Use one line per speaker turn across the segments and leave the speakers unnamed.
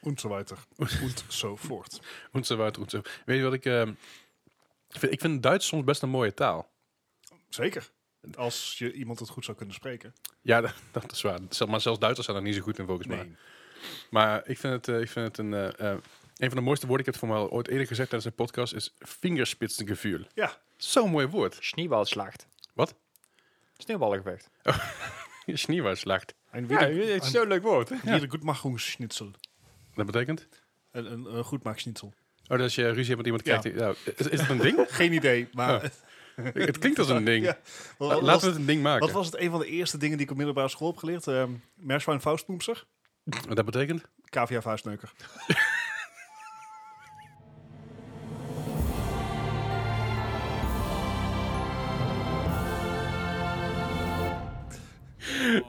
und so weiter. Und so voort.
Hoensewoud, Hoense. Weet je wat ik... ehm, vind? Ik vind Duits soms best een mooie taal.
Zeker. Als je iemand het goed zou kunnen spreken.
Ja, dat, dat is waar. Zel- Maar zelfs Duitsers zijn daar niet zo goed in, volgens mij. Maar ik vind het, eh, ik vind het een, eh, eh, een van de mooiste woorden. Ik heb het voor mij al ooit eerder gezegd tijdens een podcast. Is vingerspitsengevuur.
Ja,
Zo'n mooi woord.
Sneeuwbalslacht.
Wat?
Sneeuwballengevecht.
Schneeuwslacht.
een
Ja,
weer,
het is zo'n leuk woord.
een weer goed magroenschnitzel.
Dat betekent?
Een, een, een goed maakschnitzel.
Oh, dat als je ruzie hebt met iemand,
Ja.
krijgt hij... nou, is, is het een ding?
Geen idee, maar...
het klinkt als een ding.
Ja. Wat,
La-
wat
Laten
was,
we het een ding maken.
wat was het een van de eerste dingen die ik op middelbare school heb geleerd? Um, Merswijn Faustpoemser,
Wat dat betekent?
KVA Vuistneuker.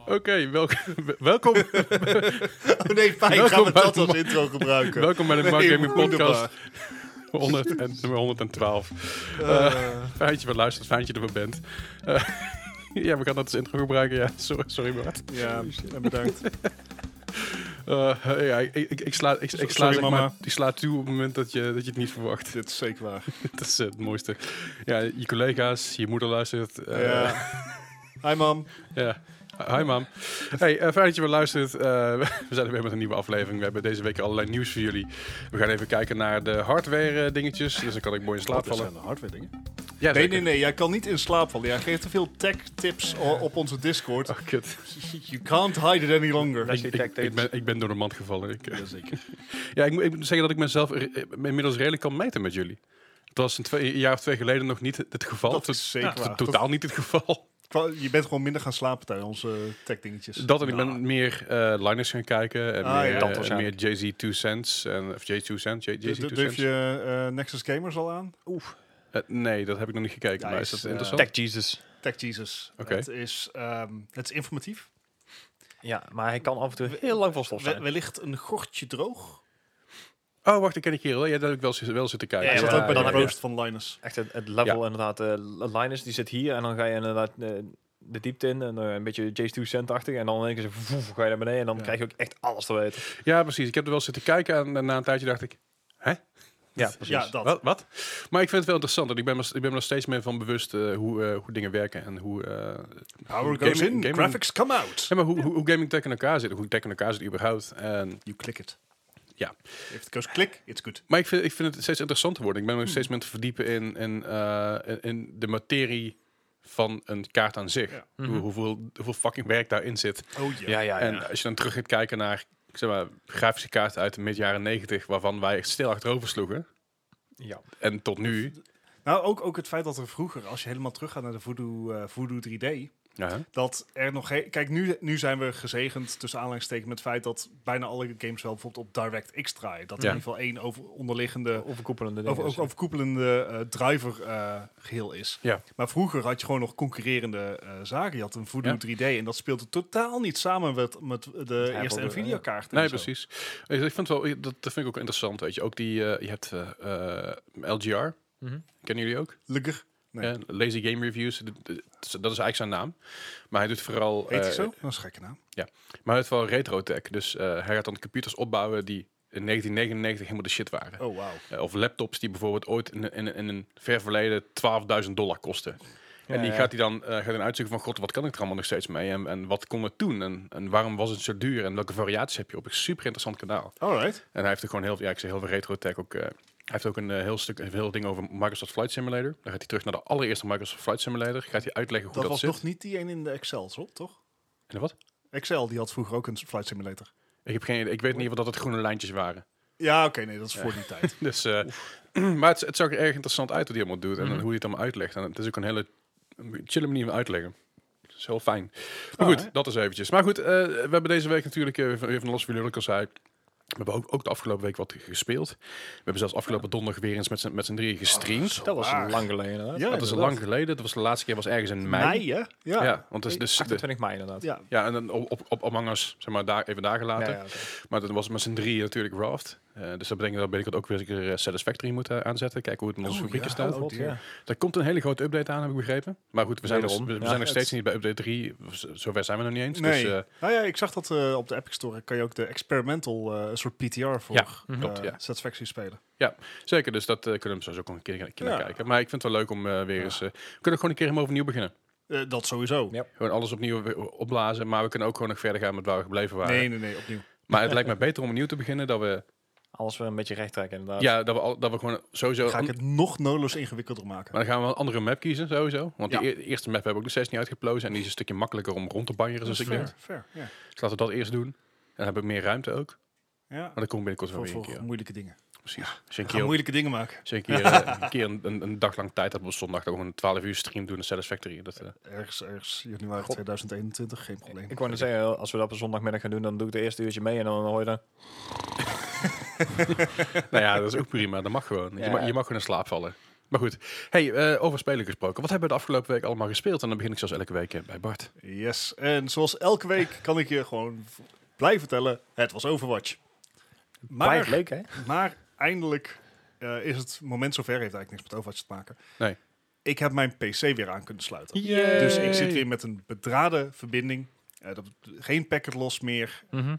Oké, welk- welkom,
Oh nee, fijn,
Welkom
gaan we
bij
dat
de
als
ma-
intro gebruiken.
welkom bij de
Nee,
Mark Gaming
wonderbaar.
Podcast 100 en, nummer 112.
Eh,
Fijn dat je wel luistert, fijn dat je er bent. Eh, ja, we gaan dat als intro gebruiken. Ja, sorry, sorry Bart.
ja, en bedankt.
Eh, eh, ja, ik, ik, ik sla, ik, ik sla,
Sorry,
zeg
mama.
maar, ik sla toe op het moment dat je, dat je het niet verwacht.
Dit is zeker waar.
dat is eh, het mooiste. Ja, je collega's, je moeder luistert. eh,
Ja. Hi mam.
Ja. Hi, mam. Hey, eh, fijn dat je weer luistert. Eh, we zijn er weer met een nieuwe aflevering. We hebben deze week allerlei nieuws voor jullie. We gaan even kijken naar de hardware eh, dingetjes. Dus dan kan ik mooi in slaap
Dat
vallen.
zijn de hardware dingen.
Ja,
Nee,
zeker.
nee, nee. Jij kan niet in slaap vallen. Jij geeft te veel tech tips o- op onze Discord.
Oh, kut.
You can't hide it any longer.
Nee.
Ik,
die
ik,
tactics.
ik ben, ik ben door de mand gevallen. Ik, eh,
Jazeker.
ja, ik, moet- ik moet zeggen dat ik mezelf er- eh, inmiddels redelijk kan meten met jullie. Het was een, twee, een jaar of twee geleden nog niet het geval.
Dat is zeker
To-
waar.
Totaal niet het geval.
Kwa- Je bent gewoon minder gaan slapen tijdens onze tech dingetjes.
Dat en ik ben meer eh Linus gaan kijken. En
Ah, ja.
meer, eh,
Dat
meer
waarschijnlijk.
Jay-Z 2 Cents. En, of Jay 2 Cents. Jay,
Du-
Jay-Z
du-
2
Durf
Cents.
je eh, Nexus Gamers al aan?
Eh, nee, dat heb ik nog niet gekeken.
Ja,
maar
is,
is dat
eh,
interessant?
Tech Jesus.
Tech Jesus.
Oké.
Het, is, ehm, het is informatief.
Ja, maar hij kan af en toe heel lang van stof
We-
zijn.
wellicht een gortje droog.
Oh, wacht, ik ken ik hier wel. Ja, dat heb ik wel, zi- wel zitten kijken.
Ja,
Hij zat
ja,
ook bij
dan
de
heb je-
roast van Linus.
Echt het, het level inderdaad. eh, Linus die zit hier en dan ga je inderdaad eh, de diepte in. En eh, een beetje Jay's 2 cent achtig En dan in één keer zo voef, ga je naar beneden. En dan
Ja.
krijg je ook echt alles te weten.
Ja, precies. Ik heb er wel zitten kijken en, eh, na een tijdje dacht ik,
Ja, precies.
Ja, dat.
wat, wat? Maar ik vind het wel interessant en ik ben, me- ik ben me nog steeds meer van bewust eh, hoe, eh, hoe dingen werken en hoe, eh,
Power
Gaming-
goes in,
gaming-
graphics come out.
ja, maar hoe, hoe, hoe gaming tech in elkaar zit, hoe tech in elkaar zit überhaupt. En,
You click it.
Ja.
If it goes click, it's good.
maar ik vind, ik vind het steeds interessanter worden. Ik ben me nog steeds meer aan het verdiepen in, in, eh, in- in de materie van een kaart aan zich.
Ja.
Hoe-
Mhm.
hoeveel, hoeveel fucking werk daarin zit.
Oh
Ja, ja, ja.
En als je dan terug gaat kijken naar zeg maar, grafische kaarten uit de mid-jaren 90, waarvan wij echt stil achterover sloegen.
ja.
En tot nu.
Nou, ook, ook het feit dat er vroeger, als je helemaal teruggaat naar de Voodoo, eh, Voodoo 3D,
Ja.
dat er nog... he- Kijk, nu, nu zijn we gezegend, tussen aanleidingstekens, met het feit dat bijna alle games wel bijvoorbeeld op DirectX draaien. Dat
Ja.
er in ieder geval één over, onderliggende
Overkoepelende dingen.
over, over, overkoepelende eh, driver eh, geheel is.
Ja.
Maar vroeger had je gewoon nog concurrerende eh, zaken. Je had een Voodoo
Ja.
3D en dat speelde totaal niet samen met, met de
Apple,
eerste
eh,
Nvidia-kaart. en
Nee,
zo.
precies. Ik ik vind het wel, dat dat vind ik ook interessant, weet je. Ook die, eh, je hebt eh, eh, LGR,
Mhm.
kennen jullie ook?
Lekker. Nee.
Eh, Lazy Game Reviews, dat dat is eigenlijk zijn naam. Maar hij doet vooral...
Heet hij
eh,
zo? Dat is een gekke naam.
Maar hij doet vooral retro tech. Dus eh, hij gaat dan computers opbouwen die in 1999 helemaal de shit waren.
Oh, wauw.
Eh, of laptops die bijvoorbeeld ooit in, in, in een ver verleden 12.000 dollar kosten. en die
ja.
gaat hij dan eh, gaat hij dan uitzoeken van, god, wat kan ik er allemaal nog steeds mee? En, en wat kon het toen? En, en waarom was het zo duur? En welke variaties heb je op? Een super interessant kanaal.
All right.
En hij heeft ook gewoon heel, ja, ik zeg heel veel retro tech ook. eh, hij heeft ook een eh, heel stuk, een heel ding over Microsoft Flight Simulator. Dan gaat hij terug naar de allereerste Microsoft Flight Simulator. Gaat hij uitleggen hoe
Dat
dat,
was
zit.
nog niet die een in de Excel, zo, toch?
En wat?
Excel, die had vroeger ook een flight simulator.
Ik heb geen, idee. ik weet niet wat dat het groene lijntjes waren.
Ja, oké, nee, dat is voor die tijd.
Dus, eh, maar het, het zag er erg interessant uit wat hij allemaal doet en hoe hij het allemaal uitlegt. En het is ook een hele chille manier van uitleggen. Dat is heel fijn. Maar
Ah,
goed,
hè?
dat is eventjes. Maar goed, eh, we hebben deze week natuurlijk eh, van- weer van Los Jullie ook al zei. We hebben ook, ook de afgelopen week wat gespeeld. We hebben zelfs afgelopen donderdag weer eens met z'n- met z'n drieën gestreamd.
Dat was
Waar.
lang geleden Ah. inderdaad.
Ja,
dat is al lang geleden. Dat was de laatste keer was ergens in mei.
Mei, hè? Ja.
Ja.
ja.
want het is dus de-
28 mei inderdaad.
ja, en dan op, op, op Among Us, zeg maar, daar, even dagen
Ja,
later.
ja, oké.
Maar dat was met z'n drieën natuurlijk Raft. Eh, dus dat betekent dat binnenkort ook weer een keer eh, Satisfactory moet eh, aanzetten. Kijken hoe het in onze
Oh,
fabrieken
ja.
staat.
Oh, dear.
Daar komt een hele grote update aan, heb ik begrepen. Maar goed, we zijn, nog-
Wederom,
we, we
ja.
zijn nog
Het-
steeds niet bij update 3. Z- Zover zijn we nog niet eens.
Nee.
Dus, eh,
nou ja, ik zag dat eh, op de Epic Store kan je ook de experimental, eh, een soort PTR voor
Ja,
eh,
klopt, ja.
Satisfactory spelen.
zeker, dus dat eh, kunnen we sowieso ook nog een keer, een keer naar
Ja.
kijken. Maar ik vind het wel leuk om eh, weer
Ja.
eens... eh, we kunnen ook gewoon een keer helemaal overnieuw beginnen.
Eh, dat sowieso.
Ja.
Gewoon alles opnieuw weer opblazen. Maar we kunnen ook gewoon nog verder gaan met waar we gebleven waren.
Nee, nee, nee, opnieuw.
Maar het lijkt me beter om opnieuw te beginnen. Dat we,
Alles weer een beetje recht trekken, inderdaad.
ja, dat we, al, dat we gewoon sowieso...
Ga ik het nog nodeloos ingewikkelder maken.
Eh, Maar dan gaan we wel een andere map kiezen, sowieso. Want
Ja.
die e- eerste map hebben we ook nog steeds niet uitgeplozen. En die is een stukje makkelijker om rond te banjeren,
Dat is
zoals ik
fair,
denk.
fair, ja.
Dus laten we dat eerst doen. En dan hebben we meer ruimte ook. Maar
ja.
dan komen we binnenkort wel
Voor,
weer een
voor
keer.
moeilijke dingen.
Precies. Als je een
Ga
keer, op-
moeilijke dingen maken.
als je een, keer, eh, een, keer een, een, een dag lang tijd hebt op zondag, dan gewoon een 12 uur stream doen in Satisfactory. Dat, eh,
Ergens, ergens januari
God.
2021, geen probleem.
Ik wou net zeggen, als we dat op een zondagmiddag gaan doen, dan doe ik de eerste uurtje mee en dan hoor je dan...
nou ja, dat is ook prima. Dat mag gewoon. Je,
Ja.
mag, je mag gewoon in slaap vallen. Maar goed, hey, eh, over spelen gesproken. Wat hebben we de afgelopen week allemaal gespeeld? En dan begin ik zoals elke week eh, bij Bart.
Yes, en zoals elke week kan ik je gewoon v- blijven vertellen, het was Overwatch.
Blijft
Maar,
leuk, hè?
maar eindelijk eh, is het moment zover, heeft eigenlijk niks met Overwatch te maken.
Nee.
Ik heb mijn PC weer aan kunnen sluiten.
Yay.
Dus ik zit weer met een bedrade verbinding. Eh, dat, geen packet los meer,
Mhm.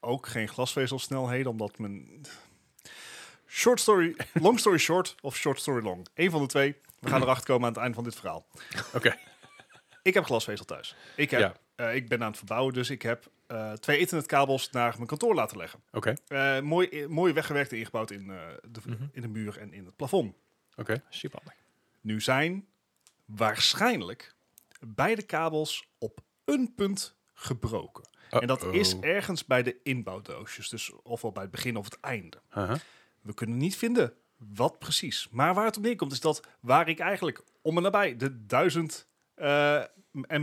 ook geen glasvezelsnelheden, omdat mijn... Short story, long story short of short story long. Eén van de twee. We gaan erachter komen aan het eind van dit verhaal.
Oké,
Ik heb glasvezel thuis. Ik, heb,
Ja.
eh, ik ben aan het verbouwen, dus ik heb eh, twee ethernetkabels naar mijn kantoor laten leggen.
oké,
Eh, mooi, eh, mooi weggewerkt en ingebouwd in, eh, de,
Mhm.
in de muur en in het plafond.
oké.
Super handig.
Nu zijn waarschijnlijk beide kabels op een punt gebroken. En dat
Uh-oh.
is ergens bij de inbouwdoosjes. Dus ofwel bij het begin of het einde.
Aha.
We kunnen niet vinden wat precies. Maar waar het op neerkomt is dat waar ik eigenlijk om en nabij de 1000 eh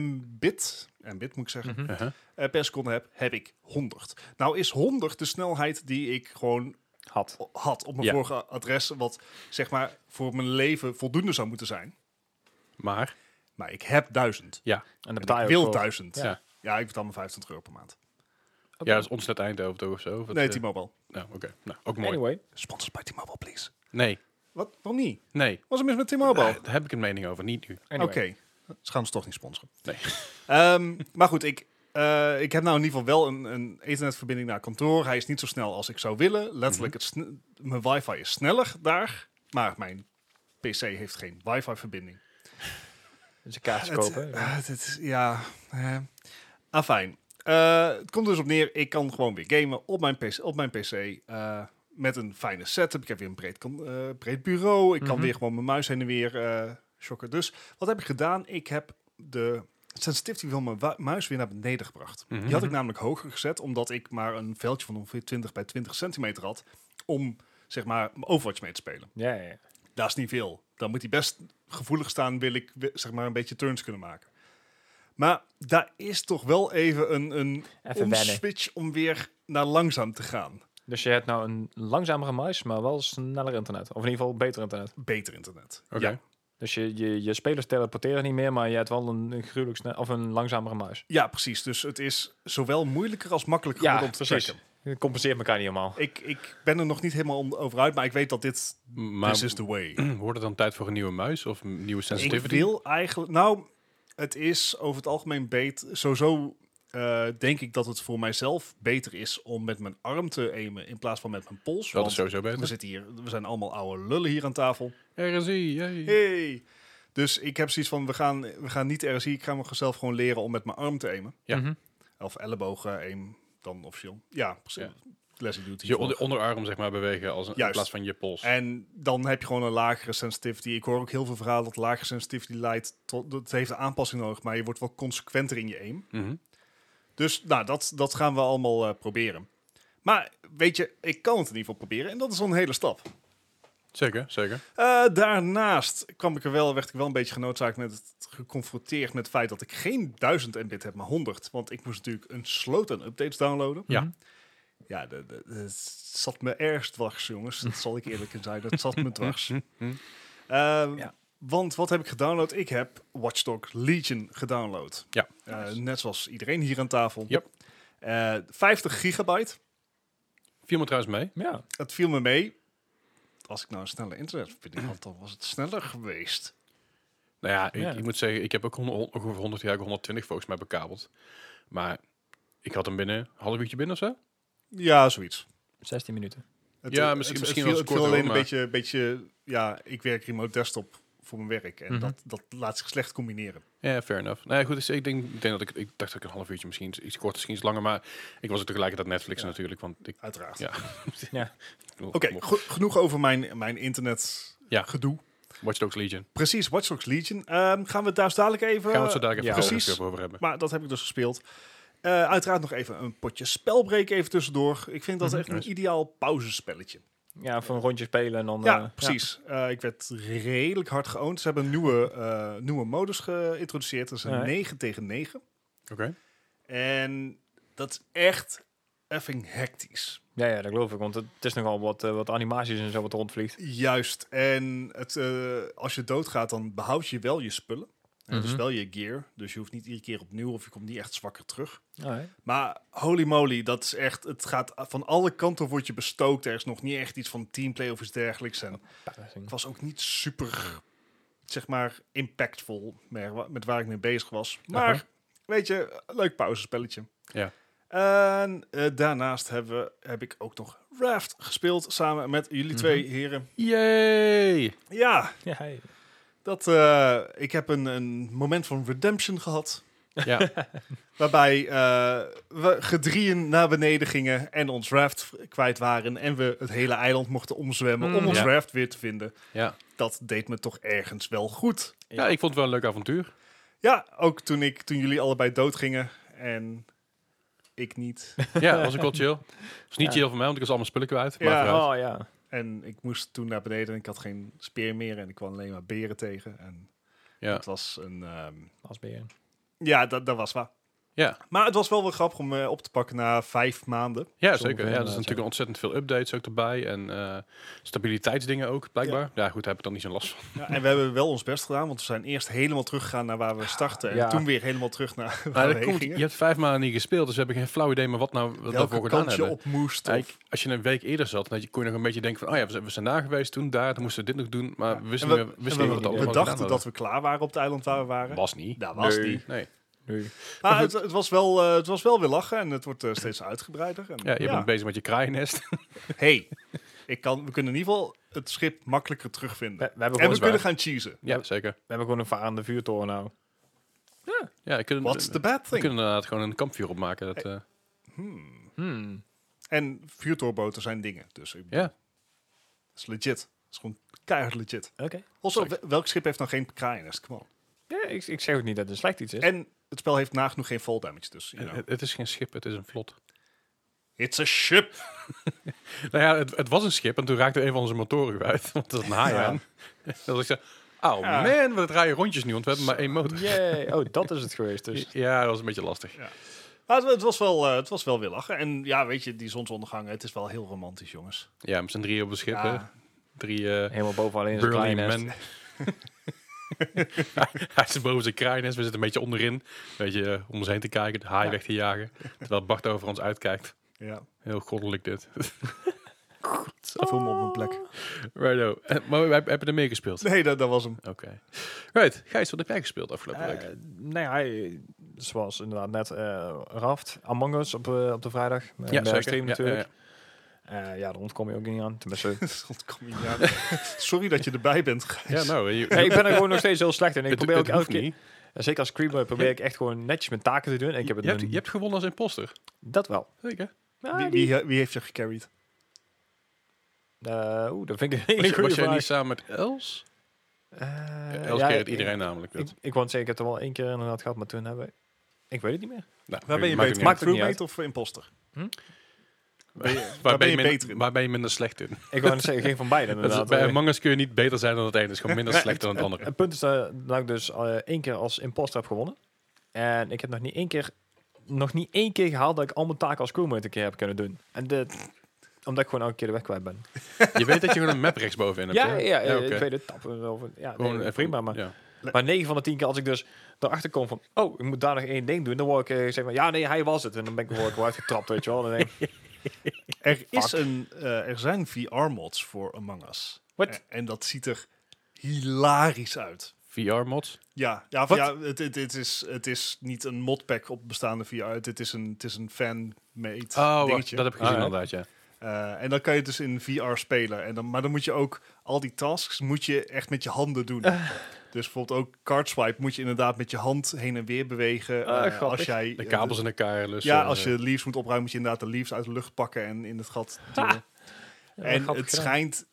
mbit, mbit moet ik zeggen,
Aha.
eh, per seconde heb, heb ik 100. Nou is 100 de snelheid die ik gewoon
Had.
o- had op mijn
Ja.
vorige adres, wat zeg maar voor mijn leven voldoende zou moeten zijn.
Maar,
Maar ik heb 1000.
ja.
En de
En
betaal
ik
je
wil
ook voor.
1000.
Ja,
Ja. ik betaal maar 25 euro per maand.
ja dat is ons net Eindhoven toch of zo? Of het,
nee,
eh,
T-Mobile.
Nou, oké. Nou, ook mooi.
Anyway.
Sponsors bij T-Mobile, please.
Nee,
Wat? Waarom niet?
nee. Eh,
Wat is er mis met T-Mobile?
Daar heb ik een mening over, niet nu.
anyway.
Oké, ze gaan ons toch niet sponsoren.
Nee.
Ehm, maar goed, ik, eh, ik heb nou in ieder geval wel een, een ethernetverbinding naar kantoor. Hij is niet zo snel als ik zou willen. Letterlijk, het sne- mijn wifi is sneller daar, maar mijn pc heeft geen wifi-verbinding.
Dus een kaartje
Het-
kopen.
eh, het is, ja, eh. afijn. Eh, het komt dus op neer, ik kan gewoon weer gamen op mijn pc, op mijn PC eh, met een fijne setup. Ik heb weer een breed, kan- eh, breed bureau. Ik kan
Mhm.
weer gewoon mijn muis heen en weer eh shocken. Dus wat heb ik gedaan? Ik heb de sensitivity van mijn wa- muis weer naar beneden gebracht.
Mhm.
Die had ik namelijk hoger gezet, omdat ik maar een veldje van ongeveer 20 bij 20 centimeter had om zeg maar Overwatch mee te spelen.
Ja, ja, ja.
Dat is niet veel. Dan moet hij best gevoelig staan, wil ik we- zeg maar een beetje turns kunnen maken. Maar daar is toch wel even een, een
Even wennen.
switch om weer naar langzaam te gaan.
Dus je hebt nou een langzamere muis, maar wel sneller internet. Of in ieder geval beter internet.
Beter internet.
Oké.
Ja.
Dus je, je, je spelers teleporteren niet meer, maar je hebt wel een, een gruwelijk snel, of een langzamere muis.
ja, precies. Dus het is zowel moeilijker als makkelijker geworden om te checken.
Het compenseert elkaar niet helemaal.
Ik, ik ben er nog niet helemaal on- over uit, maar ik weet dat dit...
Maar
this is the way.
wordt het dan tijd voor een nieuwe muis of een nieuwe
Ik
sensitivity?
wil eigenlijk... Nou, het is over het algemeen beter... Sowieso eh, denk ik dat het voor mijzelf beter is om met mijn arm te aimen in plaats van met mijn pols.
dat
want-
is sowieso
We
beter.
zitten hier, we zijn allemaal oude lullen hier aan tafel.
RSI, yay.
Hey. Dus ik heb zoiets van, we gaan, we gaan niet RSI, ik ga mezelf gewoon leren om met mijn arm te aimen.
Ja.
Mhm.
Of ellebogen aim, dan officieel. Ja, precies.
Ja.
Leslie doet
Dus je
hiervoor.
onder- onderarm zeg maar bewegen als een, in
Juist.
plaats van je pols.
En dan heb je gewoon een lagere sensitivity. Ik hoor ook heel veel verhalen dat lagere sensitivity leidt tot... Dat heeft een aanpassing nodig, maar je wordt wel consequenter in je aim.
Mhm.
Dus nou, dat, dat gaan we allemaal eh, proberen. Maar weet je, ik kan het in ieder geval proberen. En dat is al een hele stap.
Zeker, zeker.
Eh, daarnaast kwam ik er wel, werd ik wel een beetje genoodzaakt met het geconfronteerd met het feit dat ik geen 1000 Mbit heb, maar 100. Want ik moest natuurlijk een sloot aan updates downloaden.
Ja.
Mhm.
Ja, de- de- de- het zat me erg dwars, jongens. Dat zal ik eerlijk in zijn. Dat zat me dwars.
Mhm.
Ehm,
Ja.
Want wat heb ik gedownload? Ik heb Watchdog Legion gedownload.
Ja.
Eh, Net zoals iedereen hier aan tafel.
Yep.
Eh, 50 gigabyte.
Viel me trouwens mee.
Ja.
Het viel me mee. Als ik nou een snelle internetverbinding had, dan was het sneller geweest.
Nou ja, ik,
Ja.
ik moet zeggen, ik heb ook honderd- ongeveer 100 jaar 120 volgens mij bekabeld. Maar ik had hem binnen een half uurtje binnen of zo.
Ja, zoiets.
16 minuten.
Het,
Ja,
eh, het,
misschien- misschien
het viel,
was het
het viel
korter,
alleen
hoor,
een beetje, beetje... Ja, ik werk remote desktop voor mijn werk. En
Mhm.
dat, dat laat zich slecht combineren.
Ja, fair enough. Nou ja, goed, dus ik, denk, ik denk dat ik, ik dacht dat ik een half uurtje misschien iets- iets korter, misschien iets langer. Maar ik was ook tegelijkertijd Netflix
Ja.
natuurlijk, want ik...
Uiteraard.
Ja.
Ja.
Oké, go- genoeg over mijn, mijn internet
Ja.
gedoe.
Watch Dogs Legion.
Precies, Watch Dogs Legion. Ehm, gaan we het daar zo dadelijk even...
Gaan we het zo dadelijk
ja,
even,
precies.
even over hebben.
Maar dat heb ik dus gespeeld. Eh, uiteraard nog even een potje spelbreak even tussendoor. Ik vind dat
Mhm.
echt een
Nice.
ideaal pauzespelletje.
Ja, voor een rondje spelen en dan... eh,
ja, precies. Eh, ik werd redelijk hard geoond. Ze hebben een nieuwe, eh, nieuwe modus geïntroduceerd. Dat is een
Alright.
9 tegen 9.
Oké.
En dat is echt effing hectisch.
Ja, ja, dat geloof ik. Want het, het is nogal wat, eh, wat animaties en zo wat rondvliegt.
Juist. En het, eh, als je doodgaat, dan behoud je wel je spullen. En Dus
Mhm.
wel je gear. Dus je hoeft niet iedere keer opnieuw of je komt niet echt zwakker terug.
Alright.
Maar holy moly, dat is echt. Het gaat van alle kanten wordt je bestookt. Er is nog niet echt iets van teamplay of iets dergelijks. En ik was ook niet super, zeg maar, impactvol met, wa- met waar ik mee bezig was. Maar
Aha.
weet je, leuk pauzespelletje.
Ja.
En eh, daarnaast hebben we, heb ik ook nog Raft gespeeld samen met jullie twee
Mhm.
heren.
Yay!
Ja,
Ja, hey.
dat, eh, ik heb een, een moment van redemption gehad.
Ja,
Waarbij eh, we gedrieën naar beneden gingen en ons raft kwijt waren. En we het hele eiland mochten omzwemmen
Mm.
om ons
Hmm, Ja.
raft weer te vinden.
ja.
Dat deed me toch ergens wel goed.
ja, ik vond het wel een leuk avontuur.
Ja, ook toen, ik, toen jullie allebei doodgingen en ik niet.
Ja, dat was ook wel chill. Het was niet
Ja.
chill voor mij, want ik was allemaal spullen kwijt. Maar
Ja.
vooruit.
Oh, ja.
En ik moest toen naar beneden en ik had geen speer meer. En ik kwam alleen maar beren tegen. En
ja.
het was een... ehm,
Als beer.
ja, dat, dat was waar.
Ja.
Maar het was wel weer grappig om eh, op te pakken na vijf maanden.
ja,
Sommige
zeker. Ja, er
inderdaad,
zijn natuurlijk
ja.
ontzettend veel updates ook erbij. En eh, stabiliteitsdingen ook, blijkbaar. Ja, goed, daar heb ik dan niet zo'n last van.
Ja, en we hebben wel ons best gedaan, want we zijn eerst helemaal teruggegaan naar waar we starten. En
Ja.
toen weer helemaal terug naar waar
Nou,
we
dat
heen
komt,
gingen.
je hebt vijf maanden niet gespeeld, dus we hebben geen flauw idee meer wat nou wat
Welke
daarvoor gedaan
kant je
hebben.
op moest.
Ja,
of-
ik- als je een week eerder zat, dan had je- kon je nog een beetje denken van... oh ja, we zijn, we zijn daar geweest, toen daar, toen moesten we dit nog doen. Maar
Ja.
we wisten
En
niet meer-
en
wisten
we,
niet wat
we
allemaal
dachten dat we klaar waren op het eiland waar we waren.
Was niet.
Dat was
Nee.
niet.
Nee.
Nu.
Maar het, het was wel, eh, het was wel weer lachen en het wordt eh, steeds uitgebreider. En,
Ja, je bent bezig met je kraaiennest.
hey, ik kan, we kunnen in ieder geval het schip makkelijker terugvinden.
We, we hebben
en
gewoon,
we
is
kunnen
waar.
gaan cheesen.
ja, zeker.
we hebben gewoon een varende vuurtoren nou.
Ja, je kunt,
What's the bad
we
thing?
kunnen inderdaad gewoon een kampvuur opmaken. Dat, eh,
Hmm.
Hmm.
En vuurtoorboten zijn dingen, dus ik bedoel,
Ja.
dat is legit. Dat is gewoon keihard legit.
Oké.
Also, wel- welk schip heeft nou geen kraaiennest? Come on.
Ja, ik, ik zeg ook niet dat het slecht iets is.
En het spel heeft nagenoeg geen fall damage, dus you know.
het, het is geen schip, het is een vlot.
it's a ship.
Nou ja, het, het was een schip en toen raakte een van onze motoren kwijt. Want dat is een haai
Ja.
aan. Dat ik zei, oh
Ja.
man, we draaien rondjes nu, want we hebben maar één motor.
Yay. Oh, dat is het geweest dus.
Ja, dat was een beetje lastig.
Maar het, het was wel, eh, het was wel weer lachen. En ja, weet je, die zonsondergangen, het is wel heel romantisch, jongens.
Ja, met z'n drieën op een schip.
Ja.
hè. Drie eh
Helemaal boven alleen zo'n
burly
klein nest.
men. Hij zit boven zijn kraainest, we zitten een beetje onderin. Een beetje eh, om ons heen te kijken, de haai weg te jagen. Terwijl Bart over ons uitkijkt.
Ja,
Heel goddelijk dit.
ik voel me op mijn plek.
Righto. Eh, Maar we hebben er mee gespeeld.
Nee, dat, dat was hem.
Oké. Right, Gijs, wat heb jij gespeeld afgelopen
Eh,
week?
nou ja, eh, zoals inderdaad net eh, Raft, Among Us op, eh, op de vrijdag. eh, bij
zeker.
stream
Ja, ja,
natuurlijk. Eh, Ja, daar ontkom je ook niet aan. Tenminste,
Dat kom je niet aan. Sorry dat je erbij bent,
Ja,
Gijs.
ja nou, je,
Nee, ik ben er gewoon nog steeds heel slecht in. Ik
het,
probeer ook
het
elke
hoeft
keer,
niet.
en zeker als Creeper, probeer ik echt gewoon netjes mijn taken te doen. En ik heb het
je, hebt,
nu-
je hebt gewonnen als imposter.
Dat wel.
Zeker.
Ah,
Wie,
die-
wie, eh, wie heeft je gecarried?
Eh, Oeh, dat vind ik een
Was,
hele
je- was
goede
jij niet
vraag.
samen met Els?
Eh,
Els
ja,
keert
ik-
iedereen namelijk.
Ik,
Dat.
ik, wou het zeggen, ik heb het er wel één keer inderdaad gehad, maar toen hebben we... Ik weet het niet meer.
Nou,
Waar ben je
maakt
beter? Maakt
ook
maakt het niet
roommate of eh, imposter?
niet uit.
waar ben je
minder-
beter in?
Waar ben je minder slecht in?
Ik wou net zeggen, geen van beiden
Dat is-
inderdaad.
Dus bij
Eh,
Among Us kun je niet beter zijn dan het ene. Het is gewoon minder slecht dan het andere.
Het punt is eh, dat ik dus eh, één keer als imposter heb gewonnen. En ik heb nog niet één keer, nog niet één keer gehaald dat ik al mijn taken als crewmate een keer heb kunnen doen. En dit, omdat ik gewoon elke keer de weg kwijt ben.
Je weet dat je gewoon een map rechtsbovenin hebt.
Ja,
hè?
ja, ja,
oké. eh,
ik weet het. Tappen, of, ja, nee,
even-
prima, maar,
ja.
maar 9 van de 10 keer als ik dus erachter kom van, oh, ik moet daar nog één ding doen, dan word ik eh, zeg maar, ja, nee, hij was het. En dan ben ik gewoon uitgetrapt, weet je wel. Dan denk ik,
Er, is een, eh, er zijn VR-mods voor Among Us.
What?
En, en dat ziet er hilarisch uit.
VR-mods?
Ja, ja,
Wat?
ja het, het, het is, het is niet een modpack op bestaande VR. Het, het is een, het is een fan-made
Oh, wacht,
dingetje.
dat heb ik gezien
Ah, ja.
inderdaad, ja.
Eh, en dan kan je het dus in VR spelen. En dan, maar dan moet je ook al die tasks moet je echt met je handen doen.
Eh.
Dus bijvoorbeeld ook card swipe moet je inderdaad met je hand heen en weer bewegen.
Ah,
Eh,
grappig.
als jij
De kabels in elkaar lussen.
ja, als
eh,
je leaves moet opruimen, moet je inderdaad de leaves uit de lucht pakken en in het gat. duwen.
Ja,
en
grappig
het
gedaan.
schijnt.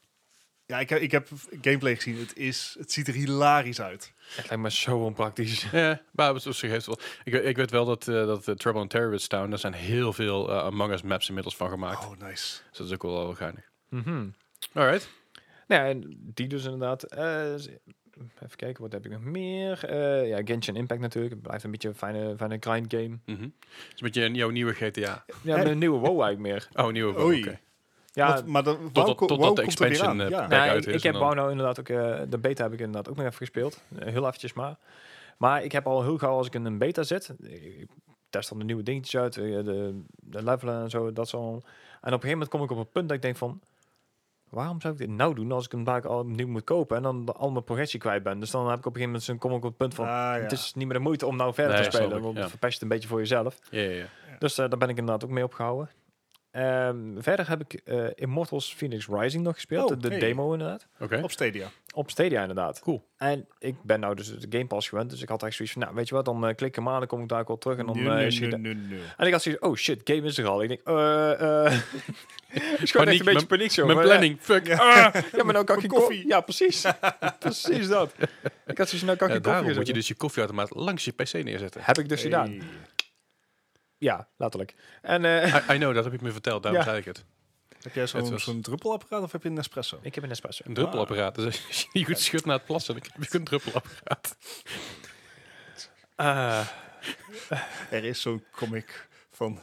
Ja, ik heb, ik heb gameplay gezien. Het, is, het ziet er hilarisch uit.
Het lijkt me zo onpraktisch.
Ja, maar het is- het geeft wel. Ik, weet- ik weet wel dat, eh, dat eh, Trouble in Terrorist Town, daar zijn heel veel eh, Among Us maps inmiddels van gemaakt.
Oh, nice.
Dus dat is ook wel wel geinig.
Mhm.
Alright.
Nou ja, en die dus inderdaad. eh, z- even kijken, wat heb ik nog meer? Eh, ja, Genshin Impact natuurlijk. Het blijft een beetje een fijne, fijne grind game.
Mhm. Dus met je, jouw nieuwe GTA.
Ja,
En-
met een nieuwe WoW eigenlijk meer.
Oh, nieuwe. WoW,
Oei.
oké.
Ja,
Want- maar de,
Totdat-
WoW ko-
totdat
WoW
de
komt er weer
expansion,
aan.
eh,
ja.
pack
nou,
uit is
ik,
en
ik heb
dan-
WoW nou inderdaad ook, eh, de beta heb ik inderdaad ook nog even gespeeld. Eh, heel eventjes maar. Maar ik heb al heel gauw als ik in een beta zit, ik, ik test dan de nieuwe dingetjes uit, eh, de, de levelen en zo, dat zo. En op een gegeven moment kom ik op een punt dat ik denk van, waarom zou ik dit nou doen als ik hem vaak al opnieuw moet kopen en dan de- al mijn progressie kwijt ben. Dus dan heb ik op een gegeven moment zo'n- kom ik op het punt van,
Ah, ja.
het is niet meer de moeite om nou verder
Nee,
te
snap
spelen,
ik,
want
ja.
dan verpest je het een beetje voor jezelf.
Ja, ja, ja.
Dus eh, daar ben ik inderdaad ook mee opgehouden. Ehm, verder heb ik eh, Immortals Phoenix Rising nog gespeeld,
Oh,
de
hey.
demo inderdaad.
Oké.
Op Stadia.
Op Stadia inderdaad.
Cool.
En ik ben nou dus de Game Pass gewend. Dus ik had echt zoiets van, nou weet je wat, dan klikken klik ik hem aan, dan kom ik daar ook wel terug. En dan
Nu,
eh,
nu,
zie je
nu,
de-
nu, nu.
En ik had zoiets oh shit, game is er al. Ik denk, eh, eh. Ik is gewoon
Paniek,
echt een beetje
mijn-
paniek zo.
Mijn
maar,
planning, fuck.
Ja.
eh, ah, ja, maar nou kan ik geen
koffie.
koffie. Ja, precies. precies dat. Ik had zoiets nou kan
Ja,
ik geen koffie
daarom moet je
zetten.
dus je koffieautomaat langs je PC neerzetten.
Heb ik dus gedaan.
Hey.
Ja, letterlijk. En eh,
I, I know, dat heb ik me verteld, daarom
Ja.
zei ik het.
Heb jij zo'n
Het was-
zo'n druppelapparaat of heb je een espresso?
ik heb een espresso.
Een druppelapparaat. Dus als je niet goed schudt na het plassen, dan heb je een druppelapparaat.
Ah,
Er is zo'n comic van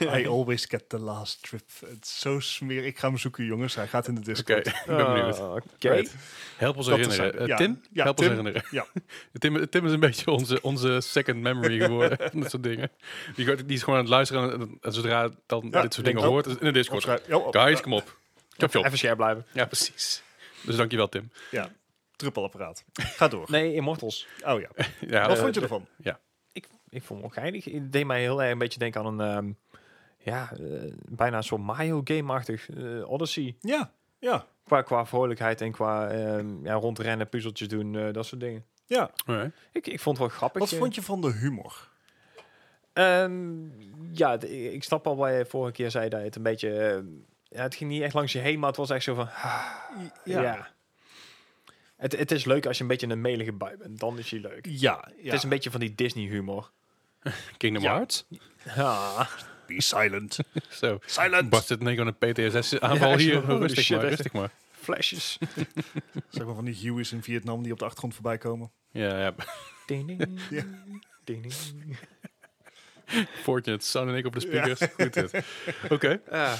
I always get the last drip. Het is zo smerig. Ik ga hem zoeken, jongens. Hij gaat in de
Oké,
Discord.
ik ben benieuwd.
Ah, Oké.
Right. Help ons
Ah. Dat
herinneren.
terzijde.
Eh,
Ja.
Tim?
Ja,
Help
Tim.
ons herinneren.
Ja.
Tim, Tim is een beetje onze, onze second memory geworden. van dat soort dingen. Die, gaat- die is gewoon aan het luisteren. En, en zodra het dan
Ja,
dit
denk
soort dingen
ook.
hoort, is in de Discord.
Opschrijf- Ja, op-
Guys, kom op. Kom op.
Even scherp blijven.
Ja, precies. Dus dankjewel, Tim.
Ja, druppelapparaat. Ga door.
Nee, Immortals.
Oh ja.
Ja,
Wat
eh,
vond je ervan?
ik, ik vond hem ook geinig. Het deed mij heel erg een beetje denken aan een... ehm, ja, eh, bijna een soort Mario game-achtig eh, Odyssey.
Ja, ja,
Qua, qua vrolijkheid en qua ehm, ja, rondrennen, puzzeltjes doen, eh, dat soort dingen.
ja.
eh, alright.
Ik, ik vond het wel grappig. eh.
Wat vond je van de humor?
Ehm, ja, d- ik snap al wat je vorige keer zei, dat je het een beetje... ehm, ja, het ging niet echt langs je heen, maar het was echt zo van... ja. Het, het is leuk als je een beetje een melige bui bent. Dan is hij leuk.
Ja, ja.
Het is een beetje van die Disney-humor.
Kingdom
Ja.
Hearts?
Ja.
Be silent.
Zo.
Silent.
Bart zit in één keer aan een PTSS-aanval
Ja,
hier.
zo, holy
Rustig
shit,
maar,
echt.
rustig maar.
Flesjes.
Zeg maar van die Hueys in Vietnam die op de achtergrond voorbij komen.
Ja, ja.
ding, ding,
Ja.
ding, ding.
Fortnite, Sound en ik op de speakers. Goed dit. Oké.
Ja.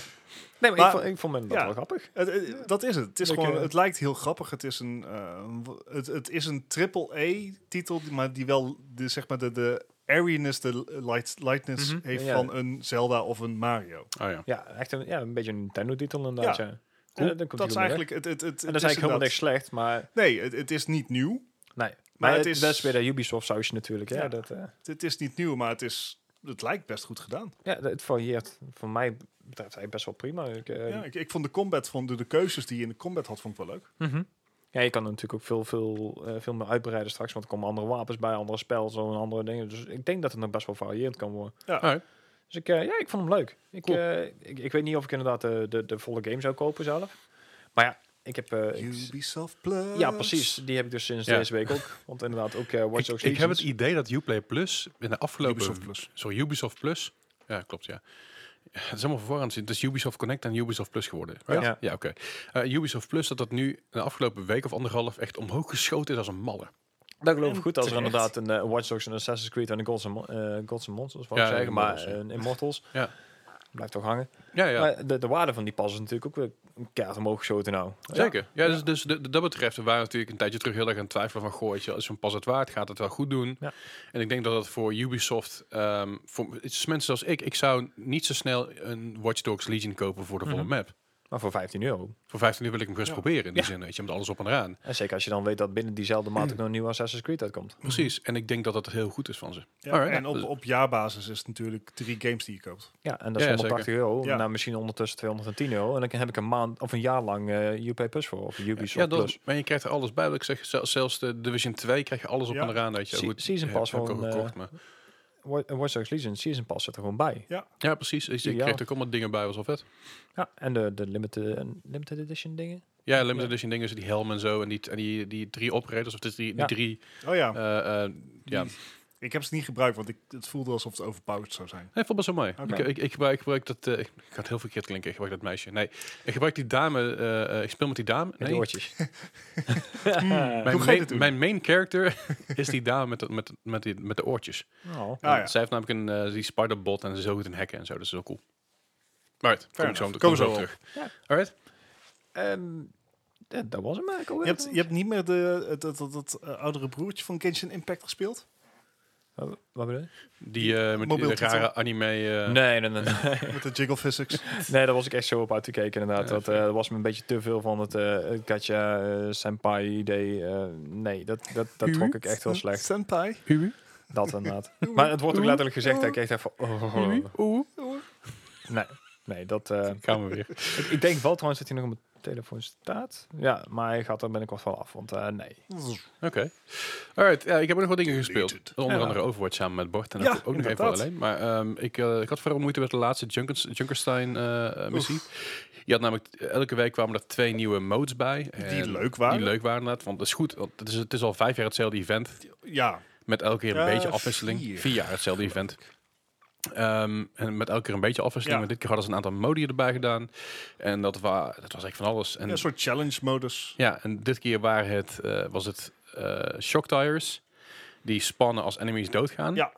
Nee, maar,
Maar-
ik vond, ik vond hem dat
ja.
wel grappig.
Het- het- dat is het. Het, is
Lekker.
gewoon, het lijkt heel grappig. Het is een, eh, w- het, het is een triple-E-titel, maar die wel de, zeg maar de, de airiness, de light, lightness
Mhm.
heeft
Ja.
van een Zelda of een Mario.
Oh ja.
Ja, echt een, ja, een beetje een Nintendo-titel inderdaad.
Ja.
Ja.
Cool.
Ja, dan komt die
Dat
goed mee
is
weg.
eigenlijk... Het, het, het,
En
het
dat is eigenlijk helemaal niks
inderdaad-
slecht, maar
Nee, het, het is niet nieuw.
nee. Maar,
het
het
is-
is... dat is weer de Ubisoft-sausje natuurlijk. Ja,
Ja.
dat, eh,
Het is niet nieuw, maar het, is, het lijkt best goed gedaan.
ja dat- het varieert voor mij betreft eigenlijk best wel prima. Ik, eh,
Ja, ik, ik vond de combat, van de, de keuzes die je in de combat had, vond ik wel leuk.
mhm. ja, je kan er natuurlijk ook veel, veel, eh, veel meer uitbreiden straks, want er komen andere wapens bij, andere spels en andere dingen. Dus ik denk dat het nog best wel variërend kan worden.
Alright.
Dus ik, eh, ja, ik vond hem leuk. Ik,
Cool.
eh, ik, ik weet niet of ik inderdaad de, de, de volle game zou kopen zelf. Maar ja, ik heb... eh, ik-
Ubisoft Plus.
Ja, precies. Die heb ik dus sinds
Ja.
deze week ook. Want inderdaad, ook eh Watch
Ik,
Dogs
ik heb het
Legions.
idee dat Uplay Plus in de afgelopen...
Ubisoft Plus.
Sorry, Ubisoft Plus. Ja, klopt, ja. Het is allemaal verwarrend. Het is Ubisoft Connect en Ubisoft Plus geworden. right?
Ja.
Ja, oké. Eh, Ubisoft Plus, dat dat nu de afgelopen week of anderhalf echt omhoog geschoten is als een malle.
Dat geloof ik goed als er
terecht.
inderdaad een eh, Watch Dogs, een Assassin's Creed en een Gods and, Mon- eh, Gods and Monsters, wat
Ja,
ik zeggen, maar
Immortals, ja.
een Immortals.
Ja.
blijft toch hangen.
Ja, ja.
Maar de, de waarde van die pas is natuurlijk ook weer een kaart omhoog geschoten nou.
Zeker. Ja, dus, dus de, de- dat betreft we waren natuurlijk een tijdje terug heel erg aan het twijfelen van... Goh, weet je wel, is zo'n pas het waard? Gaat het wel goed doen?
Ja.
En ik denk dat dat voor Ubisoft... ehm, voor het is mensen zoals ik, ik zou niet zo snel een Watch Dogs Legion kopen voor de volle
Mhm.
map.
Maar voor 15 euro.
Voor 15 uur wil ik hem gerust
Ja.
proberen in die zin, weet je, met alles op en eraan.
En zeker als je dan weet dat binnen diezelfde maand ook nog een nieuwe Assassin's Creed uitkomt.
Precies. En ik denk dat dat heel goed is van ze.
Ja,
Alright,
en
ja,
op,
dus-
op jaarbasis is het natuurlijk drie games die je koopt.
Ja, en dat is
Ja, ja,
180 euro.
Ja.
Nou, misschien ondertussen 210 euro. En dan heb ik een maand of een jaar lang eh, UP Plus voor. Of Ubisoft
Ja, dat,
Plus.
is- maar je krijgt er alles bij. Wat Ik zeg, zel- zelfs de Division 2 krijg je alles op
Ja.
en eraan. Weet je.
Se-
Goed,
Season
heb-
Pass
heb ik al
van, eh,
gekocht, maar.
Wa- eh, Watch Dogs Legion Season Pass zit er gewoon bij.
Ja, precies. Ik, ik
ja.
kreeg er ook allemaal dingen bij, was al vet.
Ja, en de, de limited, en limited Edition dingen.
Ja, limited edition dingen, dus die helm en zo. En die, en die, die drie operators, of dus die, die
Ja.
drie...
Oh ja,
eh, eh, ja,
ik heb ze niet gebruikt, want ik, het voelde alsof het overpowered zou zijn.
Nee, vond ik best wel mooi.
Oké.
Ik, ik, ik, gebruik, ik gebruik dat... eh, ik ga het heel verkeerd klinken. Ik gebruik dat meisje. Nee, ik gebruik die dame... eh, eh, ik speel met die dame.
Met
Nee,
die oortjes.
mijn,
Hoe ga je dit
main,
doen?
mijn main character is die dame met, dat- met, met, die, met de oortjes.
Oh.
Ah, ja.
Zij heeft namelijk een, eh, die spiderbot en ze is heel goed in hacken en zo. Dus dat is wel cool. Maar right, kom ik zo,
enough.
kom ik
Kom
zo
zo
op
wel.
terug.
Ja.
Alright.
Ehm, ja, dat was hem eigenlijk
Je
alweer.
hebt, je hebt niet meer de, het- het- het- het, eh, oudere broertje van Genshin Impact gespeeld?
Wat, wat bedoel je?
Die eh met
Mobiel
die
titel.
rare anime... eh,
Nee, nee, nee, nee.
Met de jiggle physics.
Nee, daar was ik echt zo op uitgekeken inderdaad.
Ja,
dat, eh, dat was me een beetje te veel van het eh gacha eh, senpai idee. eh, nee, dat, dat, dat trok ik echt heel slecht.
Senpai.
Hubi?
Dat inderdaad. Maar het wordt ook letterlijk gezegd dat ik echt even... Oh,
Hubi? Oeh.
nee, nee, dat... eh,
Gaan we weer.
ik, ik denk wel trouwens dat hij nog op mijn telefoon staat. Ja, maar hij gaat er binnenkort wel af, want eh, nee.
Oké. Alright, ja, ik heb ook nog wat dingen gespeeld.
Deleted.
Onder
Ja.
andere Overwatch samen met Bart. En
Ja,
dat ook nog even
inderdaad.
alleen. Maar ehm, ik, eh, ik had vooral moeite met de laatste Junkers, Junkerstein-missie. je had namelijk eh, elke week kwamen er twee nieuwe modes bij.
Die
En
leuk waren.
Die leuk waren inderdaad. Want dat is goed. Want het is, het is al vijf jaar hetzelfde event.
Ja,
Met elke keer een
Ja,
beetje afwisseling.
vier.
Vier, jaar hetzelfde event. Ehm, en met elke keer een beetje afwisseling.
Ja.
Maar dit keer hadden ze een aantal modi erbij gedaan. En dat, wa dat was echt van alles. En
een soort challenge modus.
ja, en dit keer waren het, eh, was het eh, shock tires. Die spannen als enemies doodgaan.
Ja,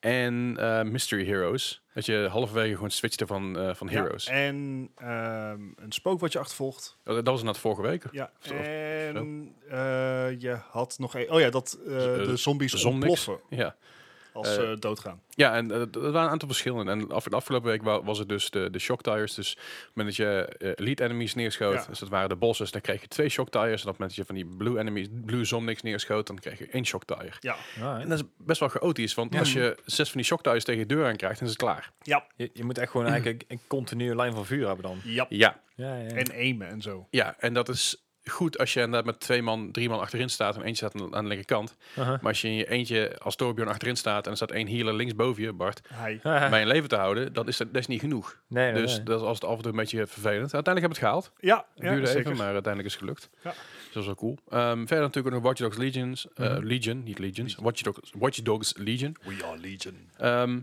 En eh, mystery heroes. Dat je halverwege gewoon switchte van, eh, van
ja.
heroes.
En ehm, een spook wat je achtervolgt.
Oh, Dat was inderdaad vorige week.
Ja,
Zo.
en eh, je had nog een... Oh ja, dat eh,
eh,
de zombies
zom niks.
ontploffen
Ja,
als
Eh,
ze doodgaan.
ja en eh, d- er waren een aantal verschillen. En af, de afgelopen week wa- was het dus de, de shock tires. Dus op het moment dat je eh, elite enemies neerschoot,
Ja.
dus dat waren de bosses, dan kreeg je twee shock tires. En op het moment dat je van die blue enemies, blue zomniks neerschoot, dan kreeg je één shock tire.
Ja,
En dat is best wel chaotisch, want als je zes van die shock tires tegen je deur aan krijgt, dan is het klaar.
ja,
Je, je moet echt gewoon eigenlijk een, een continue lijn van vuur hebben dan.
ja.
Ja,
Ja, ja.
En aimen en zo.
Ja, en dat is goed als je inderdaad met twee man, drie man achterin staat en eentje staat aan de- aan de linkerkant.
Aha.
Maar als je in je eentje als Torbjorn achterin staat en er staat één healer links boven je, Bart,
Hij.
Ah.
bij je in leven te houden, dan is dat, dat is niet genoeg.
Nee, nee,
dus
nee.
dat was het af en toe een beetje vervelend. Uiteindelijk hebben we het gehaald.
Ja,
Het
ja
duurde
zeker.
even, maar uiteindelijk is het gelukt.
Ja.
Dus dat is wel cool. Ehm, verder natuurlijk ook nog Watch Dogs Legions. eh, Legion, niet Legions. Watch Dogs, Watch Dogs Legion.
We are Legion.
Ehm,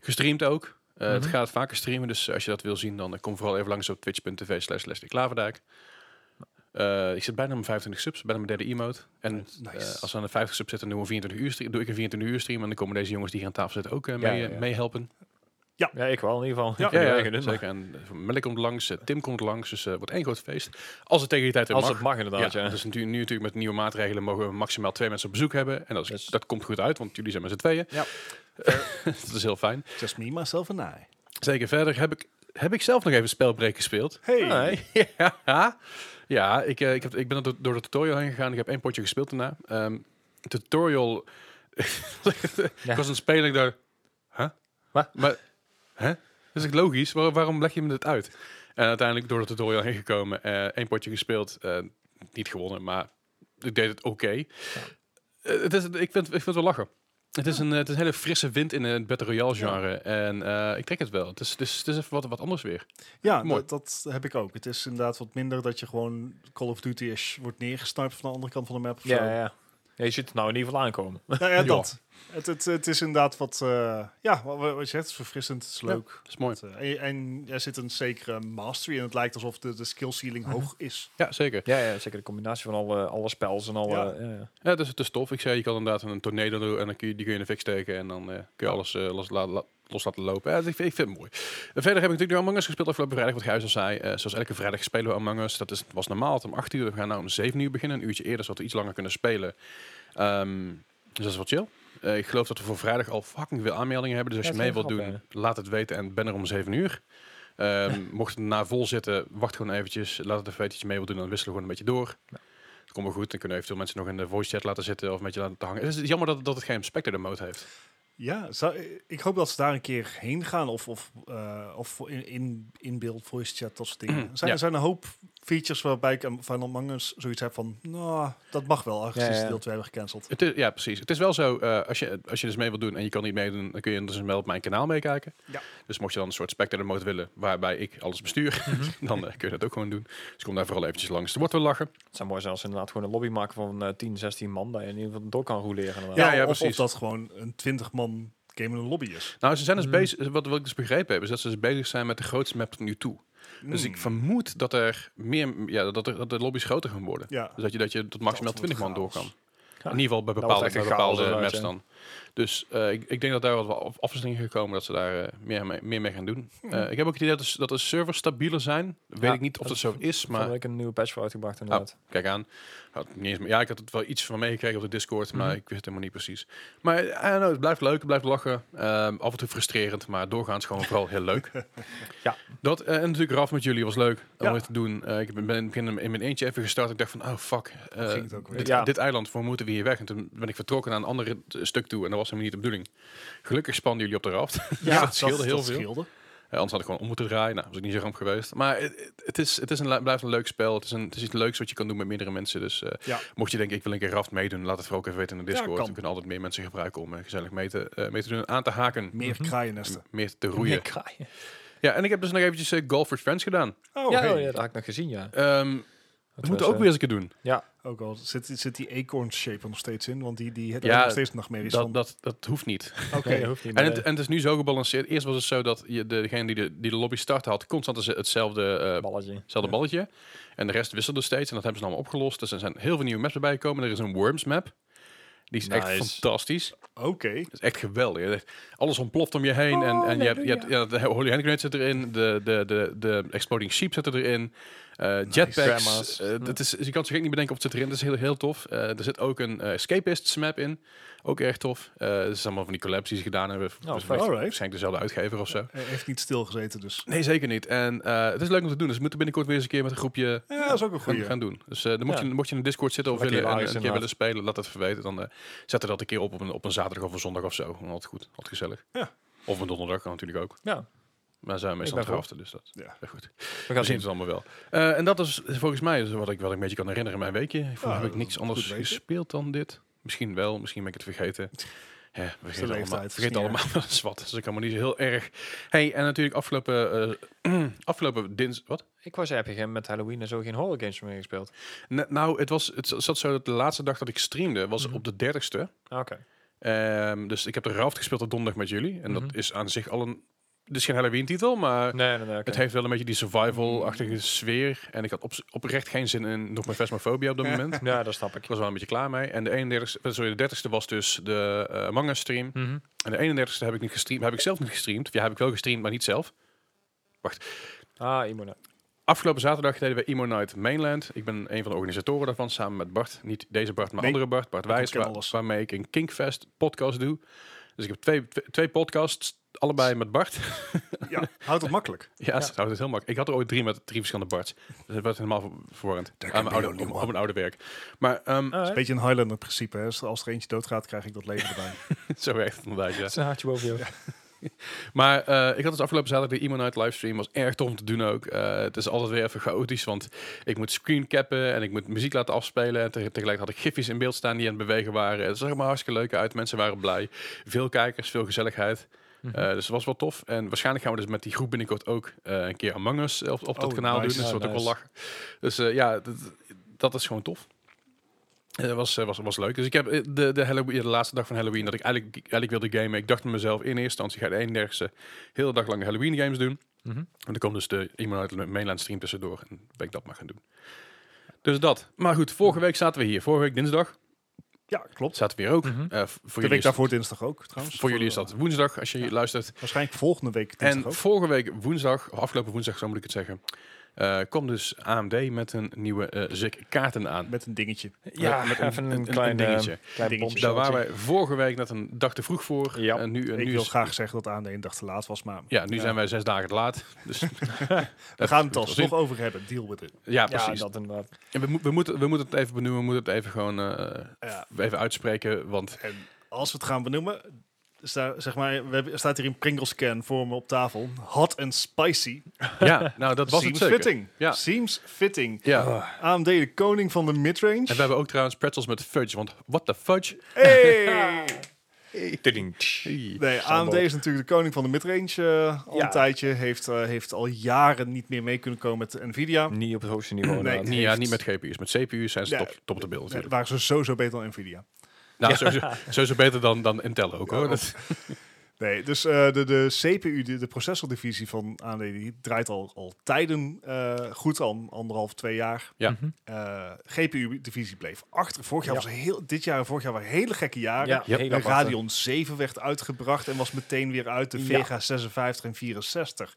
gestreamd ook. Eh, Het
Mhm.
gaat vaker streamen, dus als je dat wil zien, dan eh, kom vooral even langs op twitch.tv slash Leslie Klaverdijk. Eh, ik zit bijna op mijn 25 subs, bijna mijn derde emote. En
Nice.
eh, als we aan de 50 subs zitten, doen we 24 uur stream, doe ik een 24 uur stream. En dan komen deze jongens die hier aan tafel zitten ook eh,
Ja,
mee,
ja,
eh,
ja.
meehelpen.
ja, dus ik wel in ieder geval.
Ja,
Ik vind het eigen dun, maar-
zeker. En eh, Melle komt langs, eh, Tim komt langs, dus eh, wordt één groot feest. Als het tegen die tijd weer
Als
mag.
het mag inderdaad,
Ja,
ja.
dus natuurlijk, nu natuurlijk met nieuwe maatregelen mogen we maximaal twee mensen op bezoek hebben. En dat, is,
Yes.
dat komt goed uit, want jullie zijn met z'n tweeën.
Ja.
dat is heel fijn.
Just me, myself and I.
Zeker. Verder heb ik, heb ik zelf nog even spelbreek gespeeld.
Hey.
Nee.
ja, ja ik, eh, ik, heb, ik ben er do- door de tutorial heen gegaan. Ik heb één potje gespeeld daarna. Ehm, tutorial... ik was een speler ik dacht... Huh?
Wat?
Maar, hè? Dat is echt logisch. Waar- waarom leg je me dit uit? En uiteindelijk door de tutorial heen gekomen. eh, één potje gespeeld. eh, niet gewonnen, maar ik deed het oké. Eh, het is, ik, vind, ik vind het wel lachen. Het is, een, eh, het is een hele frisse wind in het Battle Royale genre. En eh, ik trek het wel. Het is, het is, het is even wat, wat anders weer.
Ja,
Mooi.
dat, dat heb ik ook. Het is inderdaad wat minder dat je gewoon Call of Duty-ish wordt neergesnipt van de andere kant van de map. Of zo.
Ja, ja. ja, je ziet het nou in ieder geval aankomen.
Nou ja,
Ja.
dat. Het, het, het is inderdaad wat, eh, ja, wat, wat je zegt, het is verfrissend, het is leuk.
Dat is mooi.
Het, eh, en, en er zit een zekere mastery en het lijkt alsof de, de skill ceiling hoog is.
Ja, zeker.
Ja, ja, zeker de combinatie van alle, alle spels en alle... Ja. ja.
Ja, dus het is, het is tof. Ik zei, je kan inderdaad een tornado doen en dan kun je, die kun je in de fik steken. En dan eh, kun je alles eh, los, la- la- los laten lopen. Ja, dus ik, vind, ik vind het mooi. En verder heb ik natuurlijk nu Among Us gespeeld afgelopen vrijdag, wat Gijs al zei. Eh, zoals elke vrijdag spelen we Among Us. Dat is, was normaal altijd om 8 uur. We gaan nu om 7 uur beginnen, een uurtje eerder, zodat we iets langer kunnen spelen. Ehm, dus dat is wel chill. Eh, ik geloof dat we voor vrijdag al fucking veel aanmeldingen hebben. Dus als
Ja,
je mee
het is
wilt doen,
heel grappig,
laat het weten en ben er om 7 uur. Ehm, mocht het na vol zitten, wacht gewoon eventjes. Laat het even weten dat je mee wilt doen, dan wisselen we gewoon een beetje door. Dat komt wel goed. Dan kunnen eventueel mensen nog in de voice chat laten zitten of met je laten te hangen. Het is jammer dat, dat het geen spectator mode heeft.
Ja, zou- ik hoop dat ze daar een keer heen gaan. Of, of, eh, of in, in, in beeld, voice chat, dat soort dingen. Er zijn,
Mm, Ja.
er zijn een hoop features waarbij ik eh, am- van Among Us zoiets heb van... Nou, dat mag wel, aangezien
Ja, ja.
ze deel 2 hebben gecanceld.
Het is, ja, precies. Het is wel zo, eh, als, je, als je dus mee wilt doen en je kan niet meedoen, dan kun je dus wel op mijn kanaal meekijken.
Ja.
Dus mocht je dan een soort spectator mode willen, waarbij ik alles bestuur, dan eh, kun je dat ook gewoon doen. Dus kom daar vooral eventjes langs. Er wordt wel lachen.
Het zou mooi zijn als ze inderdaad gewoon een lobby maken van eh 10, 16 man. Dat je in ieder geval door kan roleren. inderdaad.
Ja,
ja,
of, of
precies.
dat gewoon een 20-man game in een lobby is.
Nou, ze zijn dus
Mm.
bezig, wat, wat ik dus begrepen heb, is dat ze dus bezig zijn met de grootste map tot nu toe. Dus
Mm. Hmm.
ik vermoed dat er meer, ja, dat, er, dat de lobby's groter gaan worden.
Ja,
Dus dat je, dat je tot maximaal
Dat wordt
20 man door kan.
chaos.
In ieder geval bij
Dat wordt
bepaalde,
echt
bij
een chaos
bepaalde maps
inderdaad, ja.
dan. Dus eh, ik, ik denk dat daar wat wel af- afwisselingen gekomen dat ze daar eh, meer, mee, meer mee gaan doen. Eh, ik heb ook het idee dat de, s- dat de servers stabieler zijn. Weet
Ja,
ik niet of
dat
dat zo is,
Maar
maar Ah,
ik een nieuwe patch voor uitgebracht inderdaad.
kijk aan. Had niet eens, meer- ja, ik had het wel iets van meegekregen op de Discord, maar
Mhm.
ik wist het helemaal niet precies. Maar eh, I don't know, het blijft leuk, het blijft lachen. Ehm, af en toe frustrerend, maar doorgaans gewoon vooral heel leuk.
Ja.
Dat, eh, en natuurlijk Raf met jullie was leuk om
Ja.
het te doen. Eh, ik ben in het begin in mijn eentje even gestart. Ik dacht van, oh fuck, eh,
ging het ook weer.
dit,
Ja.
dit eiland, voor moeten we hier weg? En toen ben ik vertrokken naar een ander eh, stuk toe en dat was helemaal niet de bedoeling. Gelukkig spanden jullie op de raft.
Ja,
dat scheelde heel
dat
veel.
scheelde.
Eh, anders had ik gewoon om moeten draaien. Nou, was ik niet zo ramp geweest. Maar het, het- het is, het is een, le- blijft een leuk spel. Het is, een, het is iets leuks wat je kan doen met meerdere mensen. Dus eh,
Ja.
mocht je denken, ik wil een keer raft meedoen, laat het vooral ook even weten in de
Ja,
Discord.
kan.
we kunnen altijd meer mensen gebruiken om eh, gezellig mee te, eh, mee te doen. en Aan te haken.
Meer kraaiennesten.
Meer te roeien.
Roeien. Ja,
Ja, en ik heb dus nog eventjes eh, Golf with Friends gedaan.
Oh,
oh, ja,
hey.
dat had ik nog gezien, ja.
Ehm,
Dat
dat moeten
was,
we ook
eh,
weer eens een keer doen.
Ook al zit, zit die acorn shape er nog steeds in, want die, die het
Ja,
ja, nog steeds nachtmerries
Dat,
van.
dat, dat hoeft niet.
Oké,
eh, Nee, dat hoeft niet.
En
maar,
het, en het is nu zo gebalanceerd. Eerst was het zo dat je, degene die de, die de lobby startte had constant hetzelfde eh,
eh, balletje.
Hetzelfde
Ja.
balletje. En de rest wisselt dus steeds. En dat hebben ze allemaal opgelost. Dus er zijn heel veel nieuwe maps erbij gekomen. Er is een Worms map. Die is echt
Nice.
fantastisch.
Oké.
Dat is echt geweldig. Je hebt- Alles ontploft om je heen. en en je hebt, je hebt, ja, de Holy Hand Grenade zit erin. De, de, de, de Exploding Sheep zit erin. eh, Jetpacks.
Grandma's. Hm.
eh, dat is, je kan zich echt niet bedenken of het zit erin. Dat is heel, heel tof. Eh, er zit ook een eh, Escapists map in. Ook erg tof. Eh dat is allemaal van die collabs die ze gedaan hebben. Dus
vet.
Alright.
waarschijnlijk dezelfde uitgever of zo.
Hij heeft niet stilgezeten, dus.
Nee, zeker niet. En eh, het is leuk om te doen. Dus we moeten binnenkort weer eens een keer met een groepje
Ja, dat is ook een
gaan,
goede.
gaan doen. Dus eh, dan moet,
Ja.
je, mocht je in de Discord zitten of
Lekker
willen, en, eh,
hilarisch
een keer willen
inderdaad.
spelen, laat het even weten. Dan eh zet er dat een keer op op een, op een zaterdag of een zondag of zo. Dan Altijd goed, altijd gezellig.
Ja.
Of een donderdag kan natuurlijk ook.
Ja,
Maar dan zijn we meestal
ben
aan het draften,
voor.
dus dat
Ja.
is goed.
we
We
gaan
zien
zien.
het allemaal wel. Eh, en dat is volgens mij dus wat ik wel een beetje kan herinneren mijn weekje. Volgens mij
Ja,
heb ik
dat is
niks
goed
anders
weten.
gespeeld dan dit. Misschien wel, misschien ben ik het vergeten. Ja, we vergeten
leeftijd,
allemaal,
het is
vergeet
niet
allemaal wel eens wat. Dus ik kan me niet zo heel erg. Hey, en natuurlijk afgelopen, eh, afgelopen dinsdag. Wat?
Ik was heb je geen- met Halloween en zo geen horror games meer gespeeld.
Ne- nou, het, was, het zat zo dat de laatste dag dat ik streamde was
Mhm.
op de 30ste.
Ah, Oké.
Ehm, dus ik heb de Raft gespeeld op donderdag met jullie. En dat
Mhm.
is aan zich al een. Het is geen Halloween-titel, maar
Nee, nee, nee. oké. Mhm.
het heeft wel een beetje die survival-achtige sfeer. En ik had op, oprecht geen zin in nog mijn Phasmophobia op dat moment. ik
Ja, dat snap ik.
was wel een beetje klaar mee. En de 31ste, sorry, de 30ste was dus de eh manga stream.
Mhm.
En de 31ste heb ik niet gestreamd. Heb ik zelf niet gestreamd. Ja, heb ik wel gestreamd, maar niet zelf.
Ah, Imona.
Afgelopen zaterdag deden we Emo Night Mainland. Ik ben een van de organisatoren daarvan, samen met Bart. Niet deze Bart, maar
Nee,
andere Bart. Bart Wijs,
ontken
waar-
alles.
waarmee ik een Kinkfest podcast doe. Dus ik heb twee, twee, twee podcasts, allebei met Bart.
Ja, houdt het makkelijk.
ja, dat houdt het heel makkelijk. Ik had er ooit drie met drie verschillende Barts. Dus het werd helemaal ver- verwarrend.
Daar
Aan
kan
mijn
je
oude,
ook niet,
op,
man.
op mijn oude werk. Maar ehm,
Het is een beetje een Highlander-principe. hè. Als als er eentje doodgaat, krijg ik dat leven erbij.
zo werkt het inderdaad, ja.
Het is een hartje boven jou.
Maar eh, ik had dus afgelopen zaterdag de Emo Night livestream. Was erg tof om te doen ook. Eh, het is altijd weer even chaotisch, want ik moet screencappen en ik moet muziek laten afspelen. En teg- tegelijk had ik gifjes in beeld staan die aan het bewegen waren. Het zag er maar hartstikke leuk uit. Mensen waren blij. Veel kijkers, veel gezelligheid.
Mhm.
Eh, dus het was wel tof. En waarschijnlijk gaan we dus met die groep binnenkort ook eh, een keer Among Us op, op dat
Oh,
kanaal
nice.
doen. Dus
Ja,
dat wordt ook wel
nice.
lachen. Dus eh, ja, dat, dat is gewoon tof. Eh, Dat was, eh, was, was leuk. Dus ik heb eh, de, de, Halloween, de laatste dag van Halloween, dat ik eigenlijk, eigenlijk wilde gamen. Ik dacht met mezelf, in eerste instantie ga ik de 31 heel de dag lang Halloween games doen.
Mhm.
En dan komt dus de iemand uit de mainland stream tussendoor. En ben ik dat maar gaan doen. Dus dat. Maar goed, vorige week zaten we hier. Vorige week dinsdag.
Ja, klopt.
Zaten we hier ook.
Mhm.
Eh, v- voor
De
jullie
week
is,
daarvoor dinsdag ook, trouwens.
voor jullie is dat woensdag, als je
Ja.
luistert.
Waarschijnlijk volgende week dinsdag
En
ook.
vorige week woensdag, of afgelopen woensdag zo moet ik het zeggen, eh kwam dus AMD met een nieuwe eh ZIC kaarten aan.
Met een dingetje.
Ja,
met een-
even een,
een- een
klein
dingetje.
eh, klein
Dingetje.
bombshelltje.
Daar waren wij vorige week net een dag te vroeg voor.
Ja.
En nu, en
ik
nu
wil
is-
graag zeggen dat aan de ene dag te laat was, maar
Ja, nu
Ja.
zijn wij zes dagen te laat. Dus
we gaan het alsnog
zien.
over hebben. Deal with it.
Ja,
Ja,
precies.
dat inderdaad.
En we, mo- we, moeten, we moeten het even benoemen, we moeten het even gewoon eh,
Ja.
even uitspreken. Want
En als we het gaan benoemen, sta, zeg maar, we hebben, er staat hier een Pringles can voor me op tafel. Hot and spicy.
ja, nou dat was het
Seems
zeker.
fitting.
Ja.
Seems fitting.
Ja.
AMD, de koning van de midrange.
En we hebben ook trouwens pretzels met fudge, want what the fudge?
Hey!
Hey.
Nee, AMD is natuurlijk de koning van de midrange eh, al
Ja.
een tijdje. Heeft, eh, heeft al jaren niet meer mee kunnen komen met Nvidia.
Niet op het hoogste niveau.
Nee.
inderdaad.
Niet, ja,
heeft-
niet met GPU's, met CPU's zijn ze
Ja.
top, top op de beeld
Nee,
natuurlijk.
waren ze sowieso beter dan Nvidia.
Nou, sowieso, sowieso beter dan, dan Intel ook hoor. Dat,
Nee, dus eh, de, de CPU, de, de processordivisie van AMD, die draait al, al tijden eh, goed, al anderhalf, twee jaar. Eh,
ja.
Mhm.
GPU-divisie bleef achter. Vorig jaar
Ja.
was een heel, dit jaar en vorig jaar waren hele gekke jaren.
Ja,
Ja.
hele
De
aparte.
Radeon 7 werd uitgebracht en was meteen weer uit. De
eh, Ja.
Vega 56 en 64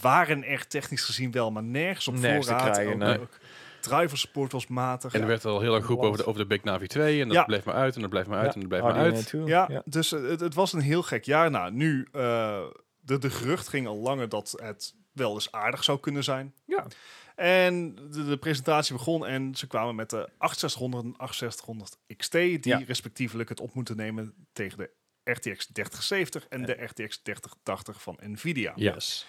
waren er technisch gezien wel, maar nergens op
Nergens te
voorraad.
krijgen,
Ook-
nee.
ook Driver support was matig.
En er werd al heel erg groep over de, over de Big Navi 2 en dat
Ja.
bleef maar uit en dat bleef maar uit
Ja,
en dat bleef maar
Arduino
uit.
2,
Ja, dus eh, het, het was een heel gek jaar. Nou, nu, eh, de, de gerucht ging al langer dat het wel eens aardig zou kunnen zijn.
Ja.
En de, de presentatie begon en ze kwamen met de 8600 en 8600 XT, die
Ja.
respectievelijk het op moeten nemen tegen de RTX 3070 en de RTX 3080 van Nvidia.
Ja.
Yes.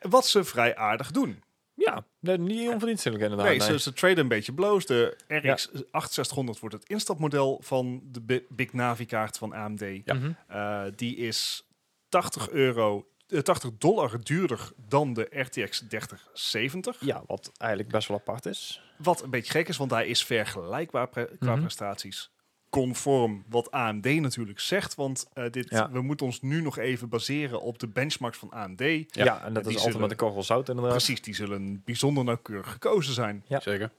Wat ze vrij aardig doen.
Ja, nee, niet onverdienstelijk inderdaad.
nee,
nee.
Ze, ze traden een beetje bloos. De RX 8600 wordt het instapmodel van de Bi- Big Navi kaart van AMD.
Ja.
Mhm.
Eh, die is 80 euro, eh, 80 dollar duurder dan de RTX 3070.
ja, wat eigenlijk best wel apart is.
Wat een beetje gek is, want hij is vergelijkbaar pre- qua
Mhm.
prestaties. Conform wat AMD natuurlijk zegt. Want eh, dit,
Ja.
we moeten ons nu nog even baseren op de benchmarks van AMD.
Ja.
Ja, en
Die
dat is altijd
zullen-
met de korrel zout inderdaad.
Precies, die zullen bijzonder nauwkeurig gekozen zijn.
Ja.
Zeker.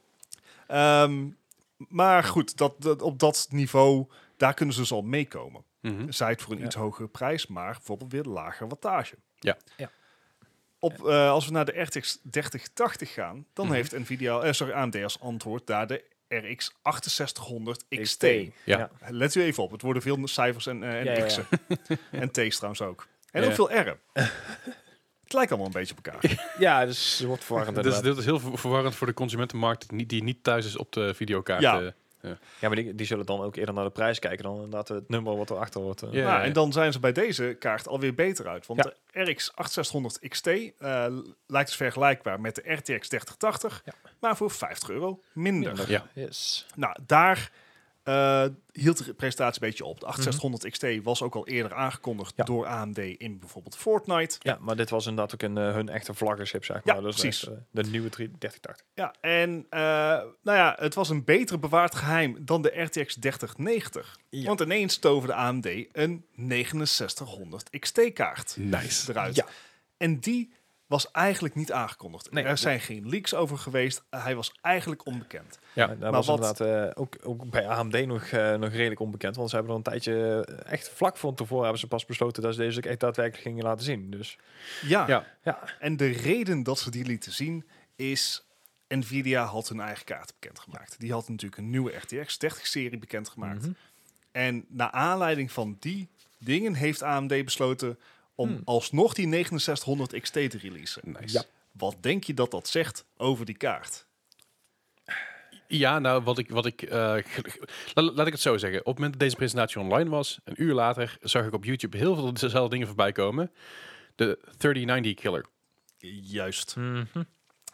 Ehm, maar goed, dat, dat, op dat niveau, daar kunnen ze dus al meekomen.
Mhm.
Zij het voor een
Ja.
iets hogere prijs, maar bijvoorbeeld weer lager wattage.
Ja.
Ja.
Op, eh, als we naar de RTX 3080 gaan, dan
Mhm.
heeft Nvidia, eh, sorry, AMD als antwoord daar de RX 6800 XT.
Ja.
Let u even op, het worden veel cijfers en, eh, en
Ja, ja, ja.
X'en. En T's trouwens ook. En
Ja.
ook veel R'en. het lijkt allemaal een beetje op elkaar.
Ja, dus het wordt verwarrend
Dus
inderdaad.
dit is heel ver- verwarrend voor de consumentenmarkt die, die niet thuis is op de videokaart.
Ja.
eh.
Ja, maar die, die zullen dan ook eerder naar de prijs kijken dan inderdaad het nummer wat erachter wordt. eh.
Ja.
Nou, en dan zijn ze bij deze kaart alweer beter uit. Want de RX 8600 XT eh, lijkt dus vergelijkbaar met de RTX 3080,
Ja.
maar voor 50 euro minder.
Minder.
Ja.
Yes.
Nou, daar eh, hield de presentatie een beetje op. De 8600 XT was ook al eerder aangekondigd
Mhm. Ja.
door AMD in bijvoorbeeld Fortnite.
Ja, maar dit was inderdaad ook een, eh, hun echte vlaggenschip, zeg
Ja,
maar. Dus
precies.
echt, eh, de nieuwe 3- 3080.
Ja, en eh, nou ja, het was een beter bewaard geheim dan de RTX 3090.
Ja.
Want ineens toverde AMD een 6900 XT kaart.
Nice.
eruit.
Ja.
En die was eigenlijk niet aangekondigd.
Nee.
er zijn geen leaks over geweest. hij was eigenlijk onbekend.
Ja.
Maar
Maar
dat was
wat-
inderdaad eh, ook, ook bij AMD nog, eh, nog redelijk onbekend. Want ze hebben er een tijdje, eh, echt vlak van tevoren hebben ze pas besloten dat ze deze ook echt daadwerkelijk gingen laten zien. Dus
Ja.
Ja.
ja,
En de reden dat ze die lieten zien is... Nvidia had hun eigen kaart bekendgemaakt. Die had natuurlijk een nieuwe RTX 30-serie bekendgemaakt.
Mhm.
En naar aanleiding van die dingen heeft AMD besloten... om
Hmm.
alsnog die 6900 XT te releasen.
Nice.
Ja.
Ja.
Wat denk je dat dat zegt over die kaart?
nou, wat ik... Wat ik eh, ge- ge- la- la- laat ik het zo zeggen. Op het moment dat deze presentatie online was, een uur later, zag ik op YouTube heel veel dezelfde dingen voorbij komen. De 3090 killer.
Juist.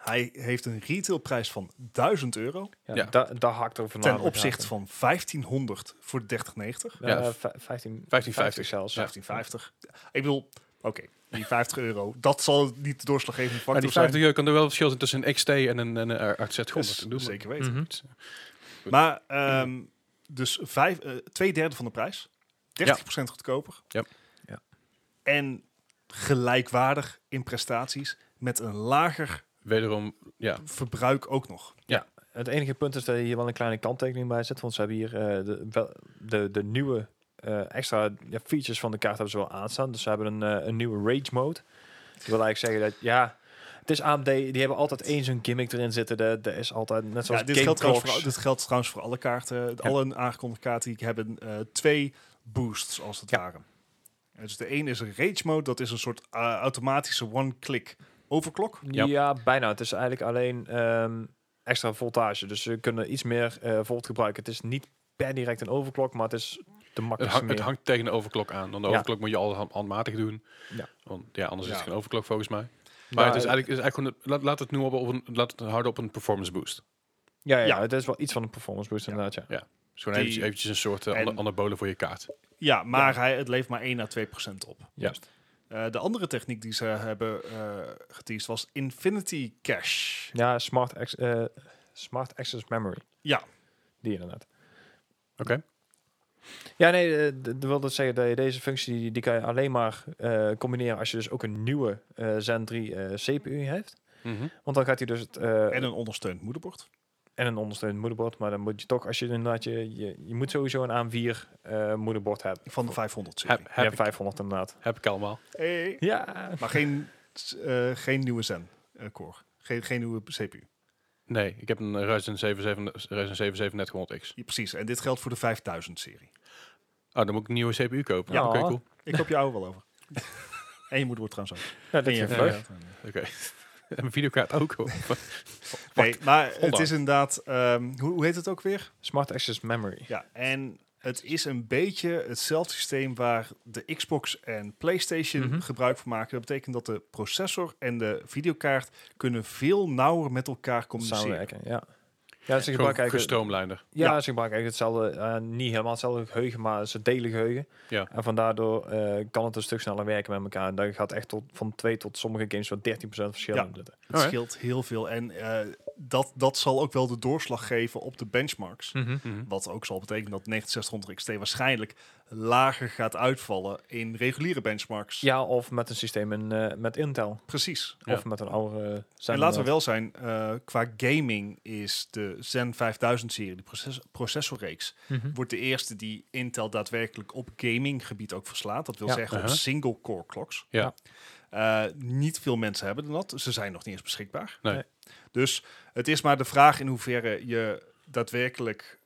Hij heeft een retailprijs van 1000 euro...
ja,
Ja.
da- daar hakt er
Ten
voornamelijk
opzichte
aan.
van 1500 voor de 3090.
Eh,
Ja,
vij- 15,
15,50
zelfs. Ja.
1550. Ik bedoel, oké, die 50 euro. Dat zal niet de doorslaggevende
Maar
factor
die
zijn.
50 euro kan er wel verschil zijn tussen een XT en een, en een eh,
Dus,
8Z100.
zeker weten.
Mhm.
Goed.
Maar ehm, dus vijf, eh, twee derde van de prijs. 30% goedkoper.
Ja.
Ja.
En gelijkwaardig in prestaties. Met een lager
Wederom, ja.
verbruik ook nog.
Het enige punt is dat je hier wel een kleine kanttekening bij zet. Want ze hebben hier eh, de, wel- de, de nieuwe eh, extra ja, features van de kaart hebben ze wel aanstaan. Dus ze hebben een, eh, een nieuwe rage mode. Dat wil eigenlijk zeggen dat ja, het is AMD. Die hebben altijd één zo'n gimmick erin zitten. Dat dat is altijd net zoals
Ja, dit,
Game
geldt trouwens
Clocks.
voor, dit geldt trouwens voor alle kaarten. Alle aangekondigde kaarten die ik heb, hebben eh, twee boosts als het
Ja.
ware. En Dus de een is een rage mode, dat is een soort eh, automatische one-click overclock.
Ja.
Ja, bijna. Het is eigenlijk alleen ehm, extra voltage. Dus ze kunnen iets meer eh, volt gebruiken. Het is niet per direct een overklok, maar het is de
Het,
makkelijkste
hangt- het
manier.
hangt tegen de overklok aan. Want de
Ja.
overklok moet je al hand- handmatig doen.
Ja.
Want ja, anders is het
Ja.
geen overklok volgens mij. Maar
Maar
het is
het-
eigenlijk, is eigenlijk gewoon een- laat, laat het nu op, op een, laat het houden op een performance boost.
Ja, ja,
Ja.
het is wel iets van een performance boost
Ja.
inderdaad, ja.
Dus gewoon
Die-
eventjes, eventjes een soort eh, ana-
en-
anabolen voor je kaart.
Ja, maar Hij, het leeft maar 1 à 2 procent op.
Juist.
Eh, de andere techniek die ze hebben eh geteased was Infinity Cache.
Ja, smart, ex- eh, smart access memory.
Ja.
Die inderdaad.
Oké.
Ja, nee, eh, d- dat wil dat zeggen dat je deze functie, die, die kan je alleen maar eh, combineren als je dus ook een nieuwe eh Zen 3 eh, CPU heeft.
Mhm.
Want dan gaat hij dus het, eh,
En een ondersteund moederbord.
en een ondersteund moederbord. Maar dan moet je toch, als je inderdaad, je, je, je moet sowieso een A4 eh, moederbord hebben.
Van de 500 serie.
heb,
Ja,
heb, ik,
500 inderdaad.
heb ik allemaal.
Hey.
Ja.
Maar geen, eh, geen nieuwe Zen eh, core. Geen, geen nieuwe CPU.
Nee, ik heb een Ryzen 77 Ryzen 77 net 100X.
Ja, precies. En dit geldt voor de 5000 serie.
Oh, dan moet ik een nieuwe CPU kopen.
Ja.
Ja, oké, cool.
Ik hoop je oude wel over. en je moederbord trouwens ook.
Ja,
En
dat
je
je
ja,
vleug.
ja. Oké. en mijn videokaart ook. hoor.
Nee, maar het
Ondanks.
is inderdaad... ehm, hoe, hoe heet het ook weer?
Smart access memory.
Ja, en het is een beetje hetzelfde systeem waar de Xbox en PlayStation
Mhm.
gebruik van maken. Dat betekent dat de processor en de videokaart kunnen veel nauwer met elkaar communiceren.
Samenwerken, ja. Ja, ze
Gewoon
gebruiken eigenlijk
gestroomlijnder.
Ja,
Ja.
ze gebruiken eigenlijk hetzelfde, eh, niet helemaal hetzelfde geheugen, maar ze delen geheugen.
Ja.
En vandaar eh kan het een stuk sneller werken met elkaar. En daar gaat echt tot, van 2 tot sommige games wel 13% verschil
Ja.
in zitten.
Het scheelt heel veel. En eh, dat, dat zal ook wel de doorslag geven op de benchmarks.
Mhm.
Wat ook zal betekenen dat 9600 XT waarschijnlijk lager gaat uitvallen in reguliere benchmarks.
Ja, of met een systeem in, eh, met Intel.
Precies.
Ja.
Of met een oude eh,
En
Zen,
laten we
eh,
wel zijn, eh, qua gaming is de Zen 5000-serie, de proces processorreeks,
Hm.
wordt de eerste die Intel daadwerkelijk op gaminggebied ook verslaat. Dat wil
Ja.
zeggen op
Uh-huh.
single-core clocks.
Ja.
Eh, niet veel mensen hebben dat. Ze zijn nog niet eens beschikbaar.
Nee.
Nee.
Dus het is maar de vraag in hoeverre je daadwerkelijk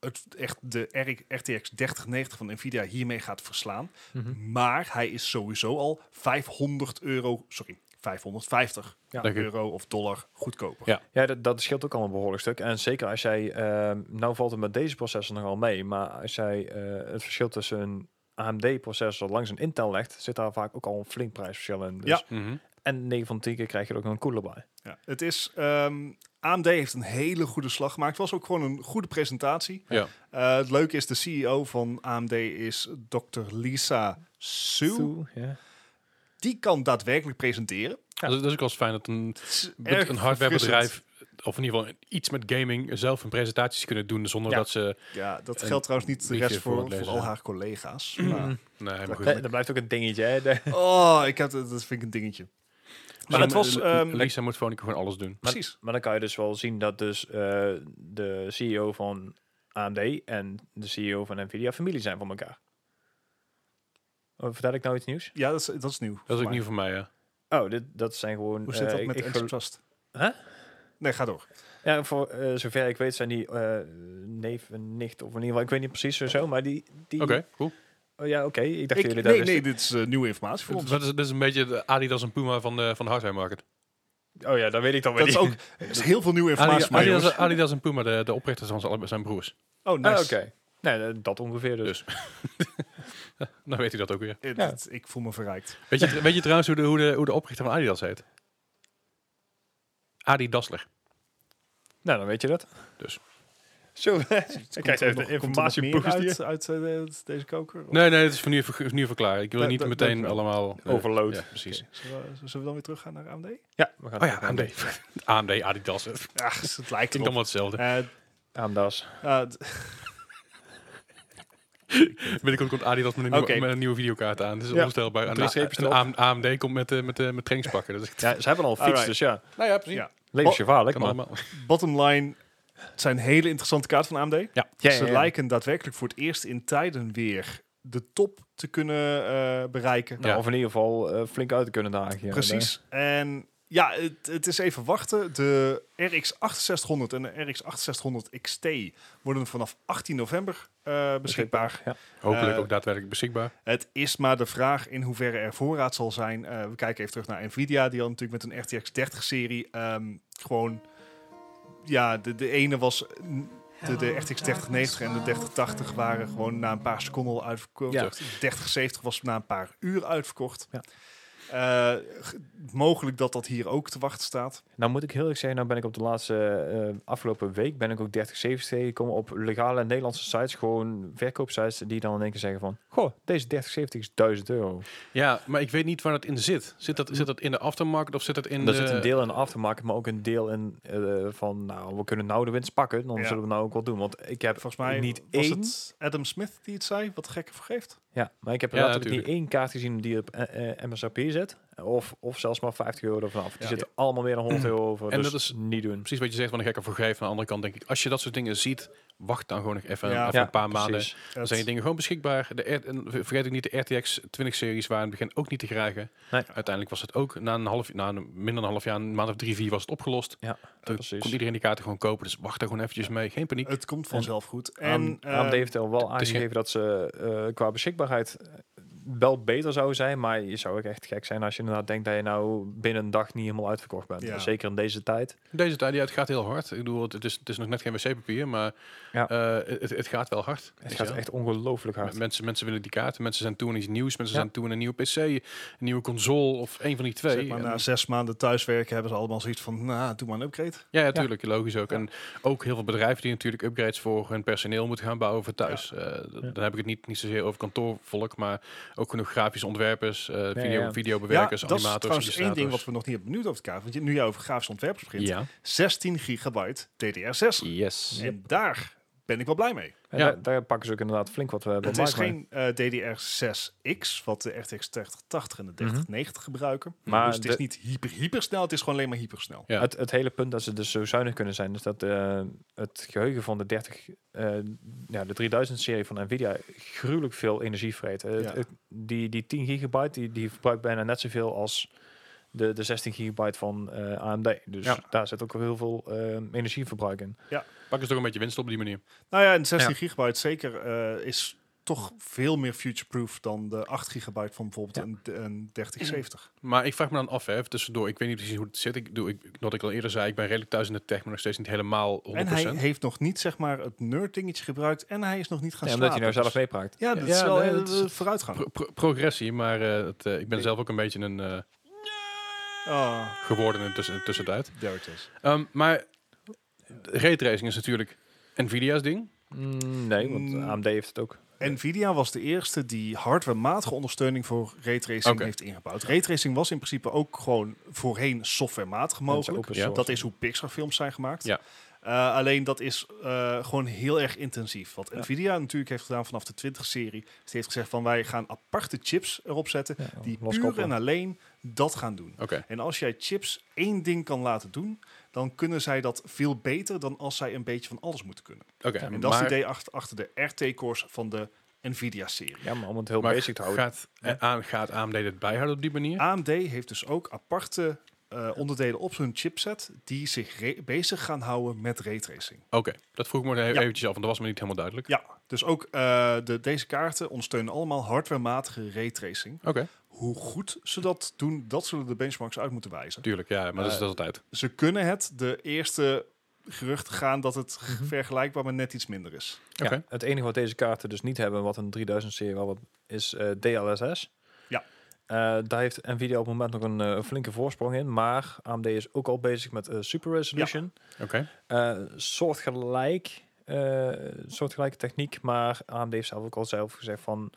het, echt de R- RTX 3090 van Nvidia hiermee gaat verslaan.
Mhm.
Maar hij is sowieso al 500 euro, sorry, 550
Ja.
Dank u.
euro of dollar goedkoper.
Ja.
Ja, dat, dat scheelt ook al een behoorlijk stuk. En zeker als jij, ehm, nou valt het met deze processor nogal mee, maar als jij eh, het verschil tussen een AMD-processor langs een Intel legt, zit daar vaak ook al een flink prijsverschil in. Dus-
Ja.
Mhm.
En 9 van 10 keer krijg je er ook nog een koeler bij.
Ja, het is, ehm, AMD heeft een hele goede slag gemaakt. Het was ook gewoon een goede presentatie.
Ja.
Eh, het leuke is, de CEO van AMD is Dr. Lisa Su.
Toe, ja.
Die kan daadwerkelijk presenteren.
Dus Dat, is, dat is ook wel eens fijn dat een,
Het is erg
een hardwarebedrijf,
verfrissend.
of in ieder geval iets met gaming, zelf hun presentaties kunnen doen zonder
Ja.
dat ze...
Ja, dat
een
geldt trouwens niet de
briefje
rest voor,
voorlezen,
voor al
hè?
haar collega's.
Mm.
Maar,
Nee, maar goed.
Nee, dat blijft ook een dingetje. Hè? De-
oh, ik heb, dat vind ik een dingetje. Maar het was... ehm,
Lisa moet gewoon gewoon alles doen.
precies.
Maar dan kan je dus wel zien dat dus eh, de CEO van AMD en de CEO van Nvidia familie zijn van elkaar. Oh, vertel ik nou iets nieuws?
Ja, dat is, dat is nieuw. voor
Dat is ook
mij.
nieuw voor mij, ja.
Oh, dit, dat zijn gewoon...
Hoe zit dat
eh,
met
ik
Enzo
gel-
Trust?
Huh?
Nee, ga door.
Ja, voor eh, zover ik weet zijn die eh neef en nicht, of in ieder geval, ik weet niet precies zo, maar die... die
Oké, cool.
Oh, ja, oké. Ik dacht
Ik,
dat jullie
nee,
dat
nee, dit is eh, nieuwe informatie voor ons.
Dat is, dat is een beetje de Adidas en Puma van de, van de hardware market.
wisten. Oh ja, dat weet ik dan weer
Dat is
niet.
ook er is heel veel nieuwe informatie.
Adidas,
voor mij,
Adidas,
jongens.
Adidas en Puma, de, de oprichters van z'n allebei zijn broers.
Oh,
Ah,
nice.
oké. Nee, eh, dat ongeveer dus.
Dus. Dan weet ik dat ook weer.
Eh,
Ja.
dit- ik voel me verrijkt.
Weet je, weet je trouwens hoe de, hoe, de, hoe de oprichter van Adidas heet? Adi Dassler.
Nou, dan weet je dat.
Dus.
Zo,
Ik
ik krijg even de informatie
uit, uit eh, de- deze koker. Of-
Nee, nee, het is voor nu, even- voor nu verklaren. Ik wil
Da-
niet
da-
meteen
dankjewel.
allemaal... eh,
Overload.
Ja, precies.
Oké, zullen, we, zullen we dan weer teruggaan naar AMD?
Ja, we gaan
Oh ja, AMD. AMD, Adidas. Het
Ach, het lijkt Eh,
klinkt allemaal hetzelfde.
Aandas.
Binnenkort komt Adidas met een, nieuwe-
Oké.
met een nieuwe videokaart aan. Dat is
Ja.
onvoorstelbaar. En
Drie
A-
streepjes
en
erop.
AM- AMD komt met, eh, met, eh, met trainingspakken. Dat is echt-
Ja, ze hebben al een fiets,
Alright.
dus ja.
nou ja, precies.
Ja.
Levensgevaarlijk,
Kan
maar...
allemaal.
bottom line, Het zijn hele interessante kaarten van AMD.
Ja.
Ja,
Ze
ja, ja.
lijken daadwerkelijk voor het eerst in tijden weer de top te kunnen eh, bereiken.
Nou,
Ja.
Of in ieder geval eh, flink uit te kunnen dagen. ja.
Precies. En ja, het, het is even wachten. De RX 6800 en de RX 6800 XT worden vanaf 18 november eh, beschikbaar.
Ja.
Hopelijk
Eh,
ook daadwerkelijk beschikbaar.
Het is maar de vraag in hoeverre er voorraad zal zijn. Eh, we kijken even terug naar Nvidia, die had natuurlijk met een RTX 30-serie ehm, gewoon... Ja, de, de ene was... De, de RTX 3090 en de 3080 waren gewoon na een paar seconden al uitverkocht.
Ja.
De 3070 was na een paar uur uitverkocht.
Ja.
Eh, g- mogelijk dat dat hier ook te wachten staat.
Nou moet ik heel eerlijk zeggen, nou ben ik op de laatste eh, afgelopen week ben ik ook 30 70 tegengekomen op legale Nederlandse sites, gewoon verkoopsites die dan in één keer zeggen van, goh, deze 30 70 is 1000 euro.
Ja, maar ik weet niet waar dat in zit. Zit dat, zit dat in de aftermarket of zit dat in
Daar
de...
zit een deel in de aftermarket, maar ook een deel in eh, van, nou, we kunnen nou de winst pakken, dan
Ja.
zullen we nou ook wel doen, want ik heb
Volgens mij
niet
was
één,
het Adam Smith die het zei, wat gekke vergeeft.
ja, maar ik heb
Ja,
natuurlijk niet
natuurlijk.
één kaart gezien die op eh, eh, MSRP zit, of, of zelfs maar 50 euro ervan af. Die
Ja.
zitten allemaal meer dan 100 euro over,
En
dus
dat is-
niet doen.
Precies wat je zegt van een gekke vergrijp. Aan de andere kant denk ik, als je dat soort dingen ziet, wacht dan gewoon nog even,
Ja.
even een paar
precies.
maanden. Dan zijn die dingen gewoon beschikbaar. De R- en vergeet ook niet, de RTX 20-series waren in het begin ook niet te krijgen.
Nee.
Uiteindelijk was het ook, na een half, na een, minder dan een half jaar, een maand of drie, vier was het opgelost.
Ja,
Toen
precies.
kon iedereen die kaarten gewoon kopen. Dus wacht daar gewoon eventjes mee. Geen paniek.
Het komt vanzelf goed.
En
En,
AMD
ehm,
heeft al wel
het is
aangegeven dat ze eh, qua beschikbaarheid wel beter zou zijn, maar je zou ook echt gek zijn als je inderdaad denkt dat je nou binnen een dag niet helemaal uitverkocht bent.
Ja.
Zeker in deze tijd.
Deze tijd, ja, het gaat heel hard. Ik bedoel, het het is, het is nog net geen wc-papier, maar
Ja.
eh, het, het gaat wel hard.
Het
Weet
gaat
je wel?
echt ongelooflijk hard.
M- Mensen, mensen willen die kaarten, mensen zijn toe aan iets nieuws, mensen
Ja.
zijn toe aan een nieuwe PC, een nieuwe console of een van die twee.
zeg maar,
En-
na zes maanden thuiswerken hebben ze allemaal zoiets van, nou, doe maar een upgrade.
Ja, natuurlijk, logisch ook. En ook heel veel bedrijven die natuurlijk upgrades voor hun personeel moeten gaan bouwen voor thuis. Eh, d- Dan heb ik het niet, niet zozeer over kantoorvolk, maar ook genoeg grafische ontwerpers, eh, video,
ja.
videobewerkers,
dat is
animators,
trouwens één ding wat
illustrators.
we nog niet hebben benoemd over elkaar. Want je- nu jij over grafische ontwerpers begint,
Ja,
16 gigabyte DDR6.
yes.
En daar ben ik wel blij mee.
En
Ja.
daar, daar pakken ze ook inderdaad flink wat we hebben.
Het is geen eh, DDR6X, wat de RTX 3080 en de 3090 gebruiken.
Mhm. Maar
dus het is
de-
niet hyper, hyper snel, het is gewoon alleen maar hypersnel.
Ja.
Het, het hele punt dat ze dus zo zuinig kunnen zijn, is dat eh, het geheugen van de 30, eh, ja, de 3000 serie van Nvidia gruwelijk veel energie vreet. Eh, het-
Ja.
het- die, die 10 gigabyte, die, die verbruikt bijna net zoveel als de, de 16 gigabyte van eh, AMD. Dus
Ja.
daar zit ook wel heel veel eh, energieverbruik in.
Pak eens toch een beetje winst op die manier.
Nou ja, en 16
Ja.
gigabyte zeker eh, is toch veel meer future-proof dan de 8 gigabyte van bijvoorbeeld een, een 3070.
Maar ik vraag me dan af, hè, even tussendoor, ik weet niet precies hoe het zit. Ik doe, ik, wat ik al eerder zei, ik ben redelijk thuis in de tech, maar nog steeds niet helemaal 100%.
En hij heeft nog niet zeg maar het nerd dingetje gebruikt en hij is nog niet gaan
Ja, omdat
slapen.
je nou zelf
Dus-
meepraakt.
Ja, dat
Ja,
is wel
nee,
eh,
dat is-
vooruitgang.
Pro- pro- progressie, maar eh, het, eh, ik ben zelf ook een beetje een eh,
Oh,
geworden in tussen- tussentijd.
there it is.
Ehm, maar raytracing is natuurlijk Nvidia's ding.
Mm, nee, want
Mm.
AMD heeft het ook.
Nvidia was de eerste die hardwarematige ondersteuning voor raytracing
Oké.
heeft ingebouwd. Raytracing was in principe ook gewoon voorheen softwarematig
Dat is
mogelijk.
open
Ja.
source.
Dat is hoe Pixar films zijn gemaakt.
Ja.
Eh, alleen dat is eh, gewoon heel erg intensief. Wat Nvidia natuurlijk heeft gedaan vanaf de 20-serie. Ze heeft gezegd van wij gaan aparte chips erop zetten.
Ja,
Die puur
loskoppelen.
en alleen dat gaan doen.
Oké.
En als jij chips één ding kan laten doen, dan kunnen zij dat veel beter dan als zij een beetje van alles moeten kunnen.
Oké,
En dat is
maar,
het idee achter, achter de RT-cores van de Nvidia-serie.
Ja, maar om het heel
maar
basic te houden.
Gaat, eh, aan, gaat AMD het bijhouden op die manier?
AMD heeft dus ook aparte eh, onderdelen op hun chipset die zich re- bezig gaan houden met raytracing.
Oké, dat vroeg ik me e-
Ja.
eventjes af, want dat was me niet helemaal duidelijk.
Ja, dus ook eh, de, deze kaarten ondersteunen allemaal hardwarematige raytracing.
Oké,
Hoe goed ze dat doen, dat zullen de benchmarks uit moeten wijzen.
tuurlijk, ja, maar dat is
Eh,
dat is altijd.
Ze kunnen het, de eerste geruchten gaan dat het
Mhm.
vergelijkbaar maar net iets minder is.
Oké,
Ja, het enige wat deze kaarten dus niet hebben, wat een 3000 serie wel wat- is eh, DLSS.
Ja.
Eh, daar heeft Nvidia op het moment nog een eh, flinke voorsprong in, maar AMD is ook al bezig met eh, Super Resolution.
oké.
Eh, soortgelijk, eh, soortgelijke techniek, maar AMD heeft zelf ook al zelf gezegd van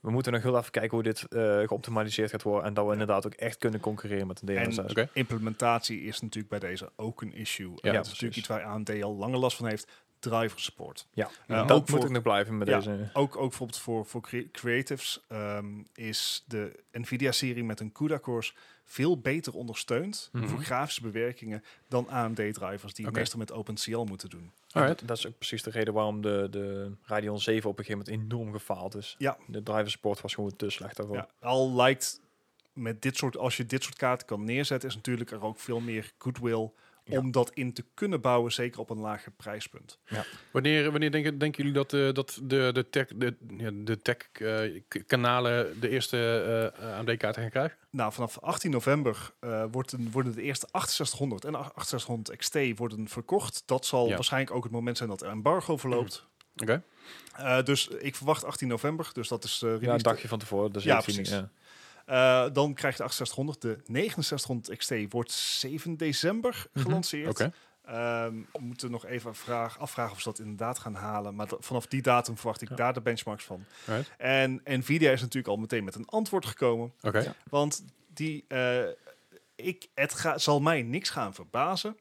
we moeten nog heel even kijken hoe dit eh, geoptimaliseerd gaat worden en dat we inderdaad ook echt kunnen concurreren met een
En-
DLSS.
Oké.
Implementatie is natuurlijk bij deze ook een issue. En dat is
Ja,
precies.
natuurlijk iets waar AMD al lange last van heeft. driver support.
Ja,
Eh, ook
dat moet
voor-
ik nog blijven met
Ja.
deze.
Ook, ook bijvoorbeeld voor, voor crea- creatives ehm, is de NVIDIA-serie met een CUDA-cores veel beter ondersteund
Mhm.
voor grafische bewerkingen dan AMD-drivers die
Oké.
meestal met OpenCL moeten doen.
Alright.
Dat is ook precies de reden waarom de, de Radeon 7 op een gegeven moment enorm gefaald is.
Ja.
De driver support was gewoon te slecht daarvoor.
Ja, al lijkt met dit soort, als je dit soort kaarten kan neerzetten, is natuurlijk er ook veel meer goodwill
Ja.
om dat in te kunnen bouwen, zeker op een lager prijspunt.
Wanneer, wanneer denken, denken jullie dat, eh, dat de, de tech, de, ja, de tech eh, k- kanalen de eerste eh AMD-kaarten gaan krijgen?
Nou, vanaf 18 november eh, wordt een- worden de eerste 6800 en 6800 XT worden verkocht. Dat zal
Ja.
waarschijnlijk ook het moment zijn dat er embargo verloopt.
Oké.
Eh, dus ik verwacht 18 november, dus dat is eh
Ja, een
release.
dagje van tevoren. Dus
Ja,
ja, precies.
precies.
Ja.
Eh, dan krijg je de 6800. De 6900 XT wordt 7 december
Mhm.
gelanceerd.
Oké.
Ehm, we moeten nog even vraag, afvragen of ze dat inderdaad gaan halen. Maar dat- vanaf die datum verwacht ik
Ja.
daar de benchmarks van.
Right.
En Nvidia is natuurlijk al meteen met een antwoord gekomen.
Oké.
Ja.
Want die, eh, ik, het ga- zal mij niks gaan verbazen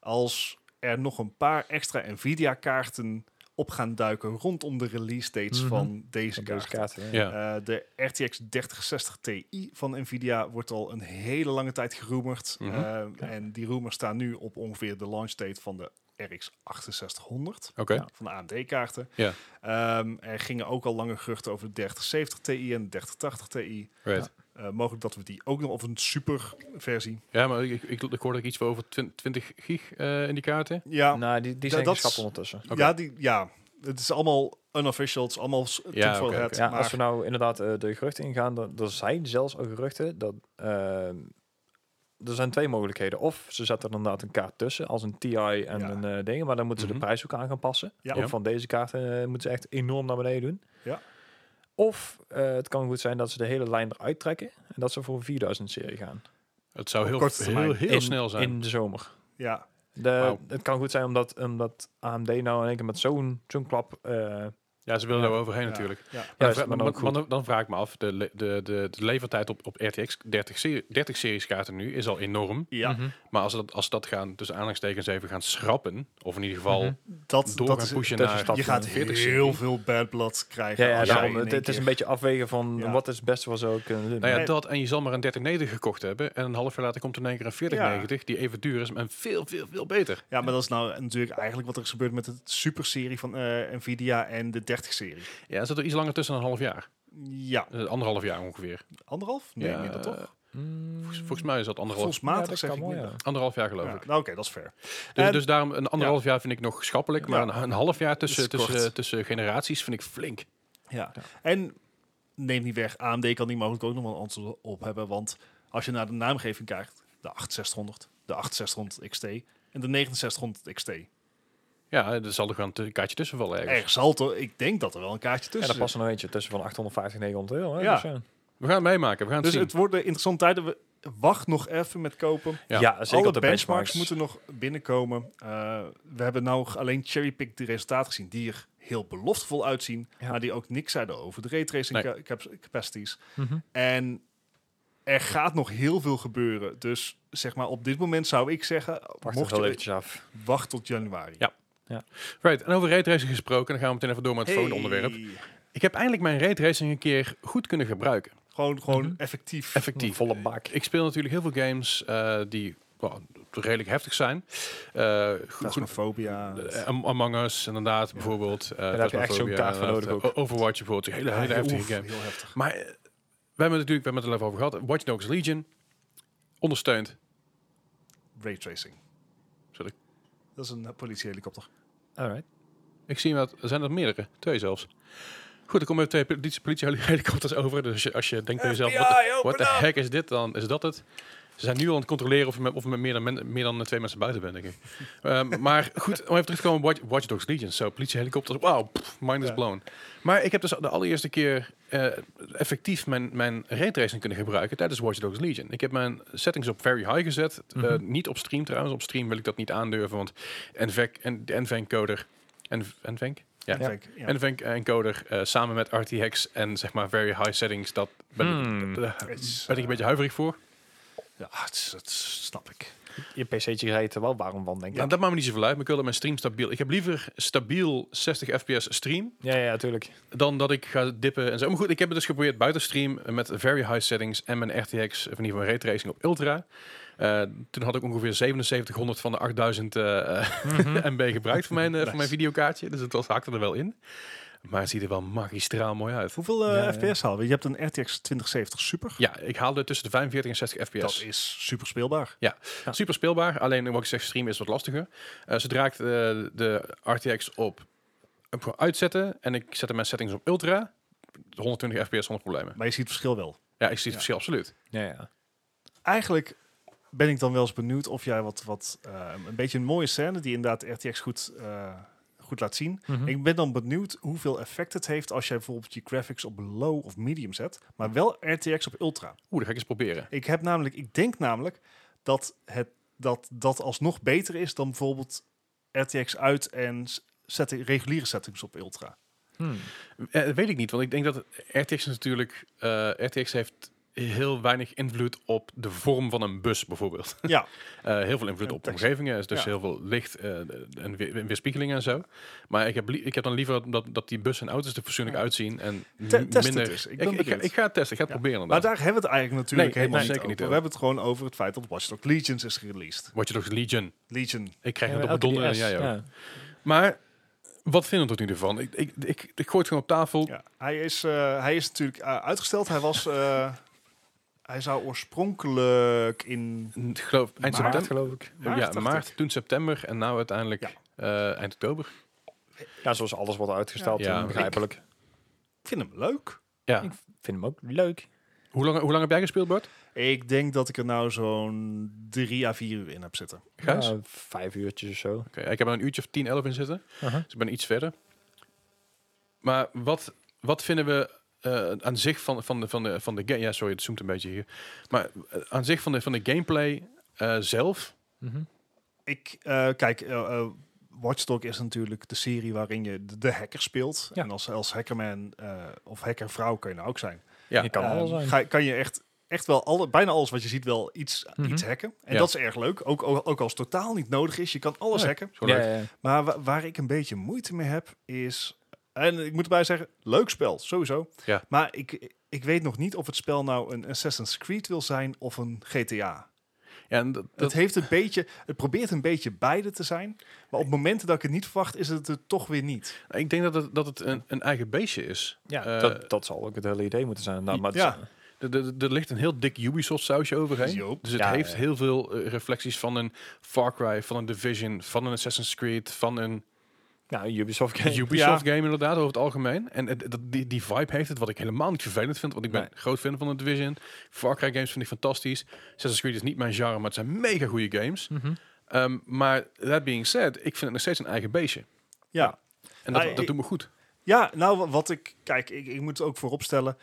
als er nog een paar extra Nvidia-kaarten op gaan duiken rondom de release dates
Mhm.
van deze
Van deze
kaarten.
kaart. Ja.
Ja.
Eh, de RTX 3060 Ti van Nvidia wordt al een hele lange tijd geroemerd.
Mhm.
Eh, En die rumors staan nu op ongeveer de launch date van de RX 6800
Oké.
Ja.
van de AMD-kaarten.
Ja.
Ehm, er gingen ook al lange geruchten over de 3070 Ti en de 3080 Ti.
Right.
Eh, mogelijk dat we die ook nog, of een super versie.
Ja, maar ik, ik, ik hoorde iets over 20, 20 gig eh, in die kaarten.
Ja,
Nou, die, die
Da-
zijn
dat
geschrapt
is-
ondertussen.
Oké.
ja, die, ja, het is allemaal unofficial, het is allemaal s-
Ja,
tinfoil
oké,
hat,
oké.
Ja,
maar-
als we nou inderdaad eh, de geruchten ingaan, dan er zijn zelfs al geruchten dat eh, er zijn twee mogelijkheden. Of ze zetten er inderdaad een kaart tussen, als een TI en
Ja.
een eh, ding, maar dan moeten ze
Mhm.
de prijs ook aan gaan passen.
Ja.
Ook
Ja.
van deze kaarten eh, moeten ze echt enorm naar beneden doen.
Ja.
Of eh, het kan goed zijn dat ze de hele lijn eruit trekken en dat ze voor een 4000 serie gaan.
Het zou
Op
heel,
korte termijn.
heel, heel
in,
snel zijn.
In de zomer.
ja,
De,
Wauw.
Het kan goed zijn omdat, omdat AMD nou in één keer met zo'n zo'n klap... eh,
ja, ze willen
Ja.
er overheen
Ja.
natuurlijk.
ja.
Maar,
Juist,
vra-
maar dan
maar-
ook
maar
goed.
dan, dan vraag ik me af, de, le- de, de, de levertijd op, op RTX 30, serie- 30 series kaarten nu is al enorm.
Ja,
mhm.
Maar als ze dat, als ze dat gaan, tussen aanhalingstekens even gaan schrappen, of in ieder geval
Mhm.
dat,
door
dat
gaan
is
pushen
dat is
naar...
een stap.
Je gaat
40
heel
serie.
veel bad blood krijgen.
Ja, ja,
als jij
daarom.
in
Het,
één
het is een
keer-
beetje afwegen van
Ja.
wat is het beste wat ze ook kunnen doen.
Nou ja,
Nee.
dat en je zal maar een 3090 gekocht hebben en een half jaar later komt er in één keer een 4090 die even duur is en veel, veel, veel beter.
Ja, maar dat is nou natuurlijk eigenlijk wat er is gebeurd met de superserie van eh, Nvidia en de 30-serie.
Ja, er zit er iets langer tussen dan een half jaar.
Ja,
Eh, anderhalf jaar ongeveer.
anderhalf? Nee,
Ja,
minder toch?
Mm,
Volgens, volgens mij is dat anderhalf,
Volgens matig
ja, dat
zeg
kan
ik
wel,
minder.
ja.
anderhalf jaar geloof
Ja,
ik.
nou, oké, dat is fair. Eh,
Dus,
En-
dus daarom een anderhalf jaar vind ik nog schappelijk, maar
Ja.
een, een half jaar tussen,
Dat is kort.
tussen, tussen generaties vind ik flink.
Ja.
Ja.
En neem niet weg, AMD kan die mogelijk ook nog wel een antwoord op hebben. Want als je naar de naamgeving kijkt, de 8600, de 8600 XT en de 6900 XT.
Ja, er zal er gewoon een kaartje tussen vallen ergens.
Er zal toch, ik denk dat er wel een kaartje
en
tussen
daar
zit.
past er nog eentje tussen van 850 en 900 euro. Hè?
eh, Ja.
Dus, eh,
We gaan het meemaken, we gaan het
Dus
zien.
het worden interessante tijden. We- Wacht nog even met kopen.
Ja.
ja. zeker
Alle
op de
benchmarks,
benchmarks.
moeten nog binnenkomen. Eh, we hebben nou alleen cherrypick de resultaten gezien die er heel beloftevol uitzien,
Ja.
maar die ook niks zeiden over de raytracing
Nee.
ca- cap- capacities.
Mhm.
En er gaat nog heel veel gebeuren. Dus zeg maar, op dit moment zou ik zeggen, mocht
Wacht er wel
je
eventjes af.
wacht tot januari.
Ja, Right, en over raytracing gesproken, dan gaan we meteen even door met het
Hey.
volgende onderwerp. Ik heb eindelijk mijn raytracing een keer goed kunnen gebruiken.
Gewoon, gewoon
Mhm.
effectief.
Effectief.
Volle bak.
Ik speel natuurlijk heel veel games eh, die wel, redelijk heftig zijn. Eh goed,
Phasmophobia.
eh, Am- Among Us inderdaad, bijvoorbeeld. eh,
heb je echt zo'n
Phasmophobia,
kaart voor nodig
inderdaad. O- Overwatch bijvoorbeeld, een hele, hele heftige
Oef,
game.
Heel heftig.
Maar eh, we hebben het natuurlijk we hebben het er even over gehad. Watch Dogs Legion ondersteund.
Raytracing.
Sorry.
Dat is een eh, politiehelikopter.
Alright.
Ik zie dat, er zijn er meerdere, twee zelfs. Goed, er komen twee politie- politiehelikopters over. Dus als je, als je denkt bij jezelf,
FBI,
wat de
open up!
heck is dit dan? Is dat het? Ze zijn nu al aan het controleren of je met, of je met meer, dan men- meer dan twee mensen buiten bent, denk ik. Ehm, maar goed, om even terug te komen op Watch, Watch Dogs Legion. Zo, politiehelikopters, wauw, pff, mind is
Ja.
blown. Maar ik heb dus de allereerste keer eh, effectief mijn, mijn raytracing kunnen gebruiken tijdens Watch Dogs Legion. Ik heb mijn settings op very high gezet. eh,
Mhm.
niet op stream trouwens, op stream wil ik dat niet aandurven, want NVENC, en de E NVENC-coder... NVENC? Ja,
En Frank, ja.
en de Venk encoder eh, samen met RTX en zeg maar very high settings,
Mhm.
dat ben, ik,
Hmm.
eh,
Het is, ah,
ben ik een beetje huiverig voor.
Ja, het is- dat snap ik.
je pc'tje rijdt er wel waarom van, denk ik.
Nou, dat maakt me niet zoveel uit, maar ik wilde mijn stream stabiel. Ik heb liever stabiel 60 fps stream
Ja, ja, tuurlijk.
dan dat ik ga dippen en zo. Maar goed, ik heb het dus geprobeerd buiten stream eh, met very high settings en mijn RTX, of in ieder geval ray tracing op ultra. Eh, toen had ik ongeveer 7700 van de 8000 eh, eh,
Mhm.
MB gebruikt voor mijn, eh, voor mijn videokaartje, dus het was, hakte er wel in. Maar het ziet er wel magistraal mooi uit.
Hoeveel eh,
Ja, ja.
FPS halen we? Je hebt een RTX 2070 Super.
Ja, ik haalde tussen de 45 en 60 fps.
Dat is super speelbaar.
Ja.
Super speelbaar, alleen wat ik zeg, streamen is wat lastiger. Eh, zodra ik eh, de RTX op op uitzetten en ik zette mijn settings op ultra, 120 fps zonder problemen.
Maar je ziet het verschil wel.
Ja, ik zie het verschil absoluut.
Ja, ja.
Eigenlijk ben ik dan wel eens benieuwd of jij wat, wat eh, een beetje een mooie scène die inderdaad RTX goed, eh, goed laat zien.
Mhm.
Ik ben dan benieuwd hoeveel effect het heeft als jij bijvoorbeeld je graphics op low of medium zet, maar wel RTX op ultra.
Oeh, dat ga ik eens proberen.
Ik heb namelijk, ik denk namelijk dat het, dat, dat alsnog beter is dan bijvoorbeeld RTX uit en s- setting, reguliere settings op ultra.
Hmm.
Eh, dat weet ik niet, want ik denk dat RTX natuurlijk, eh, RTX heeft heel weinig invloed op de vorm van een bus bijvoorbeeld.
Ja,
Eh, heel veel invloed
En
op
tekst.
omgevingen, dus
Ja.
heel veel licht eh, en we- en weerspiegelingen en zo. Maar ik heb, li- ik heb dan liever dat, dat die bussen en auto's er fatsoenlijk
Ja.
uitzien en
Te-
m-
test het
minder...
eens. Ik
ik,
ben
ik, ga,
benieuwd.
ik ga het testen, ik ga het
Ja.
proberen.
maar
inderdaad.
daar hebben we het eigenlijk natuurlijk
Nee,
helemaal
nee,
niet
zeker niet
over. We hebben het gewoon over het feit dat Watch Dogs Legions is gereleased.
Watch Dogs Legion.
Legion.
Ik krijg het
Ja,
op
elke
donder en
DS,
jij ook.
ja.
Maar wat vinden we tot nu toe van? Ik, ik, ik, ik gooi het gewoon op tafel.
Ja, hij, is, eh, hij is natuurlijk eh, uitgesteld. Hij was... eh, hij zou oorspronkelijk in...
Ik geloof eind
Maar-
Dat
september.
geloof ik.
maart, dacht
ja,
ik.
maart, toen september en nou uiteindelijk
Ja.
eh, eind oktober.
Ja, zoals alles wordt uitgesteld,
Ja.
ja, begrijpelijk.
Ik vind hem leuk.
Ja.
Ik vind hem ook leuk.
Hoe lang, hoe lang heb jij gespeeld, Bart?
Ik denk dat ik er nou zo'n drie à vier uur in heb zitten.
Gijs?
Ja, vijf uurtjes of zo.
Oké, ik heb er een uurtje of 10, 11 in zitten.
Aha.
Dus ik ben iets verder. Maar wat, wat vinden we eh, aan zich van, van, de, van, de, van de game... Ja, sorry, het zoomt een beetje hier. Maar eh, aan zich van de, van de gameplay eh, zelf...
Mhm.
Ik, eh, kijk, eh, eh, Watch Dogs is natuurlijk de serie waarin je de, de hacker speelt.
Ja.
En als, als hackerman eh, of hackervrouw kan je nou ook zijn.
Ja,
Je kan
Eh,
alles zijn.
ga- kan je echt, echt wel alle, bijna alles wat je ziet wel iets,
Mhm.
iets hacken. En
Ja.
dat is erg leuk. Ook, ook, ook als het totaal niet nodig is. Je kan alles
Ja.
hacken.
zo
Ja,
leuk.
ja, ja.
Maar wa- waar ik een beetje moeite mee heb is... En ik moet erbij zeggen, leuk spel, sowieso.
Ja.
Maar ik, ik weet nog niet of het spel nou een Assassin's Creed wil zijn of een GTA.
Ja, en dat, dat-
Het, heeft een beetje, het probeert een beetje beide te zijn. Maar op momenten dat ik het niet verwacht, is het het toch weer niet.
ik denk dat het, dat het een, een eigen beestje is.
Ja,
Eh,
dat, dat zal ook het hele idee moeten zijn. inderdaad, maar het
Ja.
is- eh,
Er- Er er- er ligt een heel dik Ubisoft-sausje overheen.
Joop.
Dus het
Ja,
heeft
ja.
heel veel eh, reflecties van een Far Cry, van een Division, van een Assassin's Creed, van een
nou, Ubisoft game.
Ubisoft-game inderdaad, over het algemeen. En het- dat- die, die vibe heeft het, wat ik helemaal niet vervelend vind, want ik ben
Nee.
groot fan van de Division. Far Cry-games vind ik fantastisch. Assassin's Creed is niet mijn genre, maar het zijn mega goede games.
Mhm.
Ehm, maar that being said, ik vind het nog steeds een eigen beestje.
Ja,
En dat,
Ah,
dat
ik-
doet me goed.
ja nou wa- wat ik... Kijk, ik, ik moet het ook vooropstellen.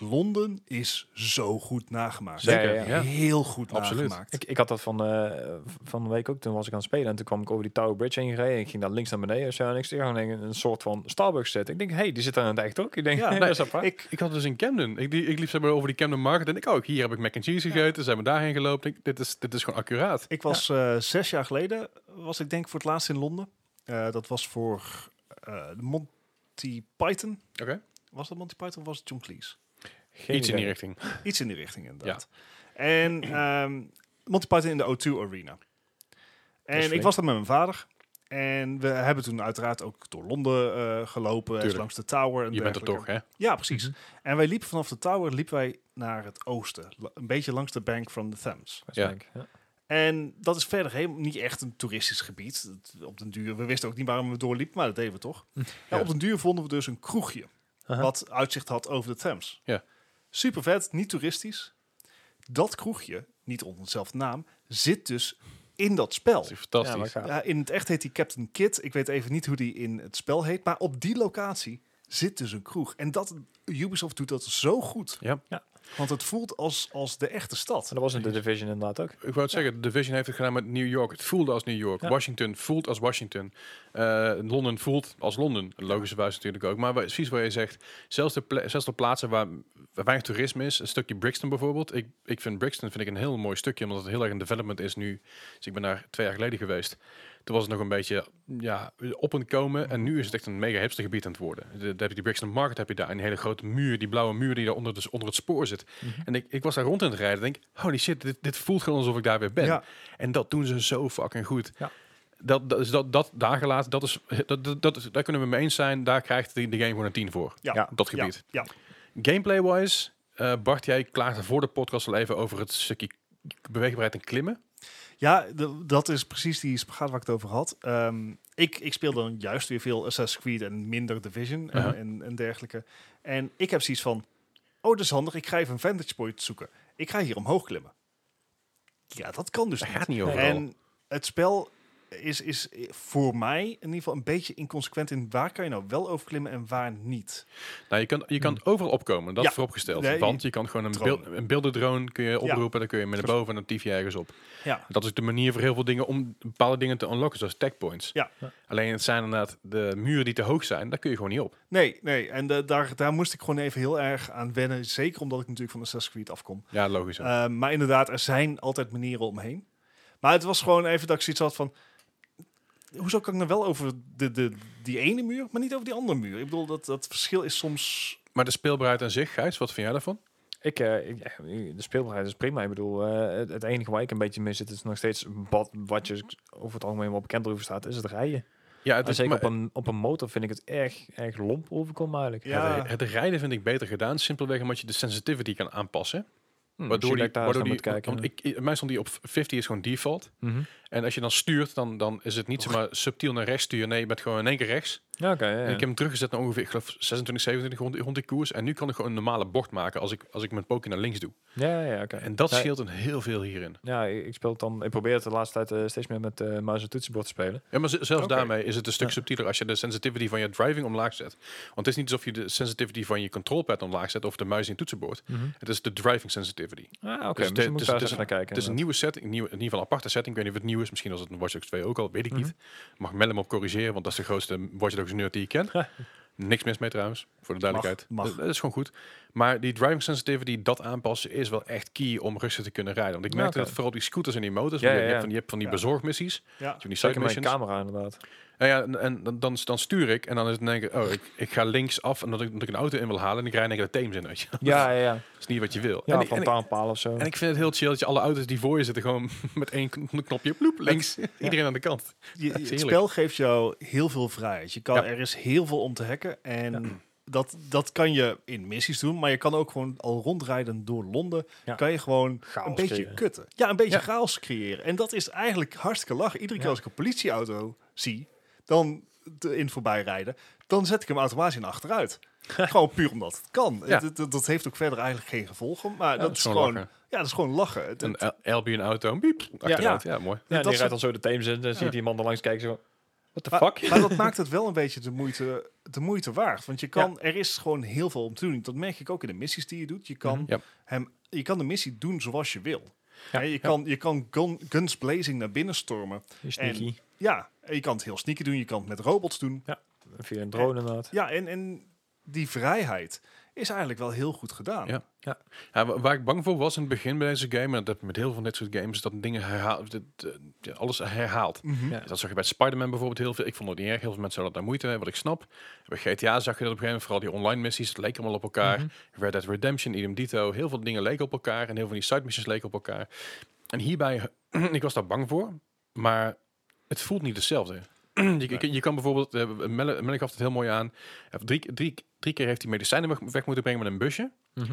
Londen is zo goed nagemaakt.
Zeker, ja,
ja.
Heel goed
Absoluut.
nagemaakt.
Ik, ik had dat van, eh, van de week ook, toen was ik aan het spelen. En toen kwam ik over die Tower Bridge heen gereden. En ik ging daar links naar beneden. Zo, en ik zag gewoon een, een soort van Starbucks set. Ik denk, hé, hey, die zit daar in het echt ook. Ik denk,
Ja,
ja,
nee,
dat is apart.
Ik,
Ik had dus in Camden. Ik, die, ik liep zeg maar, over die Camden Market en ik ook. Hier heb ik mac and cheese gegeten. Zijn we daarheen gelopen. Ik- dit, is, dit is gewoon accuraat.
ik was eh, zes jaar geleden, was ik denk voor het laatst in Londen. Eh, dat was voor eh, de Monty Python.
Oké.
Was dat Monty Python of was het John Cleese?
Geen
Iets in die
idee.
richting.
Iets in die richting, inderdaad. En ehm Monty Python in de O2 Arena. En ik
flink.
was daar met mijn vader. En we hebben toen uiteraard ook door Londen eh, gelopen. En
Tuurlijk.
langs de Tower. En
Je bent er
dergelijke.
toch, hè? Mhm.
Ja, precies. En wij liepen vanaf de Tower liepen wij naar het oosten. la- Een beetje langs de bank van de Thames.
Waarschijnlijk, ja.
En dat is verder helemaal niet echt een toeristisch gebied. Dat- op den duur, we wisten ook niet waarom we doorliepen, maar dat deden we toch.
Ja.
En op den duur vonden we dus een kroegje
Aha.
wat uitzicht had over de Thames.
Ja.
Super vet, niet toeristisch. Dat kroegje, niet onder dezelfde naam, zit dus in dat spel.
Dat is
Ja, maar
fantastisch.
gaaf.
Ja, in het echt heet die Captain Kid. Ik weet even niet hoe die in het spel heet, maar op die locatie zit dus een kroeg. En dat Ubisoft doet dat zo goed.
Ja.
Ja.
Want het voelt als, als de echte stad.
dat was in de Division inderdaad ook.
Ik wou het zeggen, de Division heeft het gedaan met New York. Het voelde als New York.
Ja.
Washington voelt als Washington. Eh, Londen voelt als Londen. Logischerwijs natuurlijk ook. Maar wa- precies wat je zegt. Zelfs de, ple- zelfs de plaatsen waar, waar weinig toerisme is. Een stukje Brixton bijvoorbeeld. Ik, ik vind Brixton vind ik een heel mooi stukje. Omdat het heel erg in development is nu. Dus ik ben daar twee jaar geleden geweest. Toen was het nog een beetje ja, op en komen. En nu is het echt een mega hipster gebied aan het worden. De- Dan heb je die Brixton Market heb je daar. En die hele grote muur. Die blauwe muur die daar onder, dus onder het spoor zit.
Mhm.
En ik, ik was daar rond aan het rijden. En denk, holy shit, dit, dit voelt gewoon alsof ik daar weer ben.
Ja.
En dat doen ze zo fucking goed.
Ja.
Dat, dat, is dat, dat daar gelaten, dat is, dat, dat, dat is, daar kunnen we mee eens zijn. Daar krijgt de, de game gewoon een 10 voor.
Ja.
Ja.
Op dat
Ja,
gebied.
ja.
Gameplay-wise, eh, Bart, jij klaagde voor de podcast al even over het stukje beweegbaarheid en klimmen.
Ja, de- dat is precies die spagaat waar ik het over had. Ehm, ik, ik speel dan juist weer veel Assassin's Creed en minder Division en,
Ja.
en, en dergelijke. En ik heb zoiets van, oh, dat is handig. Ik ga even een vantage point zoeken. Ik ga hier omhoog klimmen. Ja, dat kan dus
Daar
niet.
gaat niet over.
En het spel is, is voor mij in ieder geval een beetje inconsequent in waar kan je nou wel over klimmen en waar niet.
Nou, je kan, je kan overal opkomen, dat
Hmm. Ja.
vooropgesteld.
Nee,
want je kan gewoon een,
drone.
beeld, een beeldendrone kun je oproepen, dan kun je met naar boven en dan tief je ergens op.
Ja,
Dat is de manier voor heel veel dingen om bepaalde dingen te unlocken, zoals techpoints.
Ja.
Ja.
Alleen het zijn inderdaad de muren die te hoog zijn, daar kun je gewoon niet op.
nee, nee. En eh, daar, daar moest ik gewoon even heel erg aan wennen. Zeker omdat ik natuurlijk van Assassin's Creed afkom.
Ja, logisch.
Uh, maar inderdaad, er zijn altijd manieren omheen. Maar het was gewoon even dat ik zoiets had van... Hoezo kan ik nou wel over de, de, die ene muur, maar niet over die andere muur? Ik bedoel, dat, dat verschil is soms...
maar de speelbaarheid aan zich, Gijs, wat vind jij daarvan?
Ik, eh, ik- ja, de speelbaarheid is prima. Ik bedoel, eh, het, het enige waar ik een beetje mee zit is nog steeds wat, wat je over het algemeen wel bekend over staat, is het rijden.
Ja,
En
het, is,
zeker
maar,
op een, op een motor vind ik het erg, erg lomp overkomen eigenlijk.
Ja.
het, het rijden vind ik beter gedaan, simpelweg omdat je de sensitivity kan aanpassen.
Hm,
Waardoor
misschien dat
die,
ik daar eens
waardoor
naar
die,
moet kijken.
want ik, ik- mij stond die op 50 is gewoon default.
Mhm.
En als je dan stuurt, dan, dan is het niet zomaar subtiel naar rechts sturen. Nee, je bent gewoon in één keer rechts.
Ja, oké. ja,
En
ja.
ik heb hem teruggezet naar ongeveer, ik geloof, 26, 27 rond, rond die koers. En nu kan ik gewoon een normale bocht maken als ik, als ik mijn poker naar links doe.
ja, ja, ja, oké.
En dat
Ja,
scheelt een heel veel hierin.
Ja, ik ik speel het dan. Ik probeer het de laatste tijd eh, steeds meer met eh muis en toetsenbord te spelen.
Ja, maar z- zelfs
Oké.
daarmee is het een stuk
Ja.
subtieler als je de sensitivity van je driving omlaag zet. Want het is niet alsof je de sensitivity van je controlpad omlaag zet of de muis in het toetsenbord. Het is de driving sensitivity.
Ah,
Dus
oké. Dus
de-
misschien moet
dus
ik daar
het
eens
is
even naar kijken.
Het is een nieuwe setting, nieuw, in ieder geval een aparte setting. Ik weet niet of het nieuw is. Misschien was het een Watch Dogs 2 ook al, weet ik
Mhm.
niet. Mag Mel hem op corrigeren, want dat is de grootste Watch Dogs nerd die ik ken. Niks mis mee trouwens, voor de duidelijkheid.
mag.
Dat, dat is gewoon goed. Maar die driving sensitivity, dat aanpassen, is wel echt key om rustig te kunnen rijden. Want ik
Ja,
merkte
oké.
dat vooral die scooters en die motors,
Ja,
want je,
ja,
je
ja.
hebt van, je hebt van die
Ja.
bezorgmissies,
Ja,
van die side
Zeker met een
missions.
camera inderdaad.
Nou ja, en, en dan, dan, dan stuur ik en dan is het in één keer, oh, ik, ik ga links af en dat ik, dat ik een auto in wil halen en ik rijd in één keer de Theems in, weet je.
Ja, ja, ja.
Dat is niet wat je wil.
Ja,
en, en,
lantaarnpalen of zo.
en ik vind het heel chill dat je alle auto's die voor je zitten gewoon met één kn- knopje ploep, links, iedereen aan de kant.
je-
dat is
het
heerlijk.
spel geeft jou heel veel vrijheid. Je kan,
Ja.
Er is heel veel om te hacken. En dat, dat kan je in missies doen, maar je kan ook gewoon al rondrijden door Londen.
Ja.
Kan je gewoon
Chaos
een beetje
creëren.
kutten. Ja, een beetje
Ja.
chaos creëren. En dat is eigenlijk hartstikke lach. Iedere keer
Ja.
als ik een politieauto zie, dan te- in voorbij rijden, dan zet ik hem automatisch in achteruit. gewoon puur omdat het kan.
Ja.
Dat, dat- dat heeft ook verder eigenlijk geen gevolgen, maar dat,
dat is
is
gewoon
gewoon,
lachen.
ja, dat is gewoon lachen. Het-
Een
het-
L- Albion auto, piep, achteruit. Ja, mooi.
Ja,
dat Ah.
die
is-
rijdt dan zo de Theems in. Dan zie je die man er langs kijken zo... What the
Maar-
fuck?
Maar dat maakt het wel een beetje de moeite, de moeite waard. Want je kan, er is gewoon heel veel om te doen. Dat merk ik ook in de missies die je doet. Je kan,
Ja.
hem, je kan de missie doen zoals je wil.
Mhm. Ja.
Hè, je, kan, je kan gun- guns blazing naar binnen stormen.
Sneaky.
Ja, en je kan het heel sneaky doen. Je kan het met robots doen.
Via een drone inderdaad.
Ja, en, en die vrijheid is eigenlijk wel heel goed gedaan.
Ja. Ja, wa- waar ik bang voor was in het begin bij deze game, en dat heb ik met heel veel van dit soort games, dat dingen herhaalt, dat, eh, ja, alles herhaalt.
Mhm.
Ja.
Dat zag je bij Spider-Man bijvoorbeeld heel veel. Ik vond het niet erg. Heel veel mensen hadden daar moeite mee, wat ik snap. Bij GTA zag je dat op een gegeven moment. Vooral die online missies, het leek allemaal op elkaar. Red Dead Redemption, idem dito. Heel veel dingen leken op elkaar. En heel veel van die side missions leken op elkaar. En hierbij, ik was daar bang voor. Maar het voelt niet hetzelfde. je, je, je kan bijvoorbeeld, eh, Melle, Melle gaf het heel mooi aan. Eh, Drie, drie, drie keer heeft hij medicijnen weg, weg moeten brengen met een busje.
Mhm.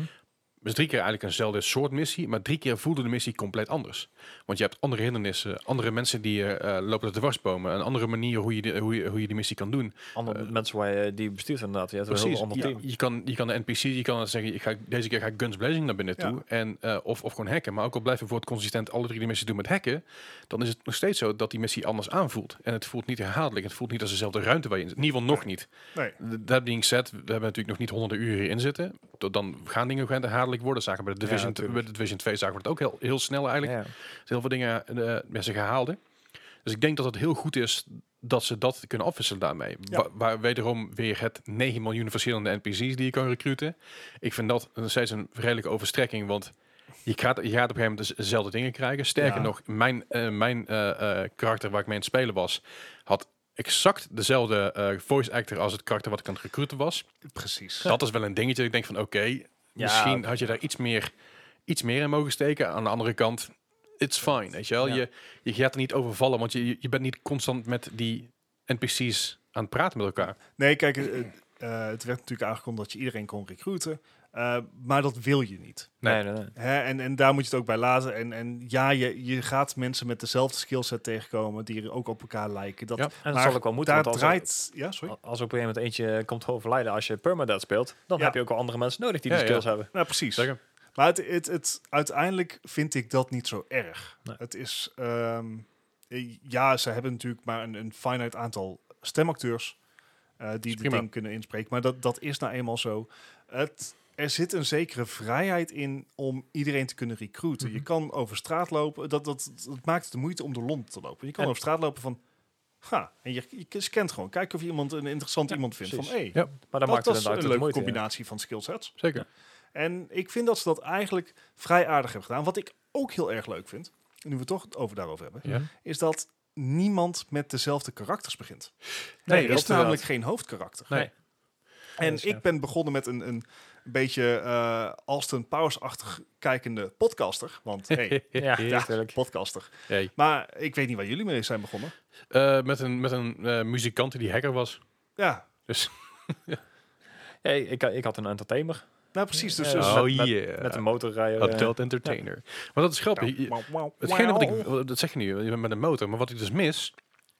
Dus drie keer eigenlijk eenzelfde soort missie, maar drie keer voelde de missie compleet anders. Want je hebt andere hindernissen, andere mensen die je eh, lopen te dwarsbomen, een andere manier hoe je, de, hoe, je, hoe je die missie kan doen.
Andere mensen waar je eh, die bestuurt inderdaad. Je hebt een heel
Precies,
ander
je,
team.
je kan, je kan de NPC, je kan zeggen, ik ga, deze keer ga ik Guns Blazing naar binnen
Ja.
toe, en, eh, of, of gewoon hacken. Maar ook al blijf je bijvoorbeeld consistent alle drie die missies doen met hacken, dan is het nog steeds zo dat die missie anders aanvoelt. En het voelt niet herhaaldelijk, het voelt niet als dezelfde ruimte waar je in zit. In ieder geval nog niet.
Nee.
Th- Dat being said, we hebben natuurlijk nog niet honderden uren hierin zitten. Tot Dan gaan dingen gaan herhaaldelijk makkelijk worden. Zagen we bij de
Ja,
Division,
natuurlijk.
bij de Division 2 zagen we het ook heel, heel snel eigenlijk.
Ja.
Dus heel veel dingen eh mensen gehaalde. Dus ik denk dat het heel goed is dat ze dat kunnen afwisselen daarmee.
Ja.
Wa- waar wederom weer het 9 miljoen verschillende NPC's die je kan recruten. Ik vind dat nog steeds een redelijke overstrekking, want je gaat, je gaat op een gegeven moment dus dezelfde dingen krijgen. Sterker
Ja.
nog, mijn, eh, mijn eh, eh, karakter waar ik mee aan het spelen was, had exact dezelfde eh, voice actor als het karakter wat ik aan het recruten was.
Precies.
Dat is wel een dingetje. Ik denk van oké, misschien had je daar iets meer, iets meer in mogen steken. Aan de andere kant, it's fine. Weet je, wel?
Ja.
Je, je gaat er niet over vallen, want je, je bent niet constant met die NPC's aan het praten met elkaar.
Nee, kijk, eh, eh, het werd natuurlijk aangekondigd dat je iedereen kon recruiten. eh, maar dat wil je niet.
Nee, nee, nee.
Hè, en, en daar moet je het ook bij laten. En, en ja, je, je gaat mensen met dezelfde skillset tegenkomen die er ook op elkaar lijken. Dat,
Ja,
En dat
Maar
zal ook wel moeten.
daar
want als-
draait... Ja, sorry.
Als op een gegeven moment eentje komt overlijden als je permadeath speelt, dan
Ja.
heb je ook wel andere mensen nodig die die
Ja, ja.
skills hebben.
Nou, precies.
Zeker.
Maar het, het, het, uiteindelijk vind ik dat niet zo erg.
Nee.
Het is... ehm, eh, ja, ze hebben natuurlijk maar een, een finite aantal stemacteurs eh, die die
prima.
ding kunnen inspreken. Maar dat, dat is nou eenmaal zo. Het, er zit een zekere vrijheid in om iedereen te kunnen recruiten.
Mhm.
Je kan over straat lopen. Dat, dat, dat maakt het de moeite om door Londen te lopen. Je kan
En-
over straat lopen van... Ga, en je, je scant gewoon. Kijk of je iemand, een interessant iemand vindt.
precies.
Van, hey,
Ja,
Maar dan
dat, dat
maakt
is
het inderdaad
een
de
leuke
moeite, ja.
combinatie van skillsets.
Zeker.
En ik vind dat ze dat eigenlijk vrij aardig hebben gedaan. Wat ik ook heel erg leuk vind, nu we het toch over daarover hebben,
Mhm.
Ja.
is dat niemand met dezelfde karakters begint.
Nee,
er
dat
is
inderdaad.
namelijk geen hoofdkarakter.
Nee.
Nee.
En
dat is
ik
gaaf.
ben begonnen met een, een beetje eh Alston Powers-achtig kijkende podcaster. Want hey,
Ja,
ja,
natuurlijk.
podcaster.
Hey.
Maar ik weet niet waar jullie mee zijn begonnen.
Eh, met een, met een eh, muzikant die hacker was.
Ja,
Dus,
Ja, ik, eh, ik had een entertainer
nou precies. Dus,
Ja.
dus-
Oh,
yeah.
met een motorrijder. eh,
Adult entertainer. Maar dat is grappig. Oh, Je-
Wauw, wauw,
Hetgene wat
wauw.
ik, wat- dat zeg je nu, je bent met een motor, maar wat ik dus mis,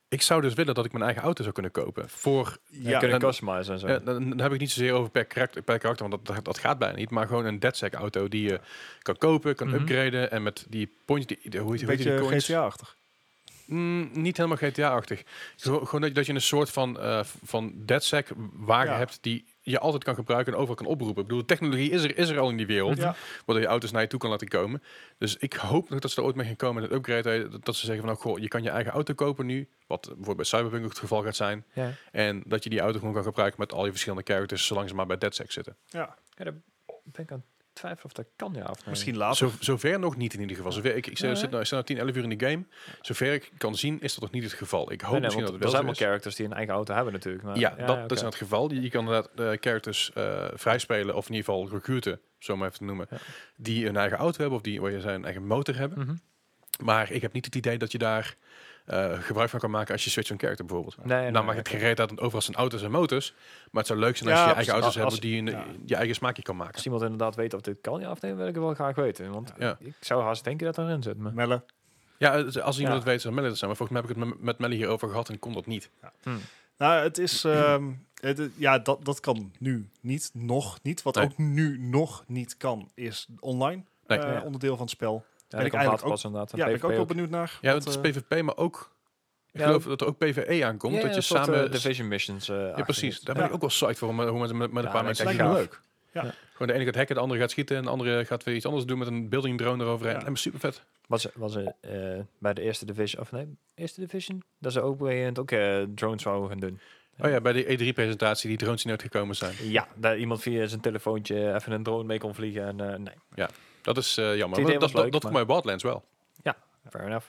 ik zou dus willen dat ik mijn eigen auto zou kunnen kopen. Voor,
ja,
Ja,
eh, kunnen
dan-
customizen en zo.
eh, dan, dan heb ik niet zozeer over per karakter, per karakter want dat, dat gaat bijna niet, maar gewoon een DedSec auto die je kan kopen, kan
Mhm.
upgraden en met die points, die, die- hoe heet
een
hoe heet die
beetje
coins?
GTA-achtig.
Mm, niet helemaal GTA-achtig. Gewo- gewoon dat je, dat je een soort van, eh van DedSec wagen
Ja.
hebt die je altijd kan gebruiken en overal kan oproepen. Ik bedoel, technologie is er, is er al in die wereld
Mhm. Ja.
waardoor je auto's naar je toe kan laten komen. Dus ik hoop nog dat ze er ooit mee gaan komen met een upgrade. Dat, dat ze zeggen van, nou, goh, je kan je eigen auto kopen nu. Wat bijvoorbeeld bij Cyberpunk ook het geval gaat zijn.
Ja.
En dat je die auto gewoon kan gebruiken met al je verschillende characters, zolang ze maar bij DedSec zitten.
Ja,
Ja, daar ben ik aan het twijfelen of dat kan, ja of nee.
misschien later.
Zo, zover nog niet in ieder geval. Zover, ik ik zit,
Nee.
zit nou, ik zit nou 10, 11 uur in de game. Zover ik kan zien is dat nog niet het geval. Ik hoop
Nee, nee,
misschien
want
dat het
er
wel
zijn
zo
wel
is.
characters die een eigen auto hebben natuurlijk. Maar,
Ja, dat, dat
oké.
is nou het geval. Je, je kan inderdaad eh, characters eh, vrijspelen, of in ieder geval recruiten, zo maar even te noemen,
Ja.
die een eigen auto hebben of die waar je zijn eigen motor hebben.
Mhm.
Maar ik heb niet het idee dat je daar eh, gebruik van kan maken als je switcht van character bijvoorbeeld.
Nee, nee,
nou
nee,
mag het
oké.
gereed uit en overal zijn auto's en motors. Maar het zou leuk zijn als
Ja,
je je eigen auto's
precies.
hebt
Als-
die je, in-
ja.
je eigen smaakje kan maken.
Als iemand inderdaad weet of dit kan, ja of nee, wil ik het wel graag weten. Want
Ja.
ik zou haast denken dat erin zit. Maar.
Melle,
Ja, als iemand
Ja.
het weet, zou Melly dat zijn. Maar volgens mij heb ik het met, met Melly hierover gehad en kon dat niet.
Hm.
Nou, het is. ehm, het, het- ja, dat, dat kan nu niet. Nog niet. Wat
Nee.
ook nu nog niet kan, is online
Nee.
eh,
Ja.
onderdeel van het spel.
Ja, dat
ik
kan
eigenlijk
later pas inderdaad.
Ja, ben ik ook wel
op
benieuwd naar.
Ja,
want,
het is
eh,
PvP, maar ook... Ik
Ja,
geloof dat er ook PvE aankomt. dat je samen...
division missions. eh,
ja,
achter
precies.
zit.
Daar ben
Ja.
ik ook wel psyched voor. Hoe men- hoe mensen met, met een
Ja,
paar
dat
mensen
lijkt
gaan.
me
gaaf.
leuk. Ja.
Gewoon de ene gaat hacken, de andere gaat schieten. En de andere gaat weer iets anders doen met een building drone eroverheen.
Ja.
En super vet.
Was, was er eh, bij de eerste division, of nee, eerste division, dat ze ook bij ook eh, drones zouden gaan doen.
Oh ja, bij de E3-presentatie, die drones die nooit gekomen zijn.
Ja, daar iemand via zijn telefoontje even een drone mee kon vliegen. En, eh, nee,
Dat is eh, jammer.
Het idee
Maar dat
was
dat,
leuk,
dat komt bij Wildlands wel.
fair enough.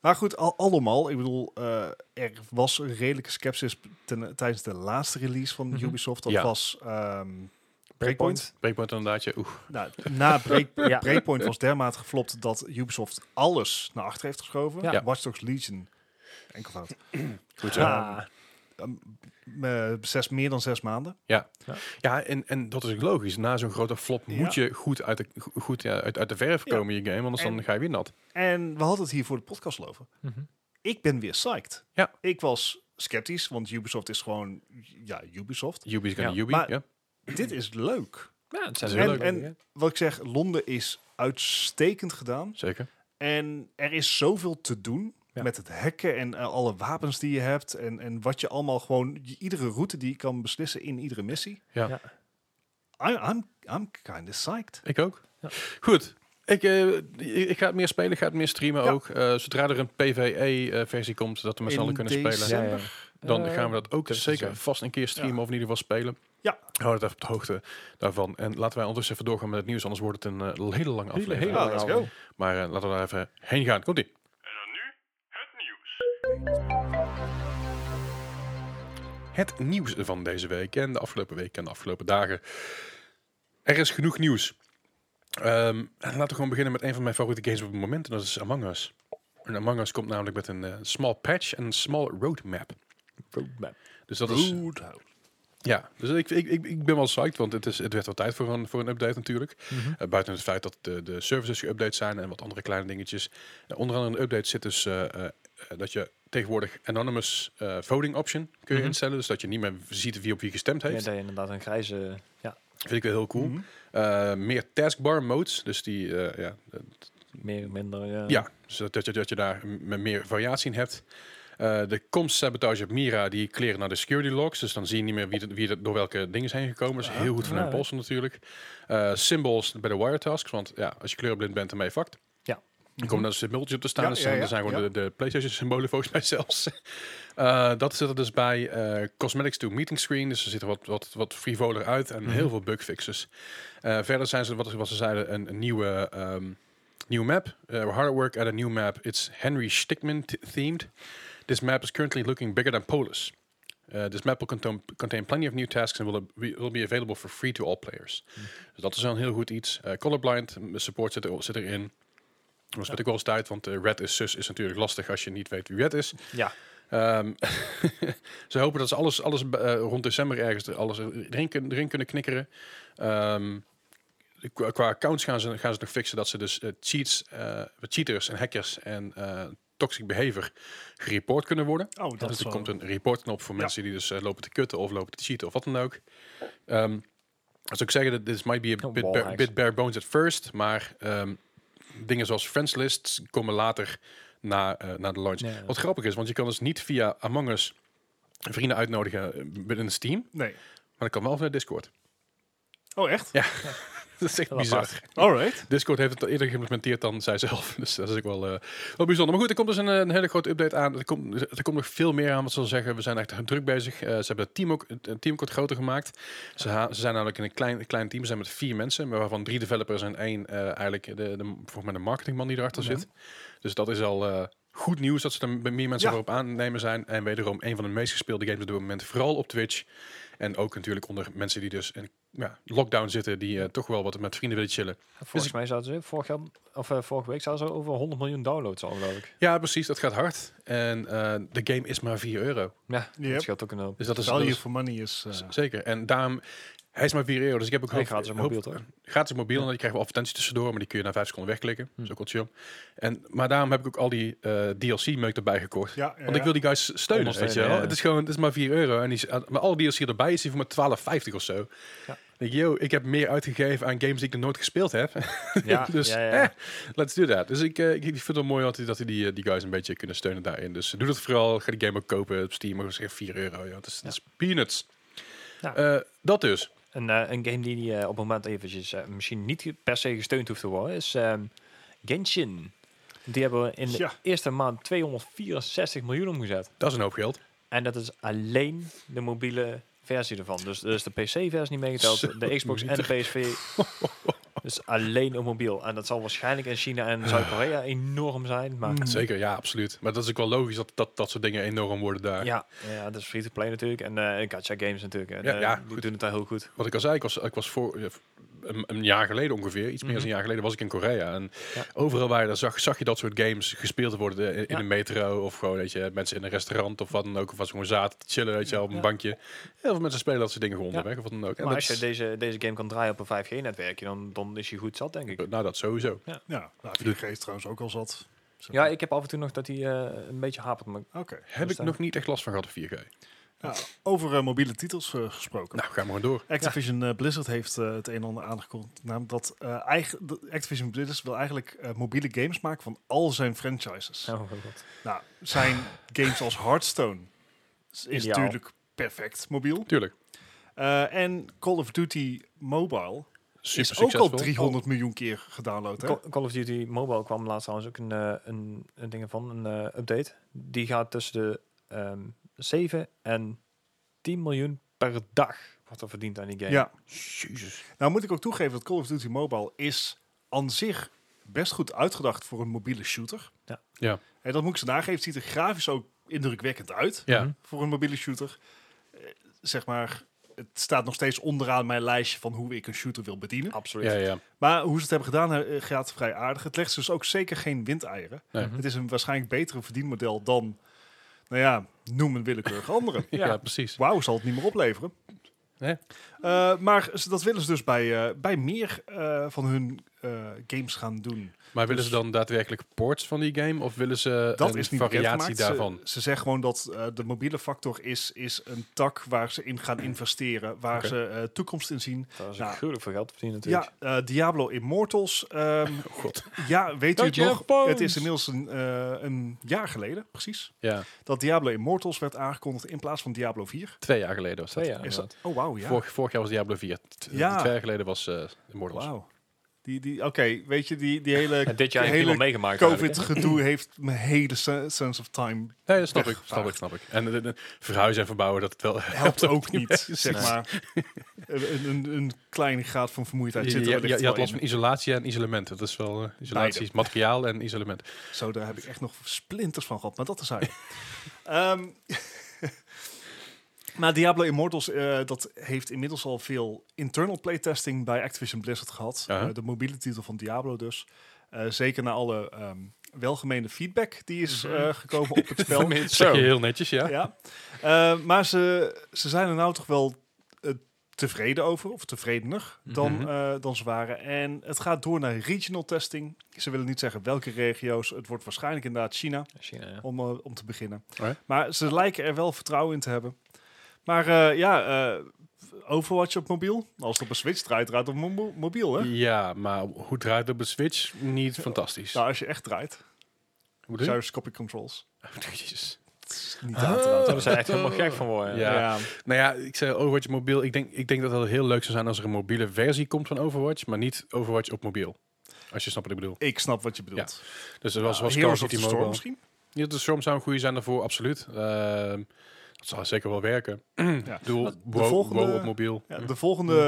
Maar goed, al, allemaal. Ik bedoel, eh, er was een redelijke sceptisch ten- tijdens de laatste release van
Mhm.
Ubisoft. Dat
Ja.
was ehm, Breakpoint.
Breakpoint inderdaad, ja. Oeh.
Nou, na Break-
Ja.
Breakpoint was dermate geflopt dat Ubisoft alles naar achter heeft geschoven.
Ja.
Watch Dogs Legion. Enkelvoud.
Goed zo.
Ja.
Ah.
Ehm, eh, zes, meer dan zes maanden.
Ja, en, en dat is ook logisch. Na zo'n grote flop
Ja.
moet je goed uit de, go- goed, ja, uit, uit de verf
Ja.
komen in je game, anders dan
En-
ga je weer nat.
En we hadden het hier voor de podcast over.
Mhm.
Ik ben weer psyched.
Ja.
Ik was sceptisch, want Ubisoft is gewoon, ja, Ubisoft.
Yubi is gonna
Ja.
Yubi,
Maar-
ja.
Dit is leuk.
Ja, het zijn
En,
is
heel
leuk.
leuke
en
dingen.
wat ik zeg, Londen is uitstekend gedaan.
Zeker.
En er is zoveel te doen
Ja.
met het hacken en eh, alle wapens die je hebt. En, en wat je allemaal gewoon, i- iedere route die je kan beslissen in iedere missie.
Ja.
Ja.
I, I'm, I'm kind of psyched.
Ik ook.
Ja.
Goed. Ik, eh, ik ik ga het meer spelen, ik ga het meer streamen
Ja.
ook. Eh, zodra er een PvE-versie komt, dat we met z'n
In
allen kunnen
december.
spelen, dan
Eh,
gaan we dat ook
dat is
zeker
zo.
vast een keer streamen
Ja.
of in ieder geval spelen.
Ja.
Hou het even op de hoogte daarvan. En laten wij ondertussen even doorgaan met het nieuws, anders wordt het een eh, hele lange
Hele,
aflevering.
hele
Ja, let's go.
Maar eh, laten we daar even heen gaan. Komt-ie. Het nieuws van deze week en de afgelopen week en de afgelopen dagen. Er is genoeg nieuws. Ehm, en laten we gewoon beginnen met een van mijn favoriete games op het moment. En dat is Among Us. En Among Us komt namelijk met een eh, small patch en een small roadmap.
Roadmap.
Dus dat is...
Roadhouse.
Ja, dus ik, ik, ik, ik ben wel psyched, want het, is, het werd wel tijd voor een, voor een update natuurlijk.
Mhm.
Eh, buiten het feit dat de, de services geüpdate zijn en wat andere kleine dingetjes. Eh, onder andere in de update zit dus eh, eh, eh, dat je tegenwoordig anonymous eh, voting option kun je
Mhm.
instellen. Dus dat je niet meer ziet wie op wie gestemd
Ja,
heeft.
dat je eh, inderdaad een grijze... Ja,
Vind ik wel heel cool.
Mhm.
Eh, meer taskbar modes, dus die, eh, ja, eh,
meer, minder... eh, Ja.
ja, dus dat, dat je, dat je daar m- meer variatie in hebt. Eh, de komstsabotage op Mira, die kleren naar de security logs. Dus dan zie je niet meer wie, de- wie er door welke dingen is heen gekomen. Dat is heel goed van
Ja.
hun polsen natuurlijk. Eh, symbols bij de wire tasks. Want ja, als je kleurblind bent, dan ben je fucked.
Ja.
Er komen dan symbooltjes op te staan.
Ja,
dus
ja,
dan
ja,
er zijn gewoon
ja.
de, de PlayStation symbolen volgens mij zelfs. Eh, dat zit er dus bij eh, Cosmetics to Meeting Screen. Dus er ziet er wat, wat, wat frivoler uit en
Mhm.
heel veel bugfixes. Eh, verder zijn ze, wat, wat ze zeiden, een, een nieuwe... ehm, New map. Uh, we're hard at work at a new map. It's Henry Stickmin th- themed. This map is currently looking bigger than Polis. Uh, this map will contain, contain plenty of new tasks and will, be- will be available for free to all players. Dus dat is wel een heel goed iets. Eh, colorblind mm, support zit, er, zit erin. Dat spit ik wel eens uit, want eh, red is sus is natuurlijk lastig als je niet weet wie red is.
Ja.
Ehm, ze hopen dat ze alles, alles eh, rond december ergens er- alles erin, kun- erin kunnen knikkeren. Ehm, qua, qua accounts gaan ze, gaan ze nog fixen dat ze dus eh, cheats, eh, cheaters en hackers en eh, toxic behavior gereport kunnen worden.
Oh, dat
dus
is
er
wel-
komt een reportknop voor
Ja.
mensen die dus eh, lopen te kutten of lopen te cheaten of wat dan ook. Ehm als ik zeggen, dat this might be a
Oh,
bit, bare,
wallhacks.
bit bare bones at first, maar ehm, dingen zoals friends lists komen later na, eh, na de launch.
Ja.
Wat grappig is, want je kan dus niet via Among Us vrienden uitnodigen eh, binnen een Steam,
Nee.
maar dat kan wel via Discord.
Oh, echt?
Dat is echt
Wel
bizar.
apart.
Alright.
Discord heeft het al eerder geïmplementeerd dan zijzelf. Dus dat is ook wel, eh, wel bijzonder. Maar goed, er komt dus een, eh, een hele grote update aan. Er komt, er komt nog veel meer aan, wat ze al zeggen. We zijn echt druk bezig. Eh, ze hebben het team ook het het team kort groter gemaakt. Ze, ha- ze zijn namelijk in een klein, klein team. Ze zijn met vier mensen, maar waarvan drie developers en één eh, eigenlijk de, de, volgens mij de marketingman die erachter zit. Dus dat is al eh, goed nieuws dat ze er m- meer mensen
Ja.
voor op aannemen zijn. En wederom een van de meest gespeelde games op dit moment, vooral op Twitch. En ook natuurlijk onder mensen die dus in ja, lockdown zitten, die eh, toch wel wat met vrienden willen chillen.
Volgens mij zouden ze vorig jaar, of, eh, vorige week zouden ze over 100 miljoen downloads al, geloof ik.
Ja, precies. Dat gaat hard. En eh, de game is maar 4 euro.
Ja,
Yep.
dat scheelt ook een hoop.
Dus dat is, dat
Value
is-
for money is... eh,
z- zeker. En daarom, hij is maar 4 euro. Dus ik heb ook
En gratis op mobiel, toch?
Gratis op mobiel. En dan krijg je wel advertenties tussendoor. Maar die kun je na 5 seconden wegklikken.
Hm.
Dat is ook wel chill. En, maar daarom heb ik ook al die eh, DLC-meuk erbij gekocht.
ja, ja,
Want ik wil die guys steunen, weet je
Ondersteunen,
wel.
ja.
Het is gewoon, het is maar 4 euro. En die, is- maar alle DLC erbij is die voor maar 12,50 of zo. Dan
Ja.
denk ik, yo, ik heb meer uitgegeven aan games die ik nog nooit gespeeld heb.
Ja,
dus
Ah, ja, ja.
eh, let's do that. Dus ik, eh, ik, ik vind het wel mooi dat, die- dat die, die, eh, die guys een beetje kunnen steunen daarin. Dus doe dat vooral. Ga die game ook kopen op Steam. Maar zeg 4 euro. Ja. Dat, is, dat is peanuts.
Ja.
Eh, dat dus.
Een, eh, een game die die, eh, op het moment eventjes eh, misschien niet ge- per se gesteund hoeft te worden, is ehm, Genshin. Die hebben we in de
Ja.
eerste maand 264 miljoen omgezet.
Dat is een hoop geld.
En dat is alleen de mobiele versie ervan. Dus, dus de PC-versie niet meegeteld,
Zo,
de Xbox en de PSV. dus alleen op mobiel. En dat zal waarschijnlijk in China en Zuid-Korea enorm zijn. Maar
Mm.
Zeker, ja, absoluut. Maar dat is ook wel logisch dat dat, dat soort dingen enorm worden daar.
ja, ja, dat is free-to-play natuurlijk. En eh gacha games natuurlijk. En,
Ja,
eh,
ja,
die
goed.
doen het daar heel goed.
Wat ik al zei, ik was, ik was voor eh, een, een jaar geleden ongeveer, iets meer dan een jaar geleden, was ik in Korea. En
Ja.
overal waar je dat zag, zag je dat soort games gespeeld worden eh, in, in
Ja.
de metro. Of gewoon, weet je, mensen in een restaurant of wat dan ook. Of als ze gewoon zaten te chillen, weet je, wel, op een
Ja.
bankje. Heel veel mensen spelen dat soort dingen gewoon onderweg of wat dan ook. En dat
maar als je
is-
deze, deze game kan draaien op een 5G-netwerkje, dan, dan is hij goed zat, denk ik.
nou, dat sowieso.
Ja, nou, 4G is trouwens ook al zat. Zo.
Ja, ik heb af en toe nog dat hij eh, een beetje hapert. Maar
Oké.
Heb ik
Verstaan.
nog niet echt last van gehad op 4G.
Ja, over eh, mobiele titels eh, gesproken.
Nou, gaan we gewoon door.
Activision eh, Blizzard heeft eh, het een en ander aangekondigd. Namelijk dat eh, eigen, de- Activision Blizzard wil eigenlijk eh, mobiele games maken van al zijn franchises.
oh, wat.
Nou, zijn games als Hearthstone is, is
Ideaal.
natuurlijk perfect mobiel.
Tuurlijk.
Eh, Eh, en Call of Duty Mobile
Super
is ook al
succesvol.
300 miljoen keer gedownload. Hè?
Call, Call of Duty Mobile kwam laatst trouwens ook een, eh, een, een ding van, een eh, update. Die gaat tussen de ehm 7 en 10 miljoen per dag wordt er verdiend aan die game.
Ja.
Jezus.
Nou moet ik ook toegeven dat Call of Duty Mobile is aan zich best goed uitgedacht voor een mobiele shooter.
Ja.
Ja.
En dat moet ik ze nageven. Het ziet er grafisch ook indrukwekkend uit
Ja.
Mhm.
voor een mobiele shooter. Eh, zeg maar, het staat nog steeds onderaan mijn lijstje van hoe ik een shooter wil bedienen.
Absoluut.
Ja, ja.
Maar hoe ze het hebben gedaan eh, gaat vrij aardig. Het legt ze dus ook zeker geen windeieren.
Nee.
Mhm.
Het is een waarschijnlijk betere verdienmodel dan, nou ja, noem een willekeurig andere.
Ja,
Ja.
precies.
Wauw zal het niet meer opleveren.
Nee.
Eh, maar ze- dat willen ze dus bij, eh, bij meer eh, van hun eh, games gaan doen.
Maar willen
Dus-
ze dan daadwerkelijk ports van die game? Of willen ze
Dat
een
is niet
variatie
bekendgemaakt. Ze-
daarvan?
Ze, zeggen gewoon dat eh, de mobiele factor is, is een tak waar ze in gaan investeren. Waar
Oké.
ze eh, toekomst in zien.
Dat is
Nou.
gruwelijk veel geld verdienen natuurlijk.
Ja, eh, Diablo Immortals. ehm,
Oh god.
ja, weet u het
Don't you
nog?
have bones?
Het is inmiddels een, eh, een jaar geleden, precies.
Ja,
Dat Diablo Immortals werd aangekondigd in plaats van Diablo 4.
twee jaar geleden was dat.
Twee jaar
Is
inderdaad.
dat? Oh, wauw, ja.
Vorig, vorig jaar was Diablo 4. T-
Ja.
Twee jaar geleden was eh Immortals.
Wauw. Die, die, Oké, weet je, die, die hele
En dit jaar
die
heeft
hele
niemand meegemaakt eh, eigenlijk,
COVID-gedoe heeft mijn hele se- sense of time
Nee, dat snap
Weg,
ik, snap ik, snap ik. En eh, eh, verhuizen en verbouwen, dat wel
helpt ook niet,
bij.
zeg maar. een, een- een, een kleine graad van vermoeidheid
Je,
zit er
je- je-
wellicht
je had
wel
last
in.
van isolatie en isolement. Dat is wel eh, isolatie,
Beide.
is materiaal en isolement.
Zo, daar heb ik echt nog splinters van gehad, maar dat is eigenlijk. Ehm maar Diablo Immortals, eh, dat heeft inmiddels al veel internal playtesting bij Activision Blizzard gehad.
Ja.
Eh, de mobiele titel van Diablo dus. Eh, zeker na alle ehm, welgemeende feedback die is
Mhm.
eh, gekomen op het spel.
Dat zeg je heel netjes, ja.
ja. Eh, maar ze, ze zijn er nou toch wel eh, tevreden over, of tevredener dan,
Mhm.
eh, dan ze waren. En het gaat door naar regional testing. Ze willen niet zeggen welke regio's. Het wordt waarschijnlijk inderdaad China
China, ja.
om, eh, om te beginnen.
Alright.
Maar ze lijken er wel vertrouwen in te hebben. Maar eh, ja, eh, Overwatch op mobiel. Als het op een Switch draait, draait het op mo- mobiel, hè?
Ja, maar hoe draait het op de Switch? Niet fantastisch.
Nou, als je echt draait,
Hoe doe je?
gyroscopic controls.
Jezus.
Het is niet
Ah.
aan te raden.
Daar zijn echt helemaal gek van worden.
Ja. Nou ja, ik zei Overwatch mobiel. Ik denk, ik denk dat het heel leuk zou zijn als er een mobiele versie komt van Overwatch, maar niet Overwatch op mobiel. Als je snapt wat ik bedoel.
Ik snap wat je bedoelt.
Dus er was,
Ja,
was Call of
Heroes of
Duty
the Storm
Mobile.
misschien?
Ja, de Storm zou een goede zijn daarvoor, absoluut. Ehm, dat zou zeker wel werken.
Ja.
Ja. Doel,
De
wow,
volgende-
wow op mobiel.
Ja,
Ja,
de volgende
Hm.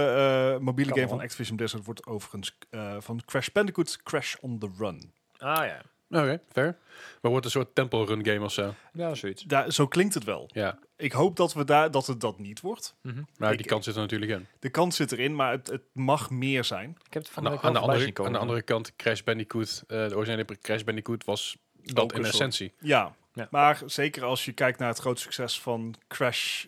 eh, mobiele
Kan
game
wel.
van Activision Blizzard wordt overigens eh, van Crash Bandicoot Crash on the Run.
Ah ja.
Oké, fair. Maar wordt een soort temple run game of zo.
Ja, zoiets.
Daar, zo klinkt het wel.
Ja,
Ik hoop dat, we daar, dat het dat niet wordt.
maar
Ik-
die kans zit er natuurlijk in.
De kans zit erin, maar het, het mag meer zijn.
Ik heb het van
Aan de,
week wel
aan de
voorbij
andere,
zien komen.
aan de andere kant, Crash Bandicoot, eh, de originele Crash Bandicoot was dat
Ook
in
een soort-
essentie.
Ja.
Ja.
maar zeker als je kijkt naar het grote succes van Crash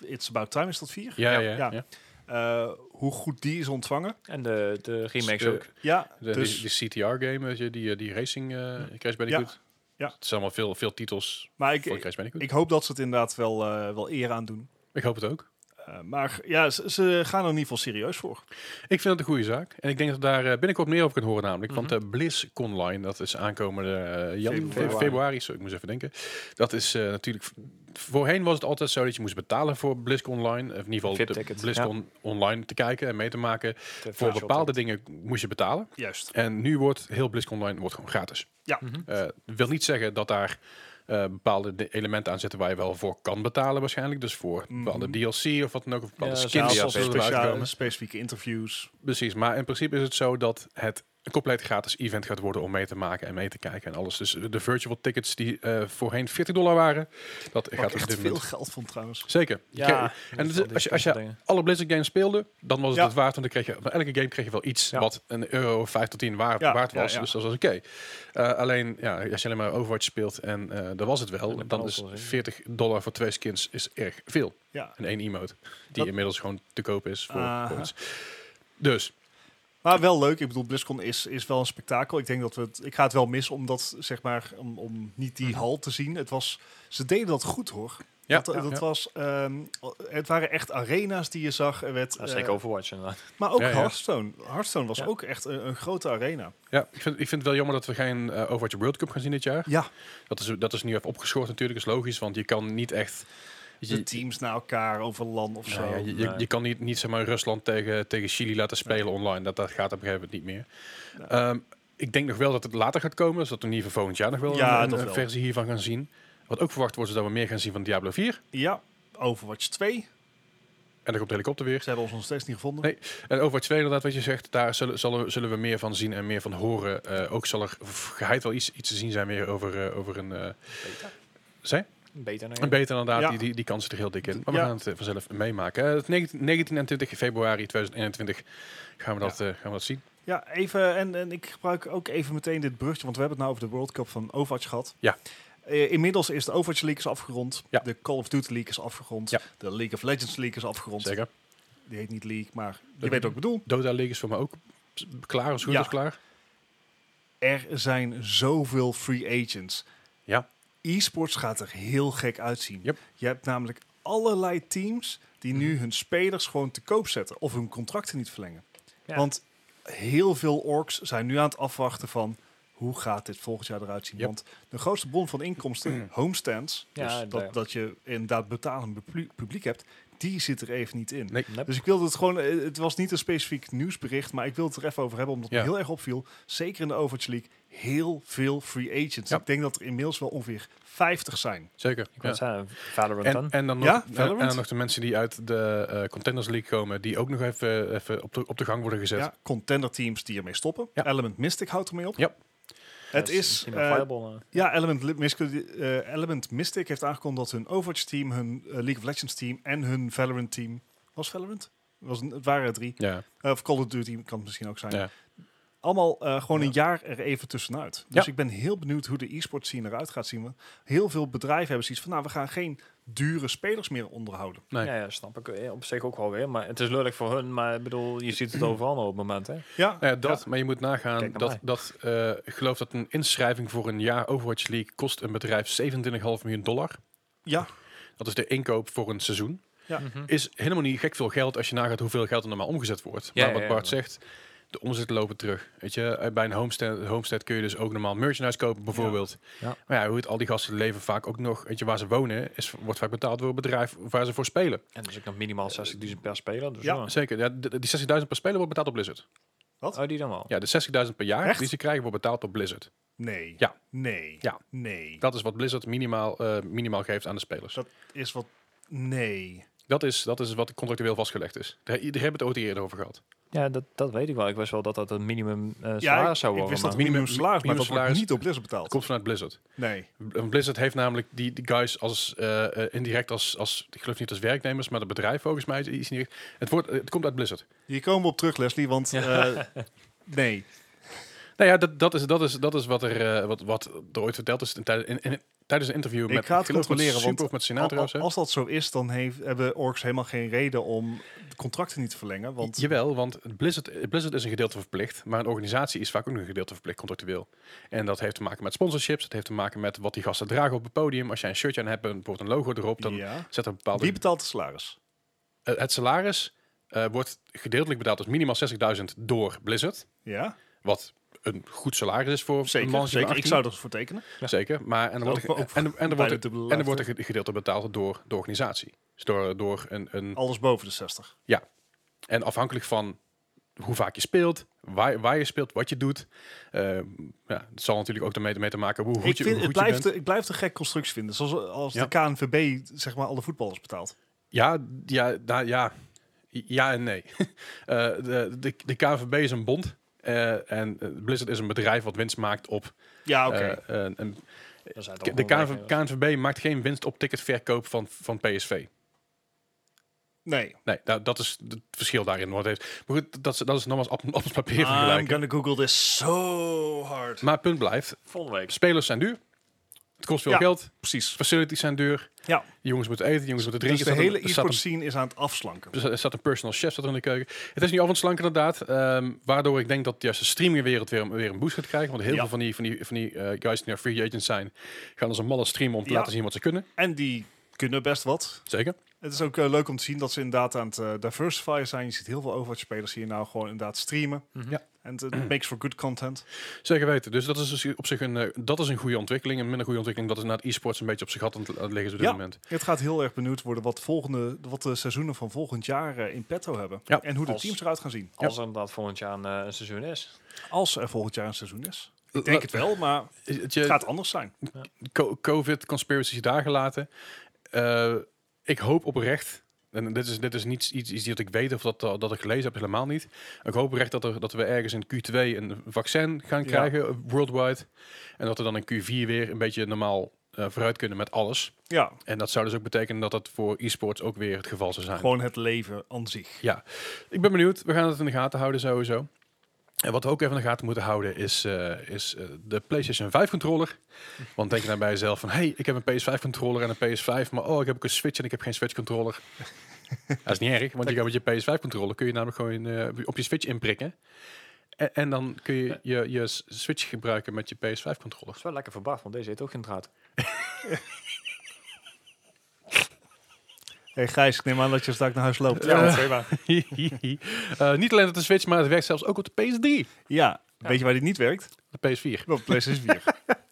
It's About Time, is dat 4?
Ja, ja,
Ja,
ja.
ja. Eh, hoe goed die is ontvangen.
En de, de remakes
Dus, eh,
ook.
Ja,
De,
dus,
die, CTR-game, weet je, die, eh, die racing eh, Crash Bandicoot.
Ja.
Het zijn allemaal veel, veel titels
maar
voor
ik,
Crash Bandicoot. Ik,
ik hoop dat ze het inderdaad wel, eh, wel eer aan doen.
hoop het ook.
Eh, maar ja, ze, ze gaan er in ieder geval serieus voor.
Ik vind het een goede zaak. En ik denk dat we daar eh, binnenkort meer over kunnen horen namelijk. Want eh Bliss Online, dat is aankomende eh, jan-
Februari.
februari. februari. Sorry, ik moest even denken. Dat is eh, natuurlijk... Voorheen was het altijd zo dat je moest betalen voor BlizzCon Online. Of in ieder geval de
VIP-ticket,
BlizzCon Online te kijken en mee te maken. voor bepaalde dingen moest je betalen.
Juist.
En nu wordt heel BlizzCon Online wordt gewoon gratis.
Ja.
Mhm.
Eh, wil niet zeggen dat daar eh, bepaalde de- elementen aan zitten waar je wel voor kan betalen waarschijnlijk. Dus voor bepaalde DLC of wat dan ook. Of bepaalde
Ja,
skins
Ja,
die
zoals
er erbij
speciale,
komen.
specifieke interviews.
Precies, maar in principe is het zo dat het een compleet gratis event gaat worden om mee te maken en mee te kijken en alles. Dus de virtual tickets die eh, voorheen 40 dollar waren, dat
Wat
gaat
ik
op
echt
dit
veel
moment...
geld vond trouwens.
Zeker. Je
Ja,
kreeg- en het
dat is wel
is-
die
dus als je, als
soort
je
dingen.
alle Blizzard games speelde, dan was het
Ja.
het waard. Want dan kreeg je bij elke game kreeg je wel iets
Ja.
wat een euro of vijf tot 10 waard,
Ja,
waard
ja,
was.
ja.
Dus dat was oké. Eh, alleen, ja, als je alleen maar Overwatch speelt en eh dat was het wel,
dat kan
dan
ook
is
wel eens, hè.
40 dollar voor twee skins is erg veel.
Ja.
En één emote, die
Dat- Ah.
inmiddels gewoon te koop is voor
Aha.
ons. Dus,
Maar wel leuk. Ik bedoel, BlizzCon is, is wel een spektakel. Ik denk dat we het... Ik ga het wel missen, omdat, zeg maar, om, om niet
Mhm.
die hal te zien. Het was... Ze deden dat goed, hoor.
ja.
dat,
ja,
dat
ja.
was... ehm, het waren echt arena's die je zag. Er werd,
Ja,
eh,
zeker Overwatch inderdaad.
maar ook
Ja, ja.
Hearthstone. Hearthstone was
Ja.
ook echt een, een grote arena.
Ja, ik vind, ik vind het wel jammer dat we geen eh, Overwatch World Cup gaan zien dit jaar.
Ja.
Dat is, dat is nu even opgeschort natuurlijk, is logisch, want je kan niet echt...
Weet
de
je,
teams naar elkaar over land of zo.
Nou ja, je, je,
nee.
je kan niet, niet zeg maar, Rusland tegen, tegen Chili laten spelen online. Dat, dat gaat op een gegeven moment niet meer.
Nee.
Ehm, ik denk nog wel dat het later gaat komen. Zodat we in ieder geval volgend jaar nog wel
Ja,
een,
dat
een
wel.
versie hiervan gaan zien. Wat ook verwacht wordt is dat we meer gaan zien van Diablo 4.
Ja, Overwatch 2.
En dan komt de helikopter weer.
Ze hebben ons nog steeds niet gevonden.
Nee. En Overwatch 2 inderdaad, wat je zegt, daar zullen, zullen, zullen we meer van zien en meer van horen. Eh, ook zal er v- geheid wel iets, iets te zien zijn weer over, eh, over een... eh
Beta.
Zij?
Beter nou
Een beta inderdaad,
Ja.
die, die, die kans zit er heel dik in. Maar we
Ja.
gaan het eh, vanzelf meemaken. Eh, het 19, 19 en 20 februari 2021 gaan we dat, eh, gaan we dat zien.
Ja, even, en, en ik gebruik ook even meteen dit brugje, want we hebben het nou over de World Cup van Overwatch gehad.
Ja.
Eh, inmiddels is de Overwatch League is afgerond,
Ja.
de Call of Duty League is afgerond,
Ja.
de League of Legends League is afgerond.
Zeker.
Die heet niet League, maar je
Dat-
weet wat ik bedoel.
Dota League is voor mij ook s- klaar, als goed
Ja.
als klaar.
Er zijn zoveel free agents.
Ja.
E-sports gaat er heel gek uitzien.
Yep. Mhm.
Je hebt namelijk allerlei teams die nu hun spelers gewoon te koop zetten of hun contracten niet verlengen.
Ja.
Want heel veel orks zijn nu aan het afwachten van hoe gaat dit volgend jaar eruit zien.
Yep. Mhm.
Want de grootste bron van inkomsten, homestands,
Ja,
dus
daar-
dat, dat je inderdaad betalend publiek- publiek hebt, die zit er even niet in.
Nee.
Nep.
Dus ik wilde het gewoon, eh, het was niet een specifiek nieuwsbericht, maar ik wil het er even over hebben, omdat het
Ja.
me heel erg opviel. Zeker in de Overwatch League, heel veel free agents.
Ja.
Ik denk dat er inmiddels wel ongeveer 50 zijn.
Zeker.
Ik wou
Ja.
het zeggen, Valorant
En,
dan.
en, dan nog,
Ja,
en- en,
Valorant.
dan nog de mensen die uit de eh, Contenders League komen, die ook nog even, even op, de, op de gang worden gezet.
Ja, contender teams die ermee stoppen.
Ja.
Element Mystic houdt ermee op.
Ja.
Het
Ja,
is,
misschien wel
eh,
viable, eh.
ja, Element, Li- Mystic, eh, Element Mystic heeft aangekondigd dat hun Overwatch team, hun eh, League of Legends team en hun Valorant team, was Valorant? Was, een- het waren er drie.
Ja.
Eh, of Call of Duty kan het misschien ook zijn.
Ja.
Allemaal eh, gewoon
Ja.
een jaar er even tussenuit. Dus
Ja.
ik ben heel benieuwd hoe de e-sport scene eruit gaat zien. Want heel veel bedrijven hebben zoiets van, nou, we gaan geen dure spelers meer onderhouden.
Nee.
Ja, ja, snap ik eh, op zich ook wel weer. Maar het is lullig voor hun, maar ik bedoel, je ziet het overal nou op het moment, hè?
Ja,
Nou ja, dat, maar je moet nagaan
Kijk naar
dat,
mij.
dat eh, ik geloof dat een inschrijving voor een jaar Overwatch League kost een bedrijf 27,5 miljoen dollar.
ja,
Dat is de inkoop voor een seizoen.
Ja.
Mhm.
Is helemaal niet gek veel geld als je nagaat hoeveel geld er normaal omgezet wordt.
Ja,
maar wat
ja, ja,
Bart
ja.
zegt, de omzet lopen terug. Weet je, eh, bij een homestead, homestead kun je dus ook normaal merchandise kopen bijvoorbeeld.
Ja.
Maar ja, hoe het al die gasten leven vaak ook nog, weet je, waar ze wonen, is, wordt vaak betaald door het bedrijf waar ze voor spelen.
En dus ik nog minimaal 60.000 per speler. Dus
Ja.
ja.
Zeker, ja, d- die 60.000 per speler wordt betaald door Blizzard.
Oh, die dan wel.
Ja, de 60.000 per jaar
Echt?
die ze krijgen wordt betaald door Blizzard.
nee,
Ja.
nee,
Ja.
nee.
Dat is wat Blizzard minimaal, eh, minimaal geeft aan de spelers.
Dat is wat, nee.
Dat is, dat is wat contractueel vastgelegd is. Daar, daar hebben we het ooit eerder over gehad.
Ja, dat, dat weet ik wel. Ik wist wel dat dat een minimum eh salaris
ja, ik,
zou
ik
worden.
wist dat
maar-
minimum
Minimum-
salaris, maar
minimum
dat wordt
salaris-
niet op Blizzard
Dat
betaald.
komt vanuit Blizzard.
Nee,
Bl- Blizzard heeft namelijk die, die guys als eh, eh, indirect als, als, ik geloof niet als werknemers, maar het bedrijf volgens mij is iets niet. Het, wordt, het komt uit Blizzard.
hier komen we op terug, Leslie, want eh, nee.
Nou ja, dat, dat, is, dat, is, dat is wat er, eh, wat, wat er ooit verteld is in, tij- in, in- tijdens een interview
Ik
met,
ga het
geloof met
controleren,
Super
want
of met Sinatra
Al-
of zo.
al- als dat zo is, dan heeft, hebben orks helemaal geen reden om de contracten niet te verlengen. Want
Jawel, want Blizzard, Blizzard is een gedeelte verplicht, maar een organisatie is vaak ook nog een gedeelte verplicht contractueel. En dat heeft te maken met sponsorships, dat heeft te maken met wat die gasten dragen op het podium. Als jij een shirtje aan hebt en bijvoorbeeld een logo erop, dan
ja.
zet er een bepaalde...
wie betaalt de salaris?
Eh, het salaris eh, wordt gedeeltelijk betaald, dus minimaal 60.000 door Blizzard,
Ja.
wat een goed salaris is voor een
Zeker,
man
zeker. ik zou dat voor tekenen.
Zeker, maar en er wordt,
Ook- ook
en, en, en er wordt,
bijna dubbele
en er wordt
laagte.
een gedeelte betaald door de organisatie. Dus door, door een, een
Alles boven de 60.
En afhankelijk van hoe vaak je speelt, waar, waar je speelt, wat je doet. eh, ja, het zal natuurlijk ook ermee mee te maken hoe goed
Ik,
je,
vind,
hoe
het
goed je
blijft,
bent.
een- ik blijf een gek constructie vinden. Zoals als
Ja.
de KNVB zeg maar alle voetballers betaalt.
Ja, ja, da- ja, ja en nee. Eh, de, de, de KNVB is een bond. eh, en eh, Blizzard is een bedrijf wat winst maakt op...
Ja, oké.
eh, een- een-
Dat zijn toch
de
wel
KNV,
werknemers.
KNVB maakt geen winst op ticketverkoop van, van PSV.
nee.
Nee, nou, dat is het verschil daarin. Wat het heeft. Maar goed, dat, is- dat is nogmaals app- appels papier
I'm
vergelijken.
gonna google this so hard.
Maar het punt blijft,
Volgende week.
spelers zijn duur. Het kost veel
Ja.
geld.
Precies.
Facilities zijn duur.
Ja.
Die jongens moeten eten, die jongens moeten
Dus
drinken.
de
Er staat
hele
een- Dus- er staat
e-sport
een-
scene is aan het afslanken.
er staat- er staat een personal chef staat er in de keuken. Het is nu af en slank inderdaad. ehm, waardoor ik denk dat juist de streamingwereld weer, een- weer een boost gaat krijgen. Want heel
Ja.
veel van die, van die, van die eh, guys die naar free agents zijn... gaan als een malle streamen om te
Ja.
laten zien wat ze kunnen.
En die kunnen best wat.
Zeker.
Het is ook eh, leuk om te zien dat ze inderdaad aan het eh, diversifyen zijn. Je ziet heel veel Overwatch-spelers hier nou gewoon inderdaad streamen.
Mhm.
Ja.
And it makes for good content.
Zeker weten. Dus dat is dus op zich een, eh, dat is een goede ontwikkeling. En met een goede ontwikkeling, dat is na het e-sports een beetje op zijn gat aan het aan het liggen is op dit
Ja.
moment.
Het gaat heel erg benieuwd worden wat, volgende, wat de seizoenen van volgend jaar eh, in petto hebben.
Ja,
en hoe de
als-
teams eruit gaan zien.
Als er inderdaad volgend jaar een, eh, een seizoen is.
Als er volgend jaar een seizoen is. Ik
La-
denk het wel, maar
Het,
het
je,
gaat anders zijn.
co- COVID, conspiracies daar gelaten. Eh, ik hoop oprecht, en dit is, dit is niet iets, iets dat ik weet of dat, dat ik gelezen heb, helemaal niet. Ik hoop oprecht dat, er, dat we ergens in Q2 een vaccin gaan
Ja.
krijgen, eh, worldwide. En dat we dan in Q4 weer een beetje normaal eh, vooruit kunnen met alles.
Ja,
En dat zou dus ook betekenen dat dat voor e-sports ook weer het geval zou zijn.
gewoon het leven aan zich.
Ja, ik ben benieuwd. We gaan het in de gaten houden sowieso. En wat we ook even in de gaten moeten houden is, eh, is eh, de PlayStation 5 controller. Want denk je dan bij jezelf van, hey, ik heb een PS5 controller en een PS5, maar oh, ik heb ook een Switch en ik heb geen Switch controller. Dat is niet erg, want je kan met je PS5 controller kun je namelijk gewoon eh, op je Switch inprikken. En, en dan kun je, je je s- Switch gebruiken met je PS5
Dat
controller.
is wel lekker verbaasd, want deze heeft ook geen draad.
hey Gijs, ik neem aan dat je straks naar huis loopt.
Ja, dat is prima.
Eh, niet alleen op de Switch, maar het werkt zelfs ook op de PS3.
Ja, weet je waar dit niet werkt?
De PS4.
Op PlayStation 4.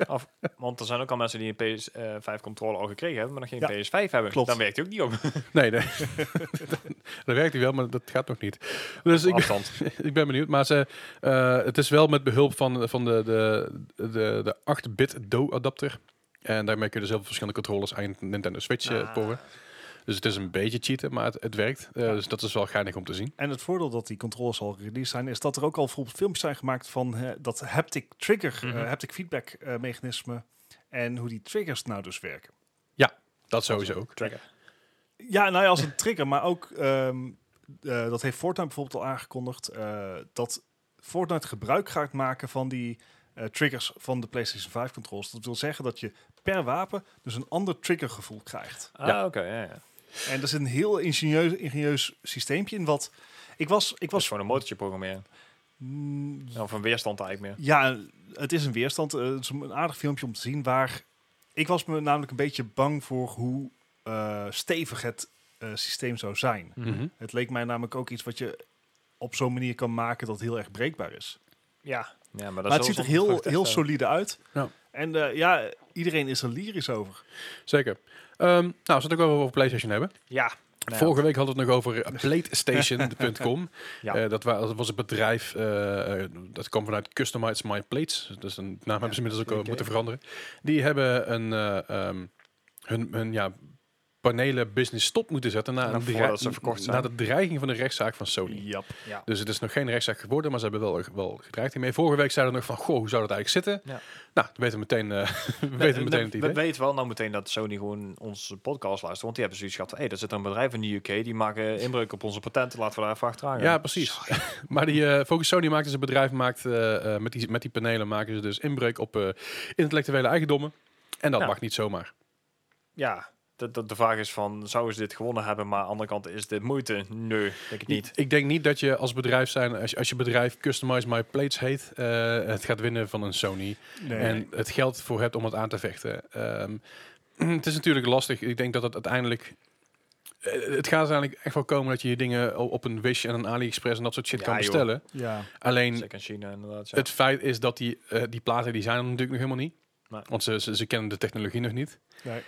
Af- want er zijn ook al mensen die een PS5 controller al gekregen hebben, maar nog geen PS5 hebben.
klopt.
Dan werkt hij ook niet op
Nee, nee. dat werkt hij wel, maar dat gaat nog niet. Dus ik,
afstand.
ik ben benieuwd. Maar ze, eh, het is wel met behulp van, van de, de, de, de 8-bit Do-adapter. En daarmee kun je dus heel veel verschillende controllers aan je Nintendo Switch eh,
Ah.
porren. Dus het is een beetje cheaten, maar het, het werkt. Eh, Dus dat is wel geinig om te zien.
en het voordeel dat die controles al released zijn, is dat er ook al bijvoorbeeld filmpjes zijn gemaakt van eh, dat haptic trigger, eh,
Mhm.
haptic feedback eh, mechanisme en hoe die triggers nou dus werken.
Dat sowieso ook.
Trigger.
Ja, nou ja, als een trigger, maar ook ehm, eh, dat heeft Fortnite bijvoorbeeld al aangekondigd eh, dat Fortnite gebruik gaat maken van die eh, triggers van de PlayStation 5 controls. Dat wil zeggen dat je per wapen dus een ander triggergevoel krijgt.
Ah,
Ja.
oké. ja, ja.
En dat is een heel ingenieus, ingenieus systeempje in wat ik was, ik
Dat is
was
gewoon een motortje programmeren.
Mm,
Of een weerstand eigenlijk meer.
Ja, het is een weerstand. Eh, het is een aardig filmpje om te zien waar... Ik was me namelijk een beetje bang voor hoe eh, stevig het eh, systeem zou zijn.
Mhm.
Het leek mij namelijk ook iets wat je op zo'n manier kan maken dat het heel erg breekbaar is.
Ja. ja maar, dat
maar het ziet er heel, heel
solide.
solide uit.
Ja.
En eh, ja, iedereen is er lyrisch over.
Zeker. Ehm, nou, we het ook wel over PlayStation hebben.
Ja. Nou ja.
Vorige week hadden we het nog over eh, PlateStation.com.
Ja.
Eh, dat, wa- dat was een bedrijf, eh, eh, dat kwam vanuit Customize My Plates. Dus een naam hebben ze inmiddels ook al
oké.
moeten veranderen. Die hebben een, eh, ehm, hun, hun ja, panelen business stop moeten zetten na,
Nou,
een
voordat
dreig-
ze verkocht
na
zijn.
de dreiging van de rechtszaak van Sony.
Jap.
Ja.
Dus het is nog geen rechtszaak geworden, maar ze hebben wel, wel gedreigd hiermee. Vorige week zeiden we nog van, goh, hoe zou dat eigenlijk zitten?
Ja.
Nou, we weten meteen, eh, we weten
We-
meteen het
We
idee.
weten wel nou meteen dat Sony gewoon onze podcast luistert. Want die hebben zoiets gehad van, hé, hey, er zit een bedrijf in de UK, die maken inbreuk op onze patenten, laten we daar even achteraan gaan.
Ja, precies. maar die eh, Focus Sony maakt dus een bedrijf maakt, eh, eh, met, die, met die panelen maken ze dus inbreuk op eh, intellectuele eigendommen. En dat
Ja.
mag niet zomaar.
Ja, de, de, de vraag is van, zouden ze dit gewonnen hebben? Maar aan de andere kant, is dit moeite? Nee, denk ik niet.
Ik denk niet dat je als bedrijf zijn, als je, als je bedrijf Customize My Plates heet, eh, het gaat winnen van een Sony.
Nee.
En het geld voor hebt om het aan te vechten. Ehm, het is natuurlijk lastig. Ik denk dat het uiteindelijk. eh, Het gaat uiteindelijk echt wel komen dat je je dingen o- op een Wish en een AliExpress en dat soort shit
Ja,
kan
joh.
bestellen.
ja.
Alleen
Zeker in China inderdaad. Ja.
Het feit is dat die, eh, die platen die zijn er natuurlijk nog helemaal niet.
Nee.
Want ze, ze, ze kennen de technologie nog niet.
Nee.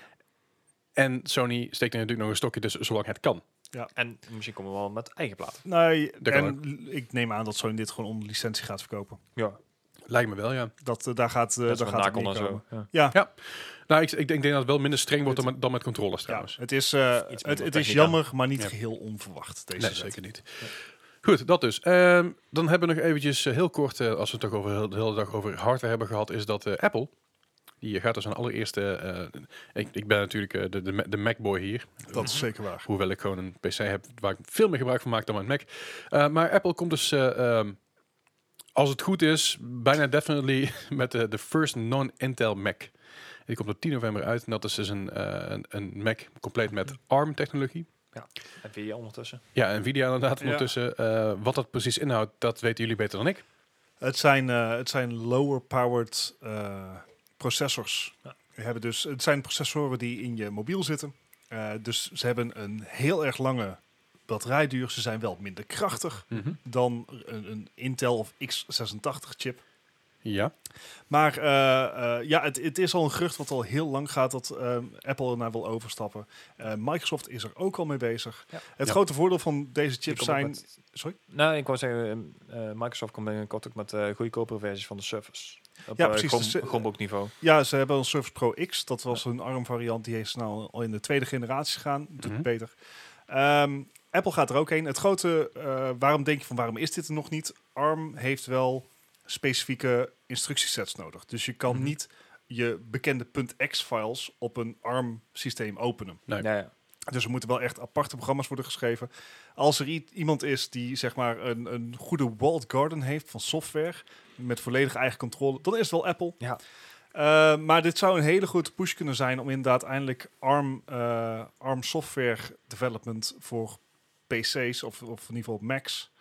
En Sony steekt er natuurlijk nog een stokje tussen zolang het kan.
En misschien komen we wel met eigen platen.
Nee,
Dat kan
en ik neem aan dat Sony dit gewoon onder licentie gaat verkopen.
Ja,
Lijkt me wel, ja.
Dat, eh, daar gaat, eh
dat
daar
is
gaat
gaat
het
en
niet
zo.
komen.
Ja.
Nou, ik, ik denk dat het wel minder streng wordt dan met, dan met controllers
Ja,
trouwens.
het is, eh,
Iets
het,
minder
het is
technica.
jammer, maar niet
Ja.
geheel onverwacht. Deze
nee,
zet.
zeker niet. Goed, dat dus. Ehm, dan hebben we nog eventjes eh, heel kort, eh, als we het toch over heel, de hele dag over hardware hebben gehad, is dat eh, Apple, die gaat dus een allereerste... eh, ik, ik ben natuurlijk eh, de, de, Ma- de Macboy hier.
Dat is zeker waar.
Hoewel ik gewoon een PC heb waar ik veel meer gebruik van maak dan mijn Mac. Eh, maar Apple komt dus, eh, ehm, als het goed is, bijna definitely met de, de first non-Intel Mac. Die komt op 10 november uit en dat is dus een, eh, een, een Mac compleet met ARM-technologie.
En wie eh, ondertussen?
Ja, Nvidia inderdaad
Ja.
ondertussen. Eh, wat dat precies inhoudt, dat weten jullie beter dan ik.
Het zijn, eh, het zijn lower-powered eh, processors.
Ja.
Die Hebben dus, het zijn processoren die in je mobiel zitten. Eh, dus ze hebben een heel erg lange batterijduur. Ze zijn wel minder krachtig
Mhm.
dan een, een Intel of x86 chip.
Ja.
Maar eh, eh, ja, het, het is al een gerucht wat al heel lang gaat dat eh, Apple ernaar wil overstappen. Eh, Microsoft is er ook al mee bezig.
Ja.
Het
Ja.
grote voordeel van deze
Die
chips
komt ook
zijn...
met-
Sorry?
nou, ik wou zeggen, eh, eh, Microsoft komt binnenkort ook met eh goedkopere versies van de Surface. Op,
Ja,
ja,
precies,
precies.
dus, eh,
Chromebook niveau.
Ja, ze hebben een Surface Pro X. Dat was hun ARM-variant. Die is nou al in de tweede generatie gegaan. Doet
Mhm.
het beter. Ehm, Apple gaat er ook heen. Het grote, eh, waarom denk je van waarom is dit er nog niet? ARM heeft wel specifieke instructiesets nodig. Dus je kan
Mhm.
niet je bekende .x-files op een ARM-systeem openen.
Nee.
Ja, ja.
Dus er moeten wel echt aparte programma's worden geschreven. Als er i- iemand is die zeg maar een, een goede walled garden heeft van software met volledig eigen controle, dan is het wel Apple.
Ja.
Eh, maar dit zou een hele goede push kunnen zijn om inderdaad eindelijk ARM, eh, ARM software development voor PC's of, of in ieder geval Macs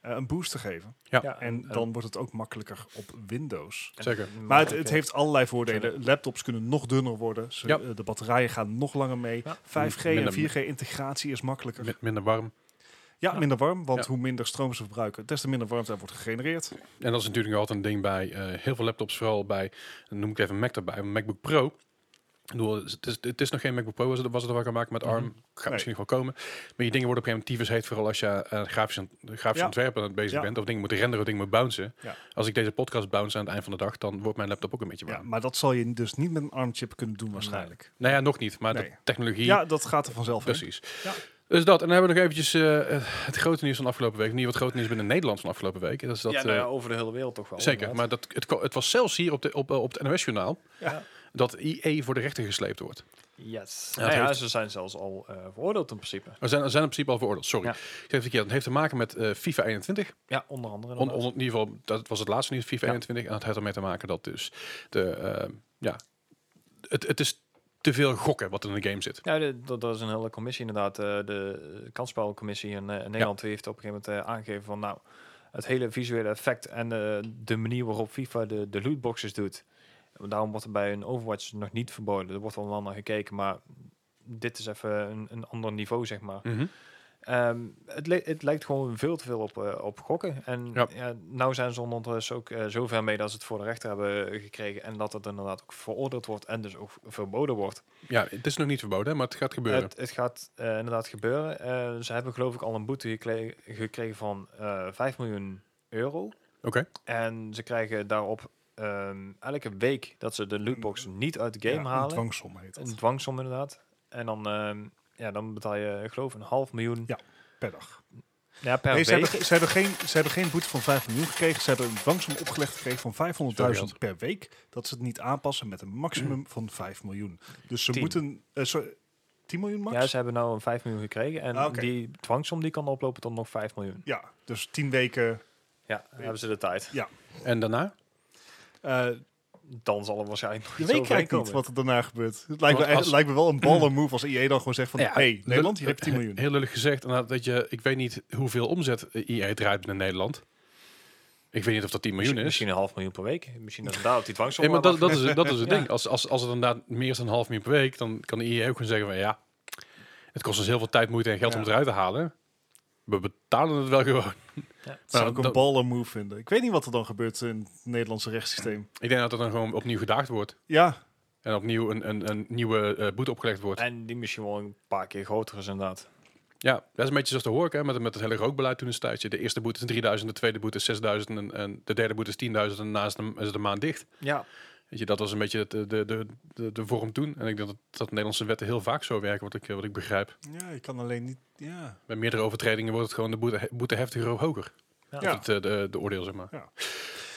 eh, een boost te geven.
Ja,
En dan wordt het ook makkelijker op Windows.
Zeker.
en-
Maar het,
oké.
het heeft allerlei voordelen. Laptops kunnen nog dunner worden. Ze-
Ja.
eh, De batterijen gaan nog langer mee.
Ja.
5G
Minder-
en 4G-integratie is makkelijker.
Min- minder warm.
ja,
Ja.
minder warm. Want
Ja.
hoe minder stroom ze verbruiken, des te minder warmte er wordt gegenereerd.
En dat is natuurlijk altijd een ding bij eh, heel veel laptops, vooral bij, dan noem ik even Mac erbij, een MacBook Pro. Ik bedoel, Het is, het is nog geen MacBook Pro, was het, was het wat ik aan maken met ARM.
Mhm.
Gaat
Nee.
misschien nog wel komen. Maar je dingen worden op een gegeven moment tyfus heet, vooral als je eh, grafisch, aan- grafisch
Ja.
ontwerpen aan het bezig
Ja.
bent. Of dingen moet renderen, of dingen moet bouncen.
Ja.
Als ik deze podcast bounce aan het eind van de dag, dan wordt mijn laptop ook een beetje
Ja,
warm.
maar dat zal je dus niet met een ARM-chip kunnen doen waarschijnlijk.
Nou ja, nog niet, maar
Nee.
de technologie...
Ja, dat gaat er vanzelf in.
Precies.
Ja.
Dus dat. En dan hebben we nog eventjes eh, het grote nieuws van afgelopen week. Niet wat grote nieuws binnen Nederland van afgelopen week. Dat is dat,
ja, nou ja,
eh,
over de hele wereld toch wel.
Zeker,
inderdaad.
maar dat, het, ko- het was zelfs hier op, de, op, eh, op het NOS-journaal
Ja.
dat IE voor de rechter gesleept wordt.
Yes.
Ja,
Nou
het
ja,
heeft-
ze zijn zelfs al eh, veroordeeld in principe.
Er zijn, er zijn in principe al veroordeeld, sorry.
Ja.
Ik zeg het verkeerd. Het heeft te maken met eh, FIFA 21.
Ja, onder andere.
On,
inderdaad.
on- in ieder geval, dat was het laatste nieuws, FIFA
Ja.
21. En dat heeft ermee te maken dat dus de, eh, ja, het, het is te veel gokken wat in de game zit.
Ja, de- dat, dat is een hele commissie inderdaad. Eh, de eh, kansspelcommissie in, eh, in Nederland heeft op een gegeven moment eh, aangegeven van nou, het hele visuele effect en eh, de manier waarop FIFA de, de lootboxes doet. Daarom wordt er bij een Overwatch nog niet verboden. Er wordt wel wel naar gekeken, maar dit is even een, een ander niveau, zeg maar. Ehm, het, li- het lijkt gewoon veel te veel op, eh, op gokken. En
Ja.
ja. nou zijn ze ondertussen ook eh, zover mee dat ze het voor de rechter hebben gekregen. En dat het inderdaad ook veroordeeld wordt en dus ook verboden wordt.
Ja, het is nog niet verboden, maar het gaat gebeuren.
Het, het gaat eh, inderdaad gebeuren. Eh, ze hebben geloof ik al een boete gekle- gekregen van eh 5 miljoen euro.
Oké.
En ze krijgen daarop ehm, elke week dat ze de lootbox niet uit de game
Mm. Ja, Een
halen.
dwangsom heet dat.
Een dwangsom inderdaad. En dan, ehm, ja, dan betaal je ik geloof een half miljoen
Ja. Per dag.
ja, per
Nee, ze,
week.
hebben, ze, hebben geen, ze hebben geen boete van 5 miljoen gekregen. Ze hebben een dwangsom opgelegd gekregen van 500.000 per week. Dat ze het niet aanpassen met een maximum van 5 miljoen. Dus ze
Tien.
moeten... eh, sorry, 10 miljoen max?
Ja, ze hebben nou een 5 miljoen gekregen. En
Ah, oké.
die dwangsom die kan oplopen tot nog 5 miljoen.
Ja, dus 10 weken.
Ja, dan hebben ze de tijd.
En daarna?
eh
Dan zal er waarschijnlijk nog
je
iets
weet
overheen
kijk niet
komen.
wat er daarna gebeurt. Het lijkt, me,
Want
echt-
als-
lijkt me wel een baller move als IE dan gewoon zegt van...
Ja,
hey,
lul-
Nederland, je hebt 10 miljoen.
Heel lullig gezegd, inderdaad, dat je, ik weet niet hoeveel omzet IE draait in Nederland. Ik weet niet of dat 10 miljoen
Misschien,
is.
misschien een half miljoen per week. Misschien dat ze daar op die dwangsom
Nee, maar dat,
hebben
dat, is, dat is het
Ja.
ding. Als, als, als het inderdaad meer is dan een half miljoen per week, dan kan de IE ook gewoon zeggen van ja, het kost ons heel veel tijd, moeite en geld om
Ja.
het eruit te halen. We betalen het wel gewoon.
Dat zou
Nou,
ik een
dat-
baller move vinden. Ik weet niet wat er dan gebeurt in het Nederlandse rechtssysteem.
Ik denk dat het dan gewoon opnieuw gedaagd wordt.
Ja,
En opnieuw een, een, een nieuwe eh, boete opgelegd wordt.
En die misschien wel een paar keer groter is inderdaad.
Ja, dat is een beetje zoals te horen hè, met, met het hele rookbeleid toen een tijdje. De eerste boete is 3000, de tweede boete is 6000 en, en de derde boete is 10.000 en daarna is de, is de maand dicht.
Ja.
Weet je, dat was een beetje de, de, de, de, de vorm toen. En ik denk dat, dat Nederlandse wetten heel vaak zo werken, wat ik, eh, wat ik begrijp.
ja je kan alleen niet... Ja.
Bij meerdere overtredingen wordt het gewoon de boete, boete heftiger of hoger.
Ja.
Of het, eh, de, de oordeel, zeg maar.
Ja.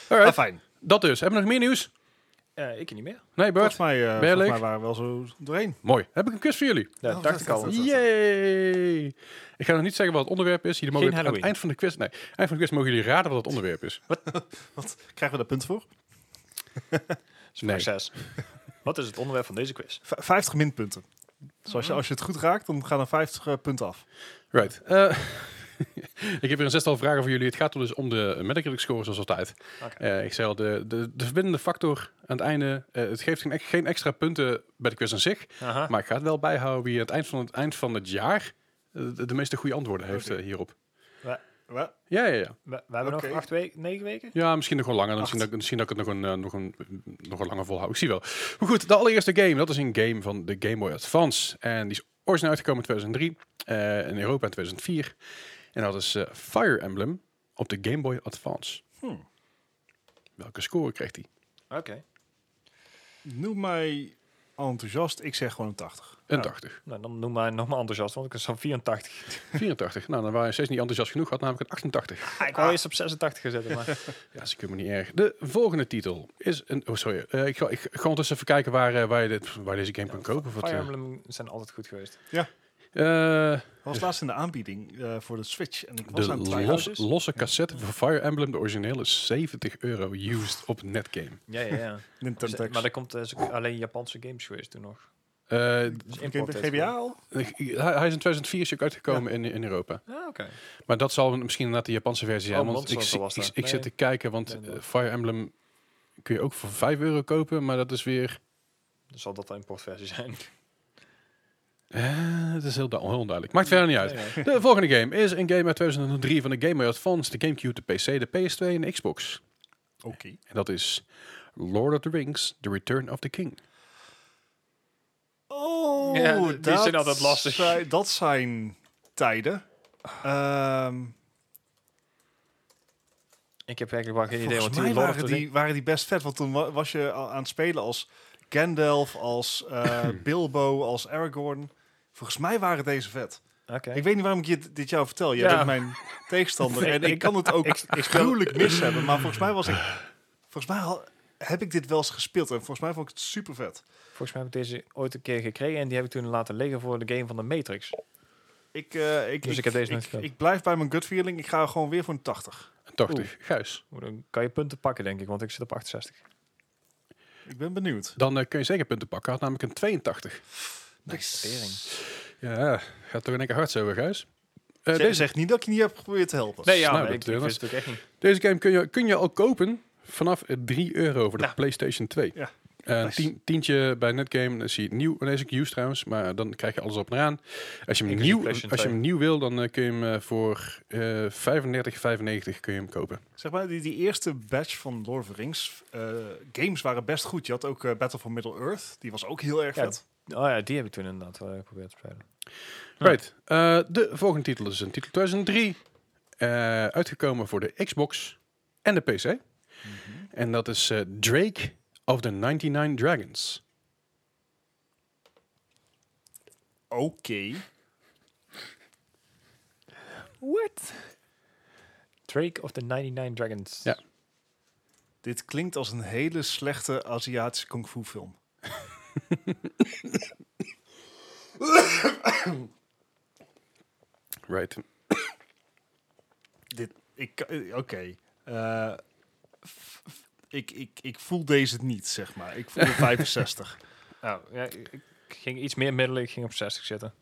Alright,
Ah, fijn.
dat dus. Hebben we nog meer nieuws?
Eh, ik niet meer.
Nee, Bert?
Volgens mij, eh,
ben je
volgens
leeg?
mij waren we wel zo doorheen.
Mooi. Heb ik een quiz voor jullie?
Ja,
Oh,
dacht ik al.
dat- dat-
Yay! Ik ga nog niet zeggen wat het onderwerp is. Jullie mogen
Geen
aan het
Halloween.
eind van de quiz... Nee, eind van de quiz mogen jullie raden wat het onderwerp is.
Wat krijgen we daar punten voor?
Nee.
Succes. Wat is het onderwerp van deze quiz?
V- 50 minpunten. Dus
Oh.
als je, als je het goed raakt, dan gaan er 50 eh, punten af.
Right. Eh, ik heb weer een zestal vragen voor jullie. Het gaat dus om de Metacritic scores zoals altijd.
Oké.
Eh, ik zei al, de, de, de verbindende factor aan het einde... eh, het geeft geen, ex- geen extra punten bij de quiz aan zich.
Aha.
Maar ik ga het wel bijhouden wie aan het eind van het, eind van het jaar eh, de, de meeste goede antwoorden heeft
Oké.
eh, hierop.
Wa-
Ja, ja, ja.
We, we hebben
Oké.
nog acht weken, negen weken?
Ja, misschien nog wel langer. Misschien dat, ik- misschien dat ik het nog een, eh, nog, een, nog een langer volhoud. Ik zie wel. Maar goed, de allereerste game. Dat is een game van de Game Boy Advance. En die is origineel uitgekomen in 2003. eh, in Europa in 2004. En dat is eh, Fire Emblem op de Game Boy Advance.
Hmm.
Welke score kreeg die?
Oké.
Noem mij enthousiast. Ik zeg gewoon een 80.
Een
Ja.
80.
Nou, dan noem mij nog maar enthousiast, want ik was al 84.
84. nou, dan waren je steeds niet enthousiast genoeg. Had namelijk een 88.
Ah, ik wou eerst op 86 gezet, maar...
Ja, dat is ik me niet erg. De volgende titel is een... Oh, sorry. Eh, ik, ga, ik ga ondertussen even kijken waar, eh, waar, je dit, waar je deze game kan kopen. of wat,
Fire
eh.
Emblem zijn altijd goed geweest.
Eh,
Dat was laatst in de aanbieding eh, voor de Switch. En ik was aan het
De
twijfelen.
los-
dus.
losse cassette van Fire Emblem, de originele, is 70 euro used op Netgame.
Ja, ja, ja.
Nintendo X.
maar er komt eh, zo- alleen Japanse games geweest toen nog.
Eh,
Dus
Ik heb
import
de
heeft
GBA al?
hij hij is in 2004 is hij ook uitgekomen in, in Europa.
gewoon- Ah, oké.
Maar dat zal misschien inderdaad de Japanse versie zijn.
Oh,
want ik,
Monster
zie-
was
ik,
dat.
ik zit te
Nee.
kijken, want
Nee,
eh,
dat-
Fire Emblem kun je ook voor 5 euro kopen, maar dat is weer...
Dan zal dat de importversie zijn.
Eh, het is heel, du- heel onduidelijk. Maakt verder niet uit.
Ja, ja.
De volgende game is een game uit 2003 van de Game Boy Advance, de Gamecube, de PC, de PS2 en de Xbox.
Oké.
En dat is Lord of the Rings, The Return of the King.
Oh,
Ja, die- die
dat
zijn altijd lastig.
zijn- dat zijn tijden. Ehm,
Ik heb eigenlijk wel geen idee, want
volgens
die
mij
Lord of
waren
the
die, waren die best vet. Want toen wa- was je a- aan het spelen als Gandalf, als eh, Bilbo, als Aragorn. Volgens mij waren deze vet.
Ring- Oké.
Ik weet niet waarom ik je d- dit jou vertel. Jij
Ja.
bent mijn tegenstander. En ik
ik-
kan het ook
ik- ik speel-
gruwelijk mis hebben. Maar volgens mij was ik... Volgens mij al- heb ik dit wel eens gespeeld. En volgens mij vond ik het super vet.
Volgens mij heb ik deze ooit een keer gekregen en die heb ik toen laten liggen voor de game van de Matrix.
Ik, eh, ik,
Dus ik heb deze nooit
ik,
gespeeld.
ik blijf bij mijn gut feeling. Ik ga gewoon weer voor een 80.
Een 80. Guis.
Oeh, Dan kan je punten pakken, denk ik, want ik zit op 68.
Ik ben benieuwd.
Dan eh, kun je zeker punten pakken. Hij had namelijk een 82.
Nou, Tering.
Ja, gaat toch in één keer hard zo weer, Gijs. Eh,
Zeg-
deze,
zeg niet dat ik je niet heb geprobeerd te helpen.
Nee, ja,
Nou,
maar
dat,
ik, ik
eh,
wist
was-
het ook echt niet.
deze game kun je, kun je al kopen vanaf eh, 3 euro voor de
Nou.
PlayStation 2.
Ja.
Eh, een
Nice.
tien- tientje bij Netgame, dan zie je het nieuw. Deze is used trouwens, maar dan krijg je alles op en aan. Als je hem,
Inclusief
nieuw,
PlayStation
als je hem
2.
nieuw wil, dan eh, kun je hem eh, voor eh 35,95 kun je hem kopen.
Zeg maar, die, die eerste batch van Lord of the Rings eh, games waren best goed. Je had ook eh, Battle for Middle-earth. Die was ook heel erg
Ja,
vet.
Oh ja, die heb ik toen inderdaad wel geprobeerd te spelen. Ja.
Right. Eh, de volgende titel is een titel 2003. eh, uitgekomen voor de Xbox en de PC. En dat is eh, Drake of the 99 Dragons.
Oké.
What? Drake of the 99 Dragons.
Ja.
Dit klinkt als een hele slechte Aziatische kung fu film.
Right.
Dit, ik, eh, oké. Eh, f- f- ik, ik, ik voel deze niet, zeg maar. Ik voel de 65.
Nou, ja, ik ik ging iets meer middelen, ik ging op 60 zitten.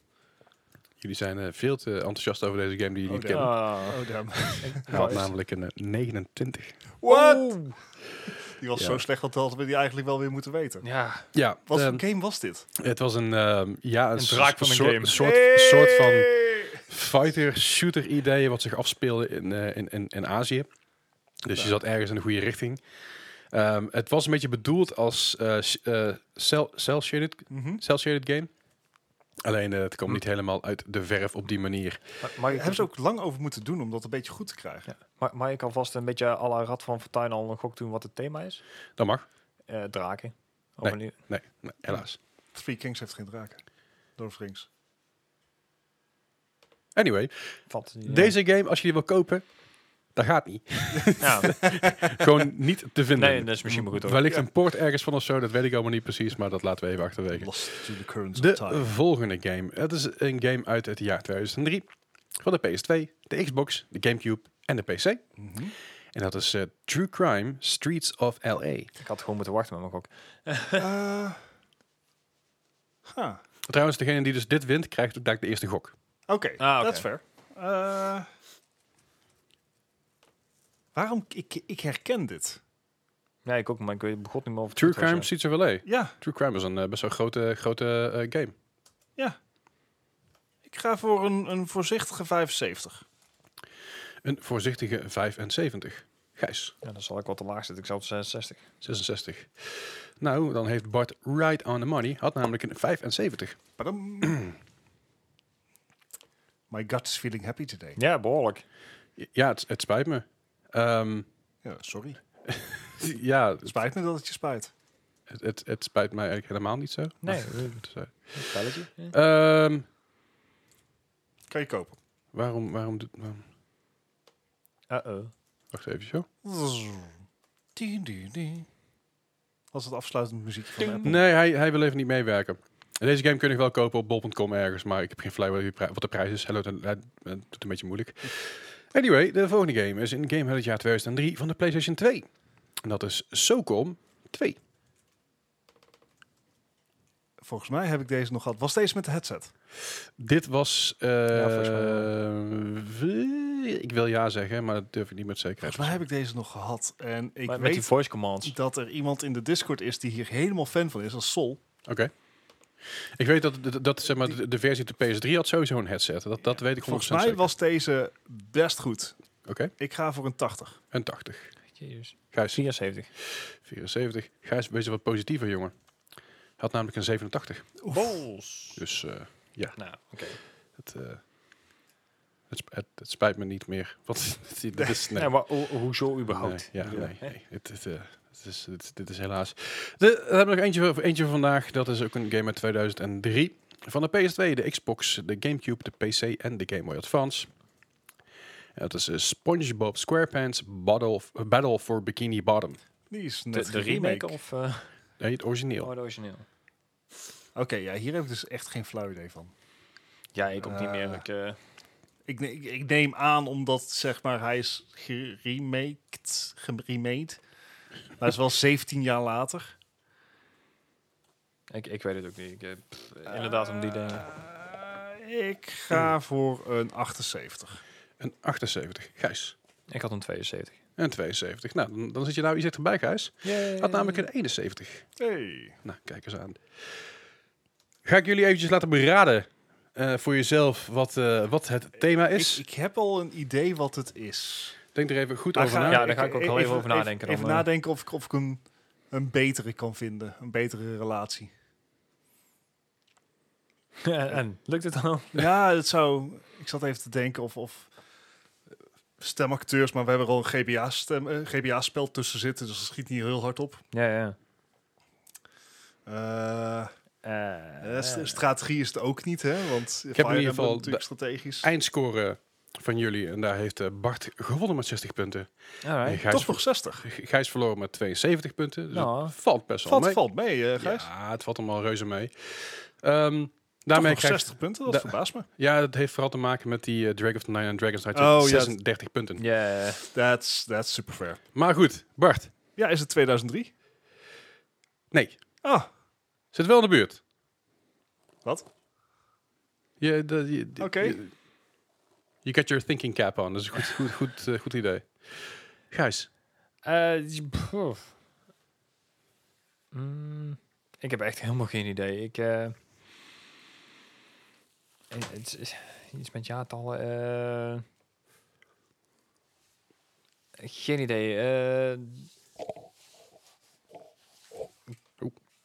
Jullie zijn eh, veel te enthousiast over deze game die je
Oh,
niet
damn.
kent.
Ah.
Oh, damn.
Hij had namelijk een eh, 29.
What?
Oh.
Die was
Ja.
zo slecht dat hadden we die eigenlijk wel weer moeten weten.
Ja,
Ja,
Wat
ehm,
voor game was dit?
het was een, ehm, ja, een, soort-
draak van een
soort,
game.
Soort,
Hey!
soort van fighter-shooter-idee wat zich afspeelde in, eh, in, in, in Azië. Dus je zat ergens in de goede richting. Ehm, het was een beetje bedoeld als eh, sh- eh, cel- cel-shaded
Mhm.
cel-shaded game. Alleen eh, het
Hm.
kwam niet helemaal uit de verf op die manier.
ma- mag
Daar
ik,
hebben ze ook lang over moeten doen om dat een beetje goed te krijgen.
ma- mag ik alvast een beetje à la Rad van Fortuin al een gok doen wat het thema is?
Dat mag.
Eh, draken. Of
Nee.
een nieuw-
Nee, nee, helaas.
Three Kings heeft geen draken. Lord of the Rings.
Anyway,
valt het niet
deze game, als je die wil kopen, dat gaat niet.
in. Ja,
Gewoon niet te vinden.
nee, dat is misschien maar goed ook.
Wellicht een port ergens van of zo, dat weet ik allemaal niet precies, maar dat laten we even achterwege.
Lost to the currents of
De eh,
time.
volgende game. Het is een game uit het jaar 2003. Van de PS2, de Xbox, de Gamecube en de PC.
Mhm.
En dat is eh, True Crime Streets of LA.
Ik had gewoon moeten wachten met mijn gok.
Eh, huh.
Trouwens, degene die dus dit wint, krijgt ook de eerste gok.
Oké,
Ah, oké.
that's fair. Eh, waarom? Ik, ik herken dit.
Nee, ik ook, maar ik weet begot niet meer of het
True
goed was,
Crime
ja.
Streets of LA.
Ja,
True Crime is een eh, best wel grote, grote eh, game.
ja. Ik ga voor een, een voorzichtige 75.
Een voorzichtige 75. Gijs,
Ja, dan zal ik wat te laag zitten. Ik zal op 66.
66. Nou, dan heeft Bart right on the money. Had namelijk een 75.
Padam. My gut is feeling happy today.
Ja, behoorlijk.
Ja, het, het spijt me. Ehm,
Ja, sorry.
ja,
Het spijt me dat het je spijt.
het, het, het spijt mij eigenlijk helemaal niet zo.
Nee, eh,
Zo.
een spelletje.
Ehm,
Kan je kopen.
waarom, waarom, doet- waarom...
Uh-oh.
Wacht even zo.
Dien, dien, dien. Was het afsluitend muziekje van Apple?
Nee, hij, hij wil even niet meewerken. En Deze game kun je nog wel kopen op bol.com ergens, maar ik heb geen flauw idee wat die pri- wat de prijs is. Hello, dat dat doet een beetje moeilijk. Anyway, de volgende game is een game uit het jaar 2003 van de PlayStation 2. En dat is SOCOM 2.
Volgens mij heb ik deze nog gehad. Was deze met de headset?
Dit was... eh,
Ja, volgens mij
w- ik wil ja zeggen, maar dat durf ik niet met zekerheid.
Volgens mij heb ik deze nog gehad. En ik
Met, met die
weet
voice commands.
dat er iemand in de Discord is die hier helemaal fan van is. Dat is Sol.
Oké. Ik weet dat, dat, dat, zeg maar, de, de versie op de PS3 had sowieso een headset. Dat, dat weet ik 100%
Volgens mij
zeker.
was deze best goed.
Oké,
Ik ga voor een 80.
een 80.
Jezus.
Gijs,
74.
74. Gijs, wees wat positiever, jongen. Had namelijk een 87.
Bols.
Dus eh,
Nou, oké.
het, eh, het, sp- het, het spijt me niet meer. Wat dit is, nee.
Nee, maar ho- hoezo
Nee,
überhaupt?
ja,
Ik bedoel,
nee, nee. Het, het, eh, het is, dit, dit is helaas. De, we hebben nog eentje, voor- eentje voor vandaag. Dat is ook een game uit 2003. Van de PS2, de Xbox, de Gamecube, de PC en de Game Boy Advance. En dat is eh, SpongeBob SquarePants Battle, Battle for Bikini Bottom.
Die is
De,
net
de remake of eh
Nee, het origineel.
oh, de origineel?
Oké, ja, hier heb ik dus echt geen flauw idee van.
Ja, ik ook niet meer.
Eh,
Ik, eh,
Ik, ne- ik, ik neem aan omdat zeg maar hij is geremaked, geremade. Maar het is wel 17 jaar later.
ik, ik weet het ook niet. Ik, eh, pff, inderdaad, om die dingen.
Eh, ik ga voor een 78.
Een 78. Gijs.
Ik had een 72.
En 72. Nou, dan, dan zit je nou iets dichterbij, Gijs.
Eh.
Had namelijk een 71.
Hey.
Nou, kijk eens aan. Ga ik jullie eventjes laten beraden eh, voor jezelf wat, eh, wat het thema is.
Ik, ik heb al een idee wat het is.
Denk er even goed
Maar
over
ga-
na.
Ja, daar ga ik ook wel even over nadenken
Even,
dan, eh.
nadenken of ik, of ik een, een betere kan vinden. Een betere relatie.
en lukt het dan?
Ja, het zou. Ik zat even te denken of. of stemacteurs, maar we hebben er al een GBA-stem, eh, GBA-spel tussen zitten, dus dat schiet niet heel hard op.
Ja, ja.
Eh,
Eh,
eh, st- strategie is het ook niet, hè? Want ik
heb in ieder geval
natuurlijk strategisch.
Eindscore van jullie. En daar heeft eh, Bart gewonnen met 60 punten. En
alright.
Gijs,
Toch nog 60.
G- Gijs verloren met 72 punten. Dus
Nou.
het valt best wel
Valt,
mee.
valt mee, eh, Gijs. Toch
ja, het valt allemaal reuze mee. Ehm, daarmee
nog
krijgt
60 punten, dat
Da-
verbaast me.
Ja, dat heeft vooral te maken met die eh, Dragon of the Nine en Dragon's Night.
Oh, ja.
36 punten.
Ja,
That's, that's super fair.
Maar goed, Bart.
Ja, is het 2003?
Nee,
Ah,
zit wel in de buurt.
Wat?
Je, de- je, de-
Oké.
Je, you got your thinking cap on. Dat is een goed, goed, goed, eh, goed idee. Gijs,
Eh, die- pff. Mm, ik heb echt helemaal geen idee. Ik, eh, eh, het is iets met jaartallen. eh. geen idee. eh.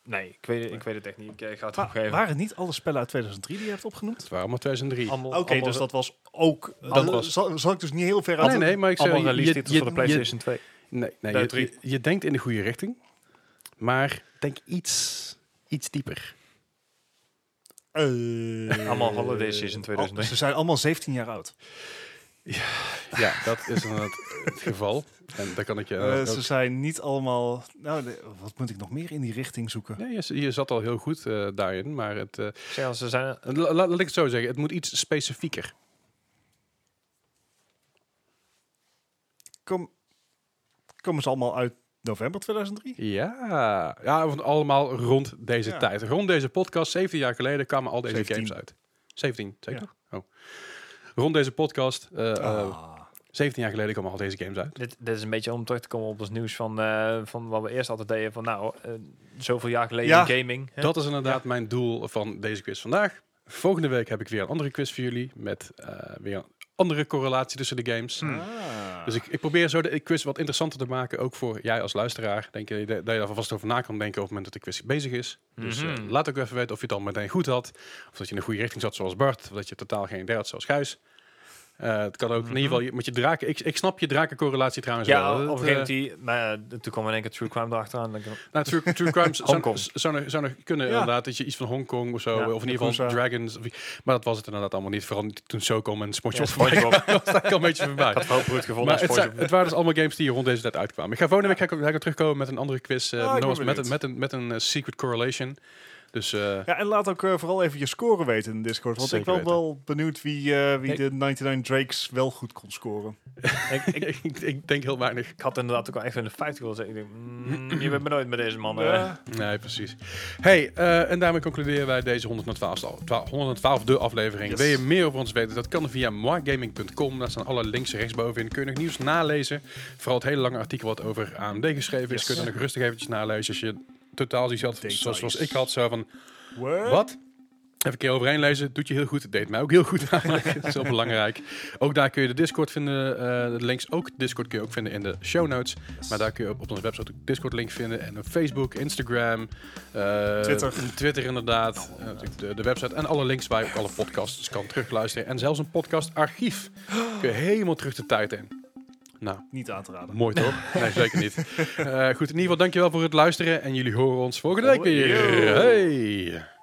nee, ik weet, het- ik weet het echt niet. Ik eh, ga het
wa-
opgeven.
waren niet alle spellen uit 2003 die je hebt opgenoemd?
het waren allemaal 2003.
Allemaal-
Oké,
allemaal-
dus dat was ook... Dat
was-
Zal, zal ik dus niet heel ver uit...
Ah, nee, nee, maar ik zei...
allemaal
je-
release titels
je-
voor de
je-
PlayStation 2.
nee, nee,
Nee,
je,
drie.
je- je denkt in de goede richting, maar denk iets, iets dieper.
Eh,
Allemaal holiday season
al-
2003.
ze zijn allemaal 17 jaar oud.
Ja, dat is inderdaad het geval. En daar kan ik je...
Eh,
inderdaad
ze
ook-
zijn niet allemaal... Nou, de- wat moet ik nog meer in die richting zoeken?
Nee, je, je zat al heel goed eh, daarin, maar het... eh,
Ik zeg al, ze zijn
La- la- laat ik het zo zeggen, het moet iets specifieker.
Kom, komen ze allemaal uit november 2003?
Ja, ja want allemaal rond deze
Ja.
tijd. Rond deze podcast, 17 jaar geleden, kwamen al deze
17.
games uit. 17, zeker?
Ja.
nog? Oh. Rond deze podcast, eh, eh,
Ah.
17 jaar geleden kwamen al deze games uit.
Dit, dit is een beetje om terug te komen op ons nieuws van, eh, van wat we eerst altijd deden. Van nou, eh, zoveel jaar geleden
Ja.
in gaming. hè?
Dat is inderdaad mijn doel van deze quiz vandaag. Volgende week heb ik weer een andere quiz voor jullie met eh, weer een andere correlatie tussen de games.
Ah.
Dus ik, ik probeer zo de quiz wat interessanter te maken, ook voor jij als luisteraar. Denk je dat dat je daar vast over na kan denken op het moment dat de quiz bezig is. Dus eh,
Mhm.
laat ook even weten of je het al meteen goed had. Of dat je in de goede richting zat zoals Bart. Of dat je totaal geen idee had zoals Gijs. Eh, het kan ook in ieder geval je- met je draken. Ik, ik snap je drakencorrelatie trouwens
Mhm. Ja,
wel.
op een
Dat,
gegeven
eh,
moment die, maar eh, toen kwam in één keer True Crime erachteraan. Dan denk ik,
Nou, true, true crime zou-
Hongkong.
zou, zou, nog- zou nog kunnen
Ja.
inderdaad. Dat je iets van Hongkong of zo,
Ja,
of in ieder geval
Yakuza.
Dragons. of i- maar dat was het inderdaad allemaal niet. Vooral niet toen SOCOM en
Ja,
Spongebob voorbij
SpongeBob. Ik
was, dat ik al een beetje voorbij.
had hoop goed gevonden
Maar
als
het, zijn-
SpongeBob.
het waren dus allemaal games die rond deze tijd uitkwamen. Ik ga volgende week ga ik ook, ga ik ook terugkomen met een andere quiz. eh,
Ah, ik ben
nogmaals, met,
benieuwd.
een- met een, met een eh, secret correlation. Dus eh,
Ja, en laat ook eh, vooral even je scoren weten in Discord. Want
Zeker
ik ben
weten.
wel benieuwd wie, eh, wie
Ik-
de 99 Drakes wel goed kon scoren.
Ik, ik,
ik, ik, ik denk heel weinig.
ik had inderdaad ook al even in de 50 willen zeggen. Ik denk, mm, je bent me nooit met deze man. eh.
Ja.
Nee, precies. Hey, eh, en daarmee concluderen wij deze 112 al- twa- 112e aflevering.
Yes.
Wil je meer over ons weten? Dat kan via moagaming.com. Daar staan alle links rechtsbovenin. Kun je nog nieuws nalezen. Vooral het hele lange artikel wat over AMD geschreven is.
Yes.
Kun je nog rustig eventjes nalezen. Als je totaal zoiets had,
Details.
zoals, zoals ik had, zo van...
What?
Wat? Even een keer overheen lezen. Doet je heel goed. Het deed mij ook heel goed eigenlijk. Dat is heel belangrijk. Ook daar kun je de Discord vinden. eh, de links ook. Discord kun je ook vinden in de show notes. Maar daar kun je op, op onze website ook Discord link vinden. En op Facebook, Instagram. eh,
Twitter.
Twitter inderdaad. Eh, natuurlijk de, de website. En alle links waar je ook alle podcasts dus kan terugluisteren. En zelfs een podcastarchief. Kun je helemaal terug de tijd in. Nou,
Niet aan te raden.
mooi toch? Nee, zeker niet. Eh, goed, in ieder geval dankjewel voor het luisteren. En jullie horen ons volgende week weer.
Hoi.
Hey!